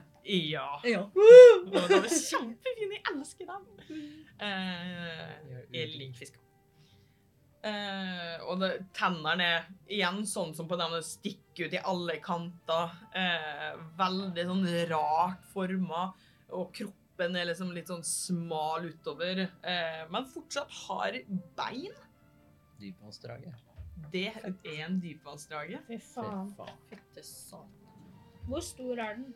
[SPEAKER 1] Ja.
[SPEAKER 3] Ja.
[SPEAKER 1] Og de er kjempefine, jeg elsker dem. Eh,
[SPEAKER 5] Mm.
[SPEAKER 1] jeg liker fisker. Eh, og det, tennene er igjen sånn som på dem det stikker ut i alle kanter. Eh, veldig sånn rart forma. Og kroppen er liksom litt sånn smal utover. Eh, men fortsatt har bein.
[SPEAKER 7] Dypvannsdraget.
[SPEAKER 1] Det er en dypvannsdrage.
[SPEAKER 4] Fy faen.
[SPEAKER 3] Fytte satan.
[SPEAKER 4] Hvor stor er den?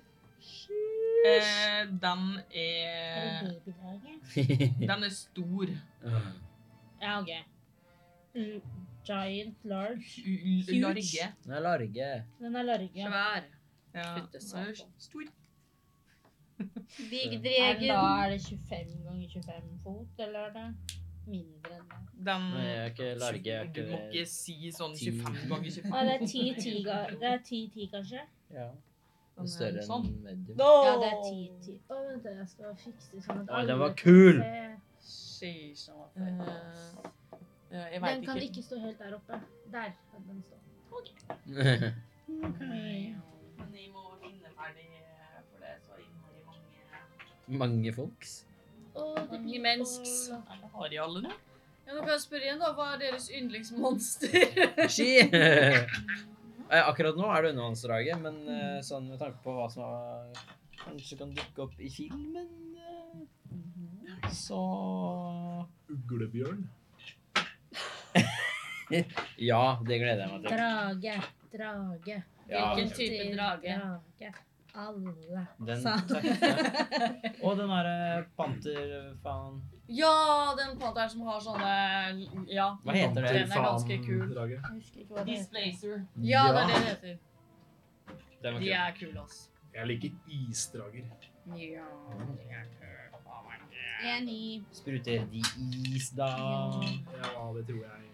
[SPEAKER 1] Eh, den
[SPEAKER 17] Er
[SPEAKER 1] er
[SPEAKER 3] Eh.
[SPEAKER 17] det babydrage?
[SPEAKER 1] Den er stor.
[SPEAKER 4] Ja, OK. Mm, giant large.
[SPEAKER 1] U-
[SPEAKER 4] Huge.
[SPEAKER 1] Large.
[SPEAKER 7] Den er large.
[SPEAKER 4] Den er large.
[SPEAKER 3] Svær.
[SPEAKER 1] Ja,
[SPEAKER 3] Fytte
[SPEAKER 1] den er
[SPEAKER 3] satan.
[SPEAKER 1] stor.
[SPEAKER 16] Big
[SPEAKER 4] Er den da
[SPEAKER 16] Dregen.
[SPEAKER 4] er det 25 ganger 25 fot, eller er det mindre enn det?
[SPEAKER 1] Den
[SPEAKER 7] Nei, jeg er ikke large. Jeg er
[SPEAKER 1] Du må
[SPEAKER 7] ikke
[SPEAKER 1] ikke si sånn
[SPEAKER 7] Ti.
[SPEAKER 1] 25 ganger Sånn, 25.
[SPEAKER 4] Nei, det er 10-10, ga- det er 10-10 kanskje?
[SPEAKER 7] Ja.
[SPEAKER 1] Den er
[SPEAKER 7] Større enn
[SPEAKER 1] sånn.
[SPEAKER 7] medium.
[SPEAKER 4] Ja, det er 10-10. Å, vent da, jeg skal fikse sånn at eh,
[SPEAKER 7] Oi, den
[SPEAKER 4] alle
[SPEAKER 7] var
[SPEAKER 4] kan
[SPEAKER 7] kul!
[SPEAKER 4] se.
[SPEAKER 3] Sheesh, den var
[SPEAKER 4] Mm.
[SPEAKER 3] feit.
[SPEAKER 1] Eh, eh, jeg
[SPEAKER 4] Den
[SPEAKER 1] veit
[SPEAKER 4] kan
[SPEAKER 1] ikke.
[SPEAKER 4] ikke stå helt der oppe. Der kan den stå.
[SPEAKER 1] Men jeg må vinne ferdig, eh, for det er så innmari mange
[SPEAKER 7] Mange folks.
[SPEAKER 4] Å, det blir
[SPEAKER 3] Mennesks.
[SPEAKER 4] å-
[SPEAKER 1] Nei, det Har de alle nå?
[SPEAKER 3] Ja, nå kan jeg spørre igjen, da. Hva er deres yndlingsmonster?
[SPEAKER 7] Ski! Eh,
[SPEAKER 5] Akkurat nå er det undervannsdraget, men eh, sånn med tanke på hva som har, kanskje kan dukke opp i filmen
[SPEAKER 3] Mhm.
[SPEAKER 5] eh, Så
[SPEAKER 2] Uglebjørn.
[SPEAKER 5] Ja, det gleder jeg meg til.
[SPEAKER 4] Drage, drage.
[SPEAKER 5] Ja.
[SPEAKER 3] Hvilken type drage?
[SPEAKER 4] Drage. Alle.
[SPEAKER 5] Den
[SPEAKER 4] Sa-
[SPEAKER 18] Og den
[SPEAKER 5] eh,
[SPEAKER 18] derre panterfaen
[SPEAKER 3] Ja, den panteren som har sånne Ja.
[SPEAKER 5] Hva heter det?
[SPEAKER 3] Den er ganske kul.
[SPEAKER 2] Drage.
[SPEAKER 4] Jeg husker ikke hva det heter.
[SPEAKER 1] Displacer.
[SPEAKER 3] Ja, det er det det heter.
[SPEAKER 5] Den var
[SPEAKER 3] De
[SPEAKER 5] kul.
[SPEAKER 3] er kule, ass.
[SPEAKER 2] Jeg liker isdrager.
[SPEAKER 3] Ja, de er kule. Oh my god.
[SPEAKER 4] Jeg er ny.
[SPEAKER 5] Spruter de is, da?
[SPEAKER 2] Ja, det tror jeg.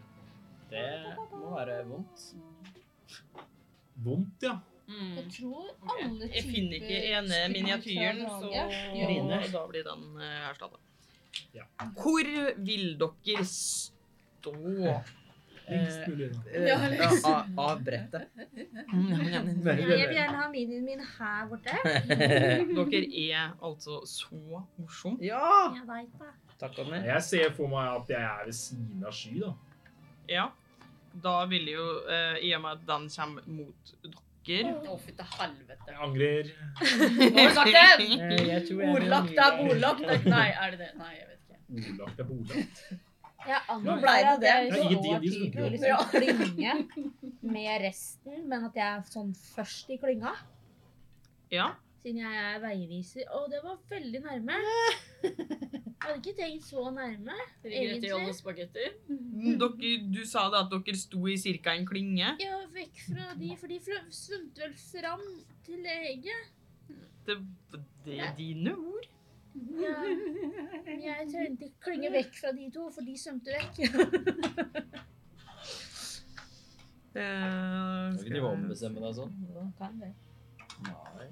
[SPEAKER 5] Det må være vondt.
[SPEAKER 2] Vondt, ja.
[SPEAKER 3] Mm.
[SPEAKER 4] Jeg tror alle
[SPEAKER 1] Jeg finner ikke ene
[SPEAKER 4] typer
[SPEAKER 1] miniatyren,
[SPEAKER 4] skummelt
[SPEAKER 1] så
[SPEAKER 4] drage.
[SPEAKER 1] og da blir den eh, erstatta.
[SPEAKER 2] Ja.
[SPEAKER 1] Hvor vil dere stå?
[SPEAKER 3] Eh,
[SPEAKER 1] Eh,
[SPEAKER 2] Lengst mulig unna.
[SPEAKER 7] Ja, av, av brettet.
[SPEAKER 4] Ja, jeg vil gjerne ha minien min her borte.
[SPEAKER 1] Dere er altså så morsomme.
[SPEAKER 7] Ja!
[SPEAKER 4] Jeg vet det.
[SPEAKER 5] Takk og ned.
[SPEAKER 2] Jeg ser for meg at jeg er ved siden av sky, da.
[SPEAKER 1] Ja. Da vil jo, eh, i og med at den kommer mot dere
[SPEAKER 3] Å, fy til helvete.
[SPEAKER 2] Jeg angrer.
[SPEAKER 3] Nå har du sagt det!
[SPEAKER 5] Eh, jeg tror jeg-
[SPEAKER 3] Ordlagt er bordlagt. Nei, er det det? Nei, jeg vet ikke.
[SPEAKER 2] Ordlagt er bordet.
[SPEAKER 4] Jeg
[SPEAKER 2] Nå
[SPEAKER 4] antar
[SPEAKER 5] ble det
[SPEAKER 4] at jeg
[SPEAKER 2] det. Det er
[SPEAKER 4] står
[SPEAKER 2] ingen
[SPEAKER 4] til
[SPEAKER 2] tid,
[SPEAKER 4] å
[SPEAKER 2] det
[SPEAKER 4] liksom klynge med resten, men at jeg er sånn først i klynga.
[SPEAKER 1] Ja.
[SPEAKER 4] Siden jeg er veiviser. Å, det var veldig nærme. Jeg hadde ikke tenkt så nærme.
[SPEAKER 3] Ringer etter
[SPEAKER 4] Egentlig.
[SPEAKER 3] Jolle spagetti.
[SPEAKER 1] Dere, du sa det at dere sto i cirka en klinge.
[SPEAKER 4] Ja, vekk fra de, for de flø- svømte vel fram til eget.
[SPEAKER 1] Det, det er dine ord.
[SPEAKER 4] Ja. Men Jeg trengte ikke klynge vekk fra de to, for de svømte vekk.
[SPEAKER 1] Eh,
[SPEAKER 5] Skal ikke du ombestemme deg sånn? Nei.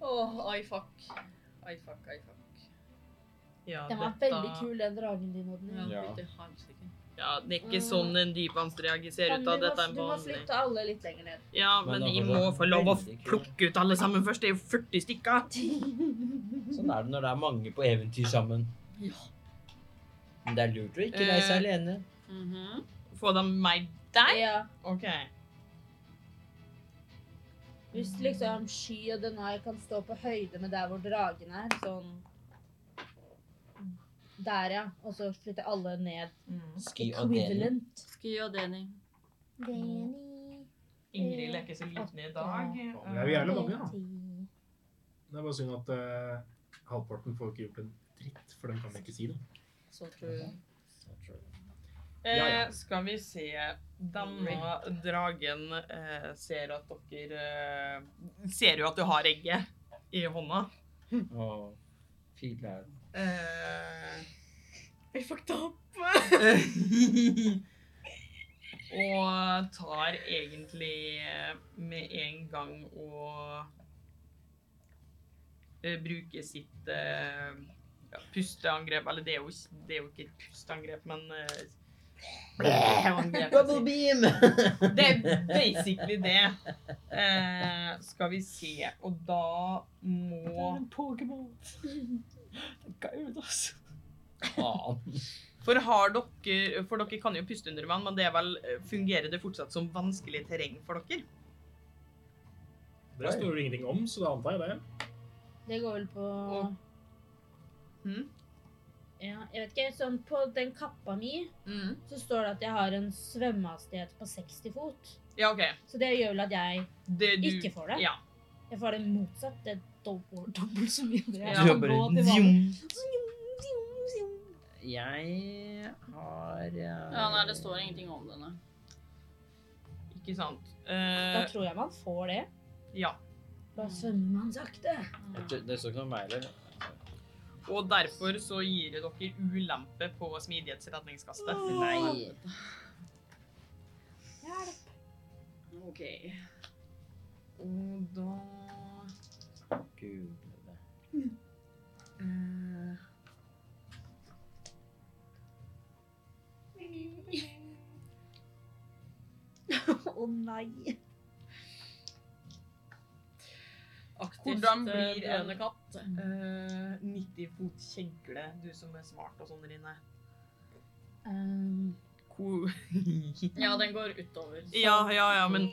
[SPEAKER 3] Åh, ai fuck. Ai fuck, ai fuck.
[SPEAKER 1] ja,
[SPEAKER 4] Den var
[SPEAKER 1] dette-
[SPEAKER 4] veldig kul, den dragen din, Odny.
[SPEAKER 3] Ja,
[SPEAKER 5] Ja.
[SPEAKER 3] fytti helsike.
[SPEAKER 1] Ja, det er ikke sånn en dypvannsdrage ser ut
[SPEAKER 4] Men
[SPEAKER 1] av.
[SPEAKER 4] vi må-
[SPEAKER 1] Dette er en
[SPEAKER 4] Du må
[SPEAKER 1] vanlig.
[SPEAKER 4] flytte alle litt lenger ned.
[SPEAKER 1] Ja, men
[SPEAKER 5] Men da
[SPEAKER 1] vi
[SPEAKER 5] får
[SPEAKER 1] må
[SPEAKER 5] du
[SPEAKER 1] få lov å
[SPEAKER 5] veldig kul.
[SPEAKER 1] plukke ut alle sammen først. Det er jo 40 stykker.
[SPEAKER 5] Sånn er det når det er mange på eventyr sammen. Men det er lurt å ikke reise
[SPEAKER 1] Eh.
[SPEAKER 5] alene.
[SPEAKER 3] Mhm.
[SPEAKER 1] Få dem med deg?
[SPEAKER 4] Ja.
[SPEAKER 1] OK.
[SPEAKER 4] Hvis liksom Sky og Denai kan stå på høyde med der hvor dragen er, sånn Der, ja. Og så flytter alle ned.
[SPEAKER 1] Mm.
[SPEAKER 5] Sky og Deni.
[SPEAKER 3] Sky og Deni.
[SPEAKER 1] Ingrid leker så liten i dag. Eh,
[SPEAKER 2] Det er jo jævlig mange, da. Det er bare synd at eh, halvparten får ikke gjort en dritt, for den kan ikke si noe.
[SPEAKER 3] Så tror jeg.
[SPEAKER 2] Ja, ja.
[SPEAKER 1] Eh, skal vi se Denne dragen eh, ser at dere eh, Ser jo at du har egget i hånda.
[SPEAKER 5] Og filer.
[SPEAKER 1] Eh, Vi fucked up. og tar egentlig eh, med en gang å eh, bruke sitt eh, ja, pusteangrep Eller det er, jo, ikke- det er jo ikke et pusteangrep, men eh, angrepet sitt.
[SPEAKER 5] beam!
[SPEAKER 1] Det er basically det. Eh, skal vi se Og da må
[SPEAKER 5] Faen.
[SPEAKER 1] For har dere For dere kan jo puste under vann, men det er vel eh, Fungerer det fortsatt som vanskelig terreng for dere?
[SPEAKER 2] Det står det ingenting om, så da antar jeg det.
[SPEAKER 4] Det går vel på
[SPEAKER 1] Og- Mhm.
[SPEAKER 4] Ja, jeg vet ikke. Sånn på den kappa mi
[SPEAKER 1] Mm.
[SPEAKER 4] så står det at jeg har en svømmehastighet på 60 fot.
[SPEAKER 1] Ja, OK.
[SPEAKER 4] Så det gjør vel at jeg
[SPEAKER 1] Det, du,
[SPEAKER 4] ikke får det.
[SPEAKER 1] Ja.
[SPEAKER 4] Jeg får det motsatt. Det er dobbelt, dobbelt så mye. Det
[SPEAKER 1] Ja.
[SPEAKER 4] er sånn gå til vanlig.
[SPEAKER 19] Jeg har
[SPEAKER 3] Ja, nei, det står ingenting om denne.
[SPEAKER 1] Ikke sant.
[SPEAKER 4] Da
[SPEAKER 1] Eh,
[SPEAKER 4] tror jeg man får det.
[SPEAKER 1] ja.
[SPEAKER 4] Da svømmer man sakte.
[SPEAKER 19] Det, det står ikke noe om meg heller.
[SPEAKER 1] Og derfor så gir det dere ulempe på smidighetsredningskastet.
[SPEAKER 4] Mm.
[SPEAKER 19] Nei.
[SPEAKER 3] OK. Og da
[SPEAKER 19] Gud.
[SPEAKER 20] Å nei.
[SPEAKER 3] Aktivt
[SPEAKER 1] Hvordan
[SPEAKER 3] eh,
[SPEAKER 1] blir en-
[SPEAKER 3] blødende katt.
[SPEAKER 1] Eh, 90 fot kjegle, du som er smart og sånn der inne.
[SPEAKER 4] Um,
[SPEAKER 1] Ko-
[SPEAKER 3] Ja, den går utover. så-
[SPEAKER 1] ja, ja, ja, men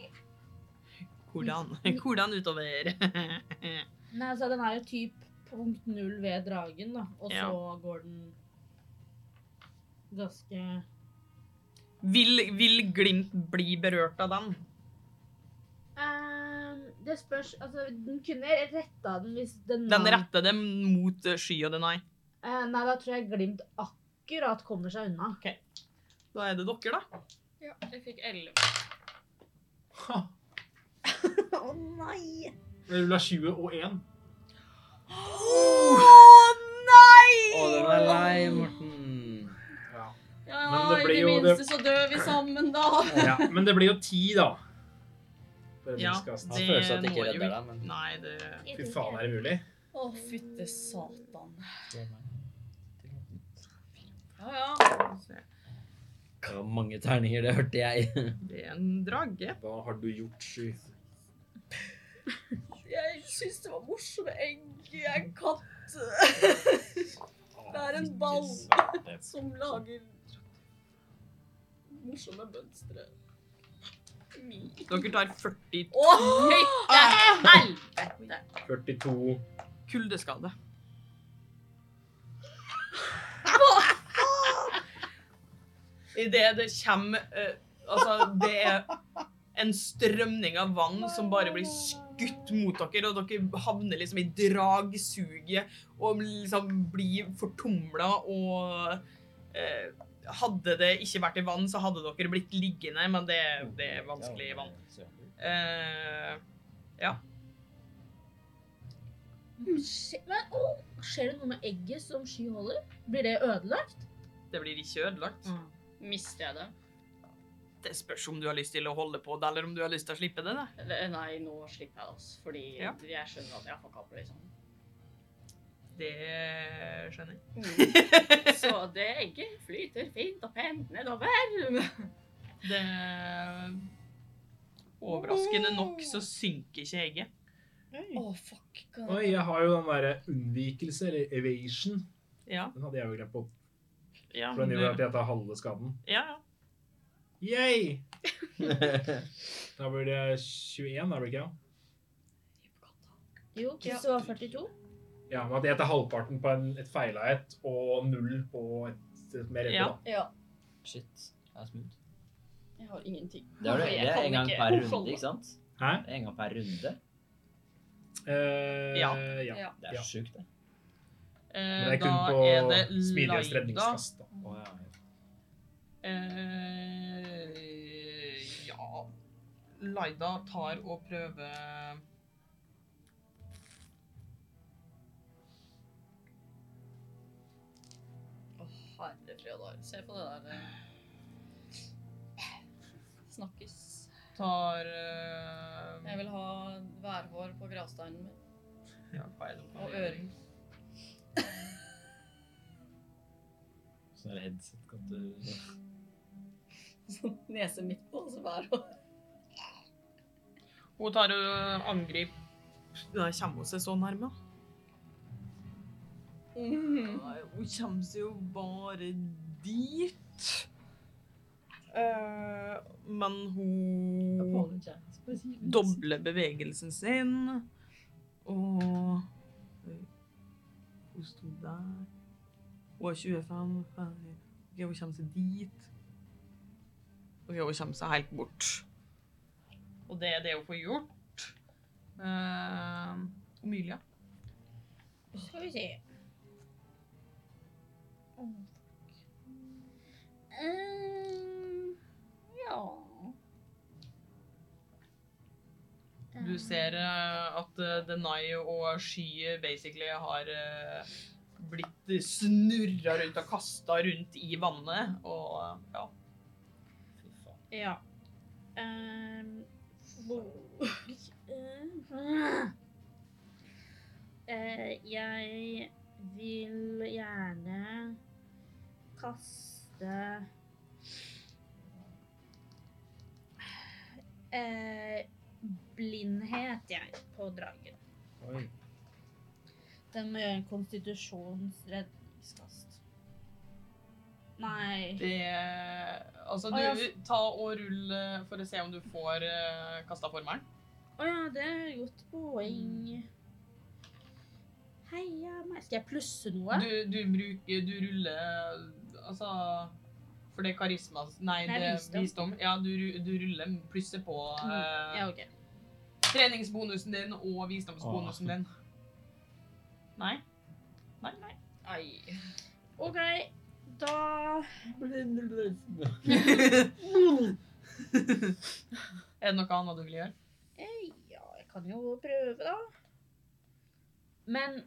[SPEAKER 1] Hvordan? Hvordan utover?
[SPEAKER 4] nei, altså den er jo typ punkt null ved dragen, da. Og
[SPEAKER 1] Ja.
[SPEAKER 4] så går den ganske
[SPEAKER 1] vil, vil Glimt bli berørt av den?
[SPEAKER 21] Ehm, det spørs Altså,
[SPEAKER 4] Den kunne retta den hvis den
[SPEAKER 1] Den retter dem mot eh, sky og denai.
[SPEAKER 4] Eh, nei, da tror jeg Glimt akkurat kommer seg unna.
[SPEAKER 1] Da er det dere, da.
[SPEAKER 3] Ja, jeg fikk 11.
[SPEAKER 20] Å nei.
[SPEAKER 2] Jeg vil ha 20 og 1.
[SPEAKER 22] Å, den er lei, Morten.
[SPEAKER 2] Ja.
[SPEAKER 3] Ja,
[SPEAKER 2] Men det
[SPEAKER 3] i
[SPEAKER 2] blir
[SPEAKER 3] det
[SPEAKER 2] jo-
[SPEAKER 3] minste så dør vi sammen, da.
[SPEAKER 2] ja. Men det blir jo 10, da. På
[SPEAKER 1] Ja,
[SPEAKER 2] redningskastet.
[SPEAKER 1] det
[SPEAKER 22] Han føler seg at det ikke
[SPEAKER 1] må jo
[SPEAKER 22] redder deg, men
[SPEAKER 1] Nei, det
[SPEAKER 2] Fy faen, er det mulig?
[SPEAKER 3] Å, fytte satan. Ja, ja.
[SPEAKER 22] det var mange terninger, det hørte jeg.
[SPEAKER 1] Det er en drage.
[SPEAKER 2] Hva har du gjort, Sky?
[SPEAKER 3] Jeg syns det var morsomme egg. Jeg er en katt. Det er en
[SPEAKER 2] Ah,
[SPEAKER 3] ball som lager morsomme mønstre. Mi.
[SPEAKER 1] Dere tar 40
[SPEAKER 3] Å, høyte helvete!
[SPEAKER 2] 42.
[SPEAKER 1] kuldeskade. Idet det kommer eh, Altså, det er en strømning av vann som bare blir skutt mot dere, og dere havner liksom i dragsuget og liksom blir fortumla og eh, Hadde det ikke vært i vann, så hadde dere blitt liggende, men det, det er vanskelig i vann. Eh,
[SPEAKER 4] Skje- Mm, Men, å, skjer det noe med egget som Sky holder? Blir det ødelagt?
[SPEAKER 1] det blir ikke ødelagt.
[SPEAKER 3] Mister jeg det?
[SPEAKER 1] Det spørs om du har lyst til å holde på det, eller om du har lyst til å slippe det. Da.
[SPEAKER 3] Eller, nei, nå slipper jeg det, altså. Fordi
[SPEAKER 1] Ja.
[SPEAKER 3] jeg skjønner at jeg fucka opp, liksom.
[SPEAKER 1] Det skjønner jeg.
[SPEAKER 3] Mm. Så det egget flyter fint og pent nedover.
[SPEAKER 1] Det Overraskende nok så synker ikke egget.
[SPEAKER 3] Å, fuck. God.
[SPEAKER 2] Oi, jeg har jo den derre unnvikelse, eller evasion.
[SPEAKER 1] Ja.
[SPEAKER 2] Den hadde jeg jo glemt på.
[SPEAKER 1] Ja,
[SPEAKER 2] For den
[SPEAKER 1] du, Ah,
[SPEAKER 2] gjør
[SPEAKER 1] ja,
[SPEAKER 2] at jeg tar halve skaden.
[SPEAKER 1] ja.
[SPEAKER 2] Yay! da blir det 21, da blir det ikke? ja?
[SPEAKER 4] Jo, hvis det var 42.
[SPEAKER 2] Ja, men at jeg tar halvparten på en, et feila et, og null på et, et mer rett.
[SPEAKER 1] Ja.
[SPEAKER 2] da.
[SPEAKER 3] Ja.
[SPEAKER 5] Shit. Det er smooth.
[SPEAKER 3] Jeg har ingenting.
[SPEAKER 5] Det er, det.
[SPEAKER 3] Jeg
[SPEAKER 5] Det er
[SPEAKER 3] kan
[SPEAKER 5] en gang
[SPEAKER 3] ikke
[SPEAKER 5] per runde,
[SPEAKER 3] holde-
[SPEAKER 5] ikke sant?
[SPEAKER 2] Hæ?
[SPEAKER 5] Det er En gang per runde.
[SPEAKER 2] Eh,
[SPEAKER 1] Ja.
[SPEAKER 2] ja.
[SPEAKER 3] Ja.
[SPEAKER 5] Det er
[SPEAKER 2] Ja.
[SPEAKER 5] sjukt, det.
[SPEAKER 1] Eh,
[SPEAKER 2] Men det er
[SPEAKER 1] da
[SPEAKER 2] kun
[SPEAKER 1] er
[SPEAKER 2] på
[SPEAKER 1] det Laida.
[SPEAKER 2] smidigst redningskast. Da.
[SPEAKER 5] Å, ja.
[SPEAKER 1] Eh, ja Laida tar og prøver
[SPEAKER 3] Å, herre fred og dag. Se på det der. eh. Snakkes.
[SPEAKER 1] Tar eh,
[SPEAKER 3] Jeg vil ha værhår på gravsteinen min.
[SPEAKER 1] ja, feil.
[SPEAKER 3] Og øring.
[SPEAKER 5] Sånn er det headset. Kan du...
[SPEAKER 3] Sånn nese midt på, og så værhår.
[SPEAKER 1] Hun tar og angrip Da kommer hun seg så nærme.
[SPEAKER 3] Mm.
[SPEAKER 1] Nei, Hun kommer seg jo bare dit. Eh, men hun dobler bevegelsen sin. Og hun sto der. Hun er 25. ferdig. Ok, hun kommer seg dit. Ok, hun kommer seg helt bort. Og det er det hun får gjort. Uh, Omilia.
[SPEAKER 4] Skal vi se.
[SPEAKER 3] Mm, ja.
[SPEAKER 1] Du ser eh, at eh, Denai og Sky basically har eh, blitt snurra rundt og kasta rundt i vannet. Og eh, ja.
[SPEAKER 5] Fy faen.
[SPEAKER 4] Ja. Ehm,
[SPEAKER 23] Eh, jeg vil gjerne kaste
[SPEAKER 4] eh, blindhet, jeg, på dragen.
[SPEAKER 24] Oi.
[SPEAKER 4] Den må gjøre en konstitusjonsredningskast. Nei
[SPEAKER 1] Det Altså,
[SPEAKER 4] Å, ja.
[SPEAKER 1] du ta og rull eh, for å se om du får uh, kasta formelen.
[SPEAKER 4] Å ja, det er et godt poeng. Heia meg. Skal jeg plusse noe?
[SPEAKER 1] Du, du bruker Du ruller eh, Altså For det er karisma Nei,
[SPEAKER 4] Nei,
[SPEAKER 1] det er
[SPEAKER 4] visdom. Mm.
[SPEAKER 1] visdom. Ja, du, ru- du ruller plusser på eh,
[SPEAKER 4] Ja, OK.
[SPEAKER 1] treningsbonusen din og visdomsbonusen din. Nei. Nei, nei.
[SPEAKER 3] Ai.
[SPEAKER 4] OK, da
[SPEAKER 1] Er det noe annet du vil gjøre?
[SPEAKER 4] Eh, Ja, jeg kan jo prøve, da. Men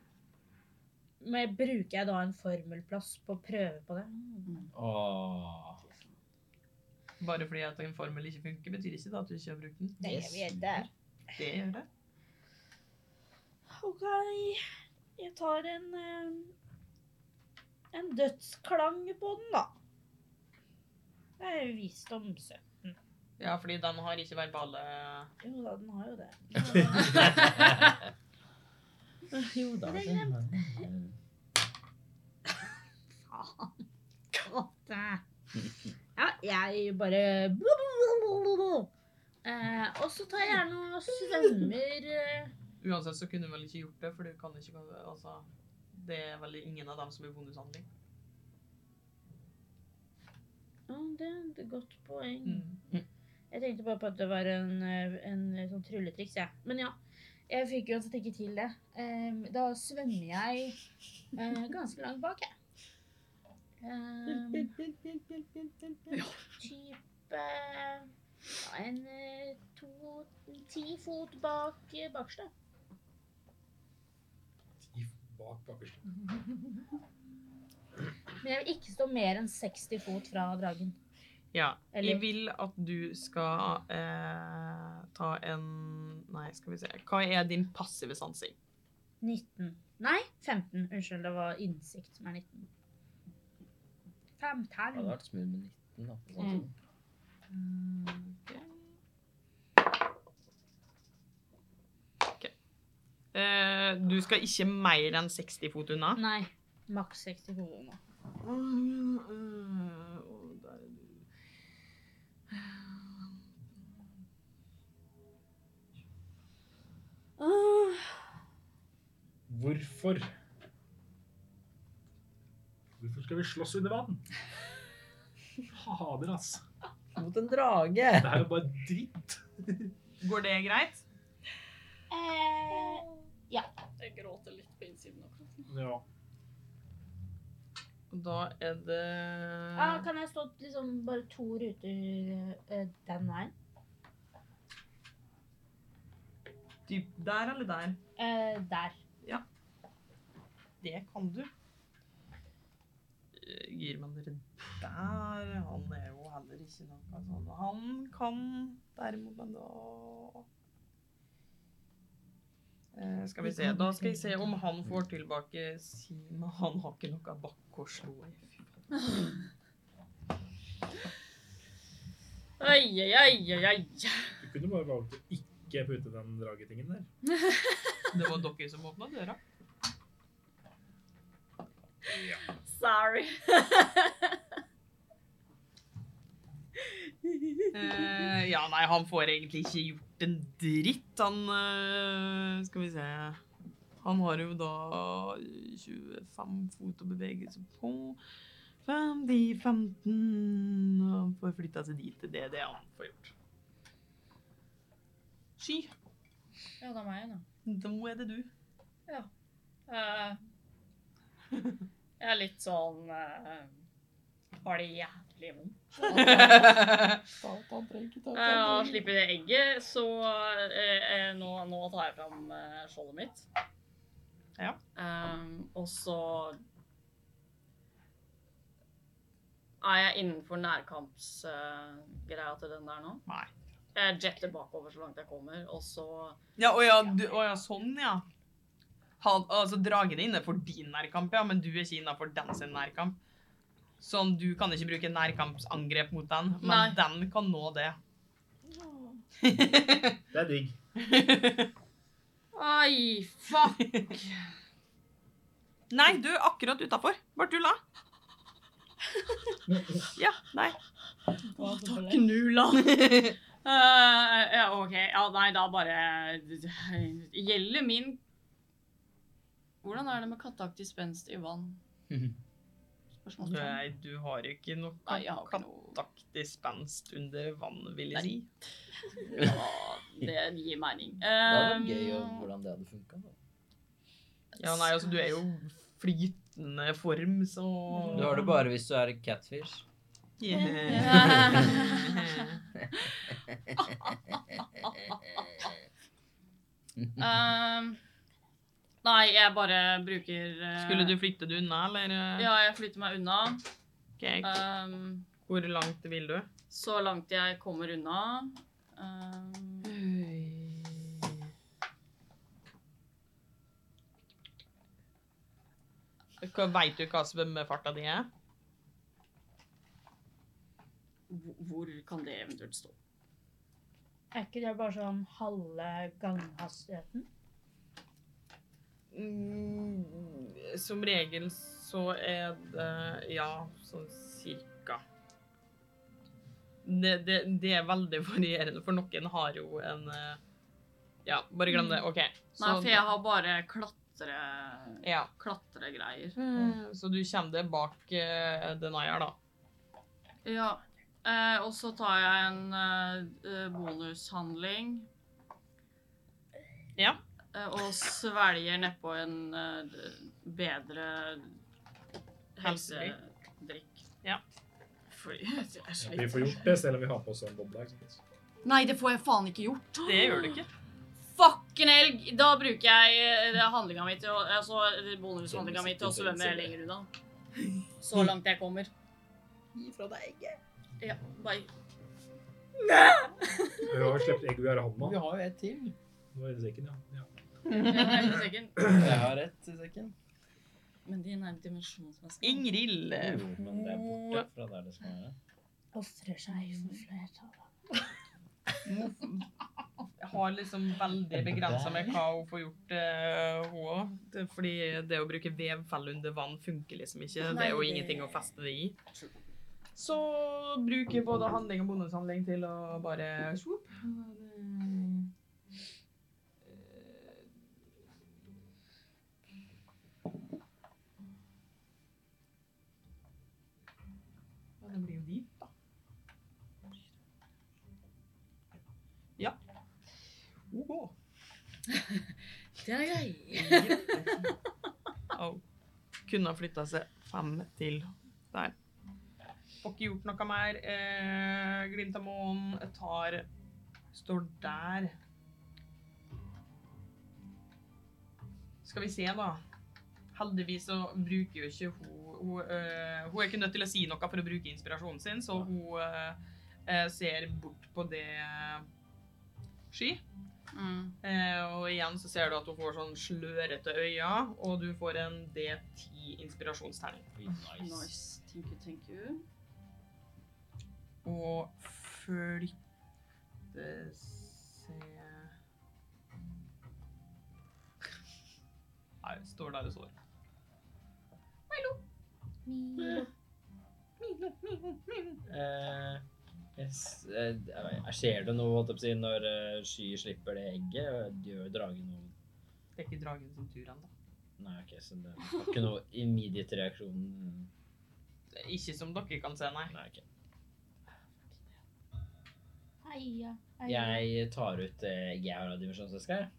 [SPEAKER 4] men bruker jeg da en formelplass på å prøve på det?
[SPEAKER 5] Åh.
[SPEAKER 1] Bare fordi at en formel ikke funker, betyr ikke det at du ikke har brukt den.
[SPEAKER 4] Det
[SPEAKER 5] Yes.
[SPEAKER 4] vet jeg.
[SPEAKER 1] Det gjør det.
[SPEAKER 4] OK. Jeg tar en eh, en dødsklang på den, da. Det er jo visdomse.
[SPEAKER 1] Ja, fordi den har ikke verbale
[SPEAKER 4] Jo da, den har jo det.
[SPEAKER 5] Jo da.
[SPEAKER 4] Det er Katte. Ja, jeg bare
[SPEAKER 23] eh, Og så tar jeg gjerne og svømmer eh,
[SPEAKER 1] Uansett så kunne du vel ikke gjort det, for du kan ikke Altså, det er vel ingen av dem som er bonushandling.
[SPEAKER 4] Ja, det er et godt poeng.
[SPEAKER 1] Mm.
[SPEAKER 4] Jeg tenkte bare på at det var en, eh, en sånn trylletriks, jeg. Men ja, jeg fikk jo uansett ikke til det. Ehm, da svømmer jeg eh, ganske langt bak, jeg. Ehm,
[SPEAKER 23] type ja, en eh, to, ti fot bak eh, bakerste.
[SPEAKER 2] I bak bakerst.
[SPEAKER 4] men jeg vil ikke stå mer enn 60 fot fra dragen.
[SPEAKER 1] Ja.
[SPEAKER 4] Eller-
[SPEAKER 1] Jeg vil at du skal eh, ta en Nei, skal vi se. Hva er din passive sansing?
[SPEAKER 4] 19.
[SPEAKER 7] Nei, 15. Unnskyld, det var innsikt som er 19.
[SPEAKER 5] Det hadde
[SPEAKER 7] 15.
[SPEAKER 5] vært smooth med 19, da. på
[SPEAKER 7] Mm.
[SPEAKER 5] Sånn.
[SPEAKER 1] Mm, Eh, du skal ikke mer enn 60 fot unna.
[SPEAKER 7] Nei, maks 60 hoder nå.
[SPEAKER 1] Mm, eh, og der er du.
[SPEAKER 2] Hvorfor? Hvorfor skal vi slåss under vann? Fader, ass.
[SPEAKER 6] Mot en drage!
[SPEAKER 2] Det her er jo bare dritt.
[SPEAKER 1] Går det greit?
[SPEAKER 4] Eh,
[SPEAKER 3] Jeg gråter litt på innsiden akkurat.
[SPEAKER 2] Ja.
[SPEAKER 1] Og Da er det
[SPEAKER 7] Ja, ah, kan jeg stå liksom bare to ruter eh, den veien?
[SPEAKER 1] Dyp der eller der?
[SPEAKER 7] Eh, der.
[SPEAKER 1] Det kan du. Eh, Gir man dere der? Han er jo heller ikke noe sånn. Han kan derimot, men da Eh, skal vi se. Da skal vi se om han får tilbake sin Han har ikke noe bakke å slå i.
[SPEAKER 3] Oi, oi, oi, oi, oi.
[SPEAKER 2] Du kunne bare valgt å ikke putte den dragetingen der.
[SPEAKER 1] Det var dere som åpna døra.
[SPEAKER 3] Sorry.
[SPEAKER 1] Eh, ja, nei, han får egentlig ikke gjort en dritt. Han eh, Skal vi se Han har jo da 25 fot å bevege seg på. 5, de 15 og Han får flytta seg dit. Det er det han får gjort. Sky,
[SPEAKER 3] Ja, det er meg, da.
[SPEAKER 1] nå er det du.
[SPEAKER 3] Eh, jeg er litt sånn eh, Har det jævlig vondt. Eh, Og slipper det egget, så eh, eh, nå, nå tar jeg fram eh, skjoldet mitt.
[SPEAKER 1] Ja.
[SPEAKER 3] Eh, og så Er jeg innenfor nærkampsgreia til den der nå?
[SPEAKER 1] Nei.
[SPEAKER 3] Jeg jetter bakover så langt jeg kommer, og så
[SPEAKER 1] Ja, å ja, du, å ja sånn, ja. Han, altså, dragen er innenfor din nærkamp, ja, men du er ikke innenfor den sin nærkamp. Sånn, du kan ikke bruke nærkampsangrep mot den, men
[SPEAKER 3] Nei.
[SPEAKER 1] den kan nå det.
[SPEAKER 2] Det er digg.
[SPEAKER 3] Oi, fuck!
[SPEAKER 1] Nei, du er akkurat utafor. Bare tulla. Ja, nei.
[SPEAKER 3] Å, takk
[SPEAKER 1] Nulla.
[SPEAKER 3] Eh, ja, OK. Ja, nei, da bare Gjelder min Hvordan er det med katteaktig spenst i vann? Spørsmålstegn.
[SPEAKER 1] Nei, du har ikke noe
[SPEAKER 3] Nei, jeg har ikke noe-
[SPEAKER 1] kattaktig spenst under vann, vil jeg si.
[SPEAKER 3] Ja, det gir mening.
[SPEAKER 5] Det hadde vært gøy
[SPEAKER 3] Um,
[SPEAKER 5] om hvordan det hadde funka.
[SPEAKER 1] Ja, nei, altså, du er jo flytende form, så
[SPEAKER 6] Du har det bare hvis du er catfish.
[SPEAKER 1] Yeah.
[SPEAKER 3] um, Nei, jeg bare bruker eh,
[SPEAKER 1] Skulle du flytte det unna, eller?
[SPEAKER 3] Ja, jeg flytter meg unna.
[SPEAKER 1] Ok,
[SPEAKER 3] Um,
[SPEAKER 1] Hvor langt vil du?
[SPEAKER 3] så langt jeg kommer unna. Um,
[SPEAKER 1] Hva, vet du hva svømmefarta di eh? er?
[SPEAKER 3] hvor- hvor kan det eventuelt stå?
[SPEAKER 7] Er ikke det bare sånn halve ganghastigheten?
[SPEAKER 1] Mm, Som regel så er det Ja, sånn cirka. Det, det, det er veldig varierende, for noen har jo en eh, Ja, bare glem det. OK.
[SPEAKER 3] Nei,
[SPEAKER 1] Så-
[SPEAKER 3] for jeg har bare klatre...
[SPEAKER 1] ja.
[SPEAKER 3] Klatregreier.
[SPEAKER 1] Så du kommer deg bak eh, Denier, da.
[SPEAKER 3] Ja. Eh, og så tar jeg en eh, bonushandling.
[SPEAKER 1] Ja.
[SPEAKER 3] Eh, og svelger nedpå en eh, bedre
[SPEAKER 1] Helsedrikk.
[SPEAKER 3] helsedrikk.
[SPEAKER 1] Ja.
[SPEAKER 3] Fordi jeg er
[SPEAKER 2] Vi
[SPEAKER 3] sliten.
[SPEAKER 2] får gjort det, selv om vi har på oss en boble.
[SPEAKER 3] Nei, det får jeg faen ikke gjort.
[SPEAKER 1] Det gjør du ikke.
[SPEAKER 3] Fucken elg! Da bruker jeg eh, handlinga mi til å Altså bonushandlinga mi til å svømme lenger unna. Så langt jeg kommer.
[SPEAKER 6] Gi fra deg egget.
[SPEAKER 3] Ja, bare
[SPEAKER 2] Vi har jo sluppet egg vi har i hånda.
[SPEAKER 9] Vi har jo et til.
[SPEAKER 2] Det var i sekken, ja. ja.
[SPEAKER 3] nærmeste sekken.
[SPEAKER 9] Jeg har rett i sekken.
[SPEAKER 3] Men de er nærme dimensjonsmasken.
[SPEAKER 1] Ingrid.
[SPEAKER 5] Mm.
[SPEAKER 1] eh,
[SPEAKER 8] Men det er borte fra der det skal være.
[SPEAKER 7] Ofrer seg for flertallet.
[SPEAKER 1] har liksom veldig begrensa med hva hun får gjort, eh, hun òg. Fordi det å bruke vev faller under vann funker liksom ikke. det
[SPEAKER 3] Nei,
[SPEAKER 1] er jo
[SPEAKER 3] det-
[SPEAKER 1] ingenting å feste det i. Så bruker både handling og bonushandling til å bare swoop. Ja, det blir jo dit, da. Ja. OK.
[SPEAKER 3] Den er grei.
[SPEAKER 1] Au. Kunne ha flytta seg fem til der. Får ikke gjort noe mer. Eh, glimt av månen tar Står der. Skal vi se, da. Heldigvis så bruker jo ikke hun Hun, eh, hun er ikke nødt til å si noe for å bruke inspirasjonen sin, så hun eh, eh, ser bort på det sky.
[SPEAKER 3] Mm.
[SPEAKER 1] Eh, og igjen så ser du at hun får sånn slørete øyne, og du får en D10 inspirasjonsterning.
[SPEAKER 3] Nice. Thank you, thank you.
[SPEAKER 1] Og flytte seg Nei, hun står der hun står.
[SPEAKER 8] Eh, jeg, s- eh, jeg vet- jeg ser det nå, holdt jeg på å si, når eh, sky slipper det egget. Gjør dragen noe
[SPEAKER 1] Det er ikke dragen sin tur ennå.
[SPEAKER 8] Nei, ok, så det var ikke noe immediate reaksjon.
[SPEAKER 1] Det er Ikke som dere kan se, nei.
[SPEAKER 8] Nei, ok.
[SPEAKER 4] Heia, heia.
[SPEAKER 8] Jeg tar ut det egget jeg har av dimensjonsveska, jeg.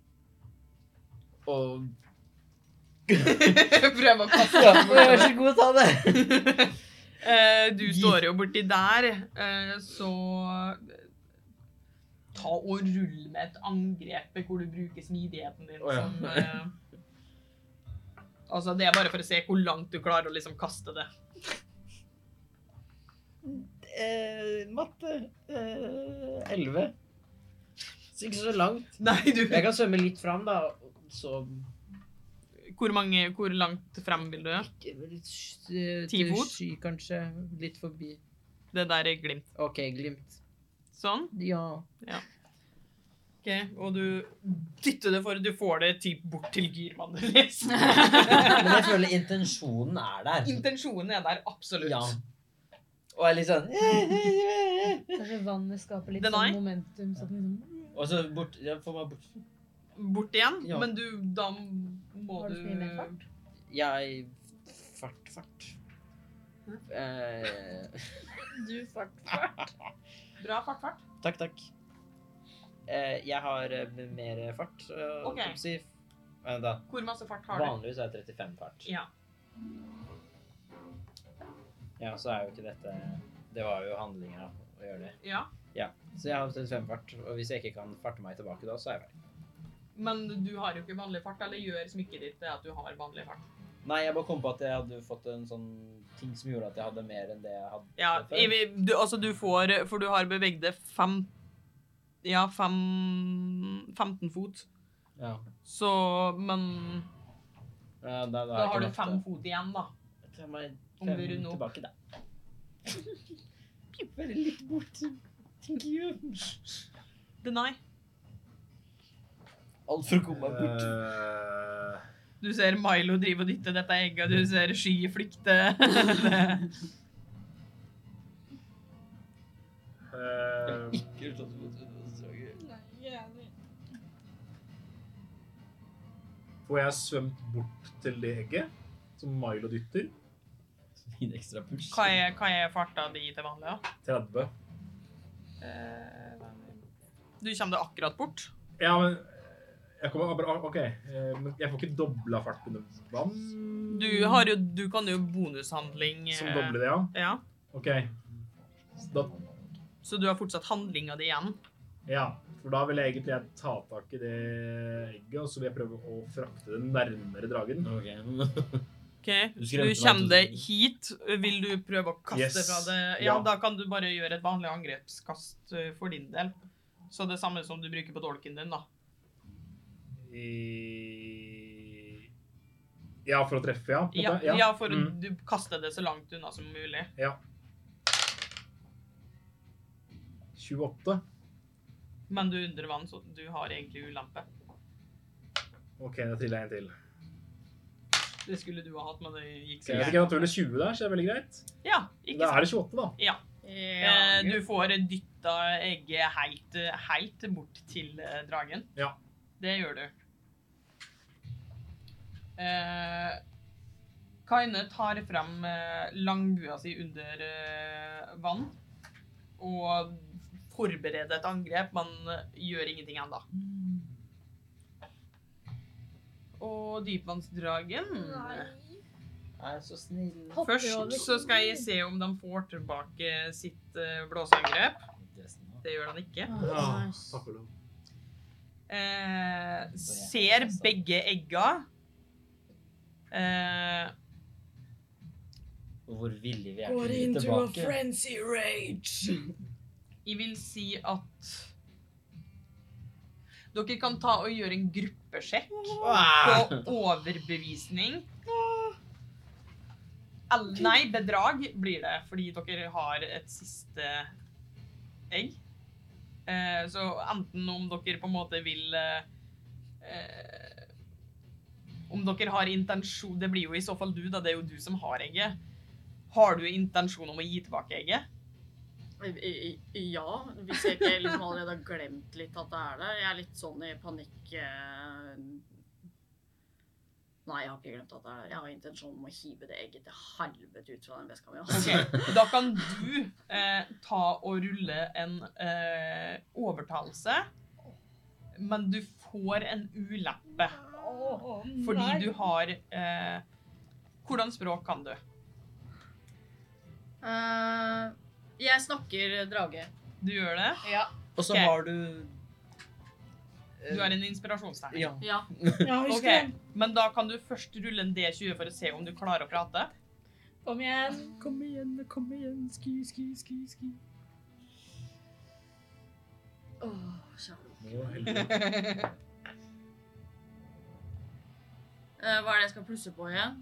[SPEAKER 8] Og
[SPEAKER 1] Prøv å passe
[SPEAKER 5] Vær så god, ta det!
[SPEAKER 1] Eh, du står jo borti der, eh, så eh, ta og rull med et angrep hvor du bruker smidigheten din.
[SPEAKER 8] Å, ja.
[SPEAKER 1] som, eh, altså, det er bare for å se hvor langt du klarer å liksom kaste det.
[SPEAKER 5] Eh, matte. Eh, 11. Så ikke så langt.
[SPEAKER 1] Nei, du...
[SPEAKER 5] Jeg kan svømme litt fram, da. Så
[SPEAKER 1] Hvor, mange, hvor langt frem vil du?
[SPEAKER 5] litt sky,
[SPEAKER 1] Ti fot?
[SPEAKER 5] Sky, kanskje. Litt forbi.
[SPEAKER 1] Det der er glimt.
[SPEAKER 5] OK, Glimt.
[SPEAKER 1] Sånn.
[SPEAKER 5] Ja.
[SPEAKER 1] Ok, Og du dytter det for, du får det typ bort til liksom. gyrmannen deres.
[SPEAKER 8] Men jeg føler intensjonen er der.
[SPEAKER 1] Intensjonen er der, absolutt.
[SPEAKER 8] Ja. Og jeg er litt sånn
[SPEAKER 5] eh,
[SPEAKER 7] Kanskje vannet skaper litt
[SPEAKER 1] Den er?
[SPEAKER 7] sånn momentum. Så den liksom,
[SPEAKER 8] Og så bort Jeg får meg bort
[SPEAKER 1] Bort igjen,
[SPEAKER 8] Ja.
[SPEAKER 1] men du, da må
[SPEAKER 7] Har
[SPEAKER 1] du...
[SPEAKER 7] du så mye mer fart?
[SPEAKER 5] Jeg Fart, fart. Eh,
[SPEAKER 3] Du fart, fart.
[SPEAKER 1] Bra fart, fart.
[SPEAKER 5] takk, takk. Eh, jeg har eh, mer fart. eh,
[SPEAKER 1] Ok.
[SPEAKER 5] kan du Si. Eh, da.
[SPEAKER 1] Hvor masse fart har du?
[SPEAKER 8] Vanligvis er jeg 35 fart.
[SPEAKER 1] Ja.
[SPEAKER 8] Ja, så er jo ikke dette Det var jo handlinga å gjøre det.
[SPEAKER 1] ja.
[SPEAKER 5] Så jeg har 35 fart. Og hvis jeg ikke kan farte meg tilbake da, så er jeg ferdig.
[SPEAKER 1] Men du har jo ikke vanlig fart, eller gjør smykket ditt det at du har vanlig fart?
[SPEAKER 8] Nei, jeg bare kom på at jeg hadde fått en sånn ting som gjorde at jeg hadde mer enn det jeg hadde.
[SPEAKER 1] Ja,
[SPEAKER 8] før.
[SPEAKER 1] i, du, altså du får For du har beveget deg fem Ja, fem 15 fot.
[SPEAKER 8] Ja.
[SPEAKER 1] Så Men
[SPEAKER 8] Ja, da, da,
[SPEAKER 1] da har du fem fot igjen, da.
[SPEAKER 8] Ta meg
[SPEAKER 1] Om
[SPEAKER 8] fem
[SPEAKER 1] du runder opp.
[SPEAKER 8] tilbake, da. Bare litt bort. Thank you.
[SPEAKER 1] Deny.
[SPEAKER 5] Alt for å komme meg
[SPEAKER 2] Eh,
[SPEAKER 5] bort.
[SPEAKER 1] Du ser Milo drive og dytte dette egget, du ser Sky flykte. Det-
[SPEAKER 2] eh, Får jeg svømt bort til det egget som Milo dytter?
[SPEAKER 8] Fin ekstra push.
[SPEAKER 1] hva, er, hva er farta di til vanlig, da?
[SPEAKER 2] 30.
[SPEAKER 1] Eh, Du kommer deg akkurat bort.
[SPEAKER 2] Ja, men jeg kommer, ah, bra, OK. Eh, Men jeg får ikke dobla fart under vann?
[SPEAKER 1] Du, har jo, du kan jo bonushandling.
[SPEAKER 2] Som
[SPEAKER 1] eh,
[SPEAKER 2] dobler det, ja?
[SPEAKER 1] Ja.
[SPEAKER 2] OK. Så Da,
[SPEAKER 1] Så du har fortsatt handlinga di igjen.
[SPEAKER 2] ja. For da vil jeg egentlig jeg ta tak i det egget, og så vil jeg prøve å frakte det nærmere dragen.
[SPEAKER 8] Ok.
[SPEAKER 1] Ok,
[SPEAKER 8] Du
[SPEAKER 1] Du,
[SPEAKER 8] skremte meg
[SPEAKER 1] kommer
[SPEAKER 8] til-
[SPEAKER 1] deg hit. Vil du prøve å kaste
[SPEAKER 2] Yes.
[SPEAKER 1] fra det? Ja,
[SPEAKER 2] Ja.
[SPEAKER 1] da kan du bare gjøre et vanlig angrepskast eh, for din del. Så det samme som du bruker på dolken din, da.
[SPEAKER 2] i Ja, for å treffe, ja? på en
[SPEAKER 1] Ja,
[SPEAKER 2] måte.
[SPEAKER 1] ja, for å
[SPEAKER 2] Mm.
[SPEAKER 1] du kaste det så langt unna som mulig.
[SPEAKER 2] ja. 28.
[SPEAKER 1] Men du er under vann, så du har egentlig ulempe.
[SPEAKER 2] OK, da triller jeg en til.
[SPEAKER 1] Det skulle du ha hatt, men det gikk
[SPEAKER 2] Så
[SPEAKER 1] så
[SPEAKER 2] jeg fikk en naturlig 20 der, så det er veldig greit.
[SPEAKER 1] Ja, ikke
[SPEAKER 2] Da er
[SPEAKER 1] sant.
[SPEAKER 2] det 28, da.
[SPEAKER 1] Ja. Eh, Du får dytta egget helt, helt bort til eh, dragen.
[SPEAKER 2] Ja.
[SPEAKER 1] Det gjør du. Eh, Kaine tar frem eh, langbua si under eh, vann og forbereder et angrep, men eh, gjør ingenting ennå. Og dypvannsdragen
[SPEAKER 9] Er så snill.
[SPEAKER 1] Først så skal jeg se om de får tilbake sitt eh, blåseangrep. Det gjør han ikke.
[SPEAKER 7] Ah,
[SPEAKER 2] Ja, takk og lov.
[SPEAKER 1] Eh, ser begge egga. Eh,
[SPEAKER 8] Og hvor villige vi er til å gi tilbake.
[SPEAKER 9] frenzy rage.
[SPEAKER 1] jeg vil si at dere kan ta og gjøre en gruppesjekk på overbevisning. Eller- Nei, bedrag blir det, fordi dere har et siste egg. Eh, så enten om dere på en måte vil eh, eh, Om dere har intensjon Det blir jo i så fall du, da. Det er jo du som har egget. Har du intensjon om å gi tilbake egget?
[SPEAKER 3] I- i- Ja, hvis jeg ikke liksom allerede har glemt litt at det er der. Jeg er litt sånn i panikk eh, Nei, jeg har ikke glemt at det er der. Jeg har intensjon om å hive det egget til helvete ut fra den veska mi. altså.
[SPEAKER 1] Ok, Da kan du eh, ta og rulle en eh, overtalelse, men du får en uleppe. Fordi du har eh, Hvordan språk kan du?
[SPEAKER 3] Eh, jeg snakker drage.
[SPEAKER 1] Du gjør det.
[SPEAKER 9] Og så
[SPEAKER 1] Ok.
[SPEAKER 9] har du
[SPEAKER 1] Du er en inspirasjonsterning.
[SPEAKER 9] Ja.
[SPEAKER 3] Ja.
[SPEAKER 7] Ja, husk
[SPEAKER 1] Ok,
[SPEAKER 7] det.
[SPEAKER 1] Men da kan du først rulle en D20 for å se om du klarer å prate.
[SPEAKER 7] Kom igjen.
[SPEAKER 9] Kom igjen, kom igjen, ski, ski, ski. ski.
[SPEAKER 3] Åh, kjære.
[SPEAKER 2] Å, helvete.
[SPEAKER 3] Eh, hva er det jeg skal plusse på igjen?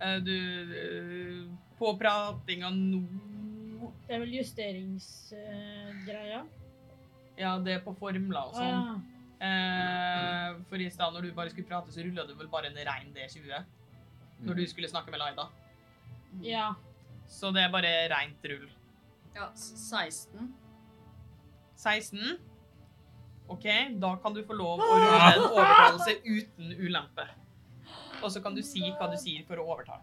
[SPEAKER 1] Eh, du eh, På pratinga nå
[SPEAKER 7] Det er vel justeringsgreia.
[SPEAKER 1] Ja, det er på formler og
[SPEAKER 7] Å
[SPEAKER 1] sånn.
[SPEAKER 7] Ah, ja.
[SPEAKER 1] Eh, for i stedet når du bare skulle prate, så rullet du vel bare en rein D20. Når du skulle snakke med Laida.
[SPEAKER 7] ja.
[SPEAKER 1] Så det er bare reint rull.
[SPEAKER 3] Ja, s- 16.
[SPEAKER 1] 16. OK, da kan du få lov å rulle
[SPEAKER 8] Ah.
[SPEAKER 1] en overtalelse uten ulempe. Og så kan du si hva du sier for å overtale.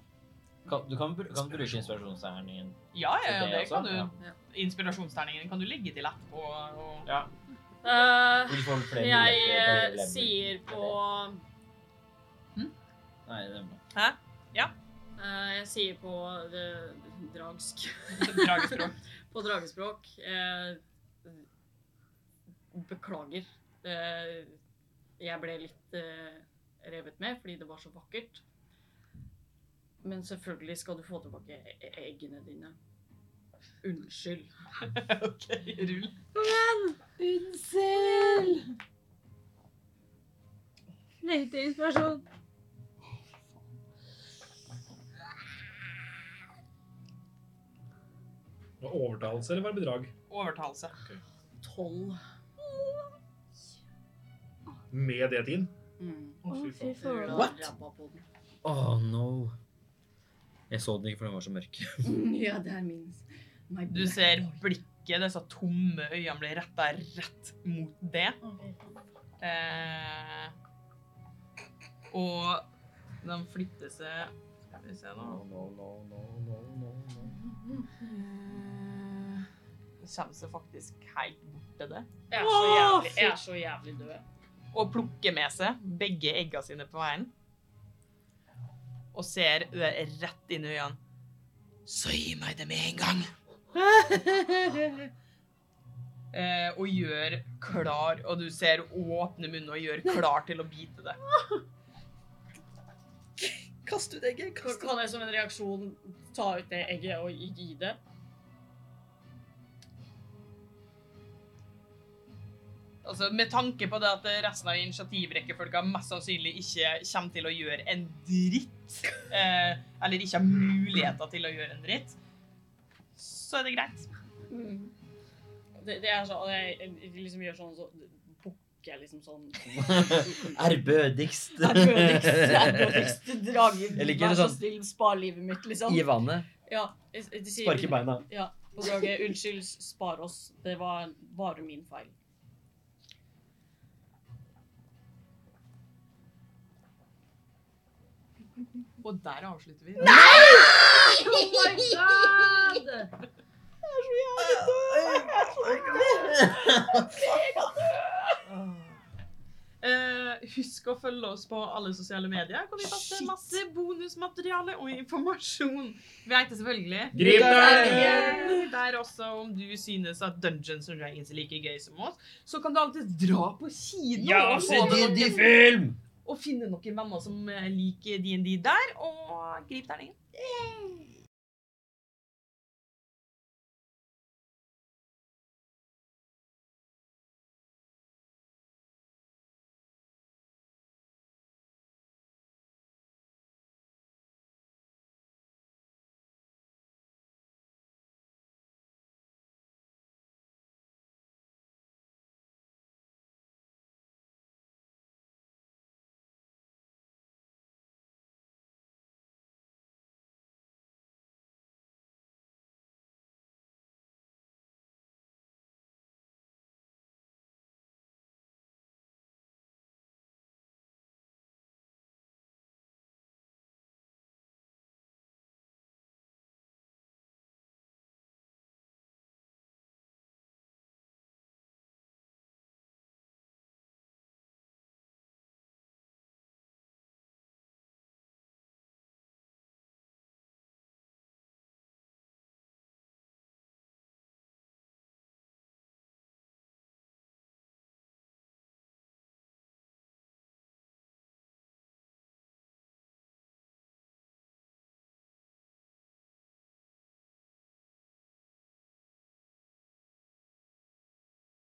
[SPEAKER 8] Kan, du kan, bru- kan bruke inspirasjonsterningen.
[SPEAKER 1] Ja, ja,
[SPEAKER 8] Så det
[SPEAKER 1] ja, det kan
[SPEAKER 8] også, ja.
[SPEAKER 1] du. Inspirasjonsterningen kan du legge til etterpå. Og
[SPEAKER 8] Ja.
[SPEAKER 3] Eh,
[SPEAKER 8] Du får flere
[SPEAKER 3] jeg
[SPEAKER 8] muligheter
[SPEAKER 3] eh,
[SPEAKER 8] til å leve.
[SPEAKER 3] sier på
[SPEAKER 8] Nei, det må
[SPEAKER 3] eh, Jeg sier på det, dragsk.
[SPEAKER 1] dragespråk.
[SPEAKER 3] På dragespråk. Eh, beklager. Eh, jeg ble litt eh, revet med fordi det var så vakkert. Men selvfølgelig skal du få tilbake e- e- eggene dine. Unnskyld.
[SPEAKER 1] OK, rull.
[SPEAKER 10] Unnskyld! Lengter inspirasjon.
[SPEAKER 2] Var det Overtalelse eller var det bedrag?
[SPEAKER 1] Overtalelse.
[SPEAKER 3] Tolv.
[SPEAKER 2] Med det din?
[SPEAKER 3] Mm.
[SPEAKER 2] Å, fy faen.
[SPEAKER 3] Rød
[SPEAKER 5] What?
[SPEAKER 3] rabba på den.
[SPEAKER 5] Oh no. Jeg så den ikke, for den var så mørk.
[SPEAKER 3] Ja, det er min. My
[SPEAKER 1] Du
[SPEAKER 3] black
[SPEAKER 1] ser
[SPEAKER 3] boy.
[SPEAKER 1] blikket, disse tomme øynene blir retta rett mot det. Eh, og de flytter seg Skal vi se nå Eh, De kommer seg faktisk helt bort til det.
[SPEAKER 3] Jeg er så jævlig, jeg er så jævlig død.
[SPEAKER 1] Og plukker med seg begge egga sine på veien. Og ser det rett inn i øynene. Så gi meg det med en gang! Eh, og gjør klar Og du ser åpne munnen og gjør klar til å bite det.
[SPEAKER 9] Kast ut egget,
[SPEAKER 3] Kan-
[SPEAKER 9] kast ut
[SPEAKER 3] Kan jeg som en reaksjon ta ut det egget og gi- gi det?
[SPEAKER 1] Altså, med tanke på det at resten av initiativrekkefølga mest sannsynlig ikke kommer til å gjøre en dritt, eh, eller ikke har muligheter til å gjøre en dritt, så er det greit.
[SPEAKER 3] Det, det er sånn, og jeg jeg liksom gjør sånn, så bukker jeg liksom sånn.
[SPEAKER 5] Ærbødigst.
[SPEAKER 3] Jeg prøvdigst drager,
[SPEAKER 5] Jeg liker
[SPEAKER 3] vær
[SPEAKER 5] det
[SPEAKER 3] så
[SPEAKER 5] sånn.
[SPEAKER 3] snill, spar livet mitt, liksom.
[SPEAKER 5] I vannet.
[SPEAKER 3] Ja, jeg- jeg- de sier-
[SPEAKER 5] Sparke beina.
[SPEAKER 3] Ja, på draget, unnskyld, spar oss. Det var bare min feil.
[SPEAKER 1] Og der avslutter vi. Eh, husk å følge oss på alle sosiale medier. Hvor vi poster masse bonusmateriale og informasjon. Vi heter selvfølgelig
[SPEAKER 2] Grip
[SPEAKER 1] Dungeon! Eh, Der også, om du synes at Dungeons and Dragons er like gøy som oss, så kan du alltid dra på kino og, få med noen-
[SPEAKER 5] Altså, film!
[SPEAKER 1] og finne noen venner som eh, liker D&D der, og grip terningen.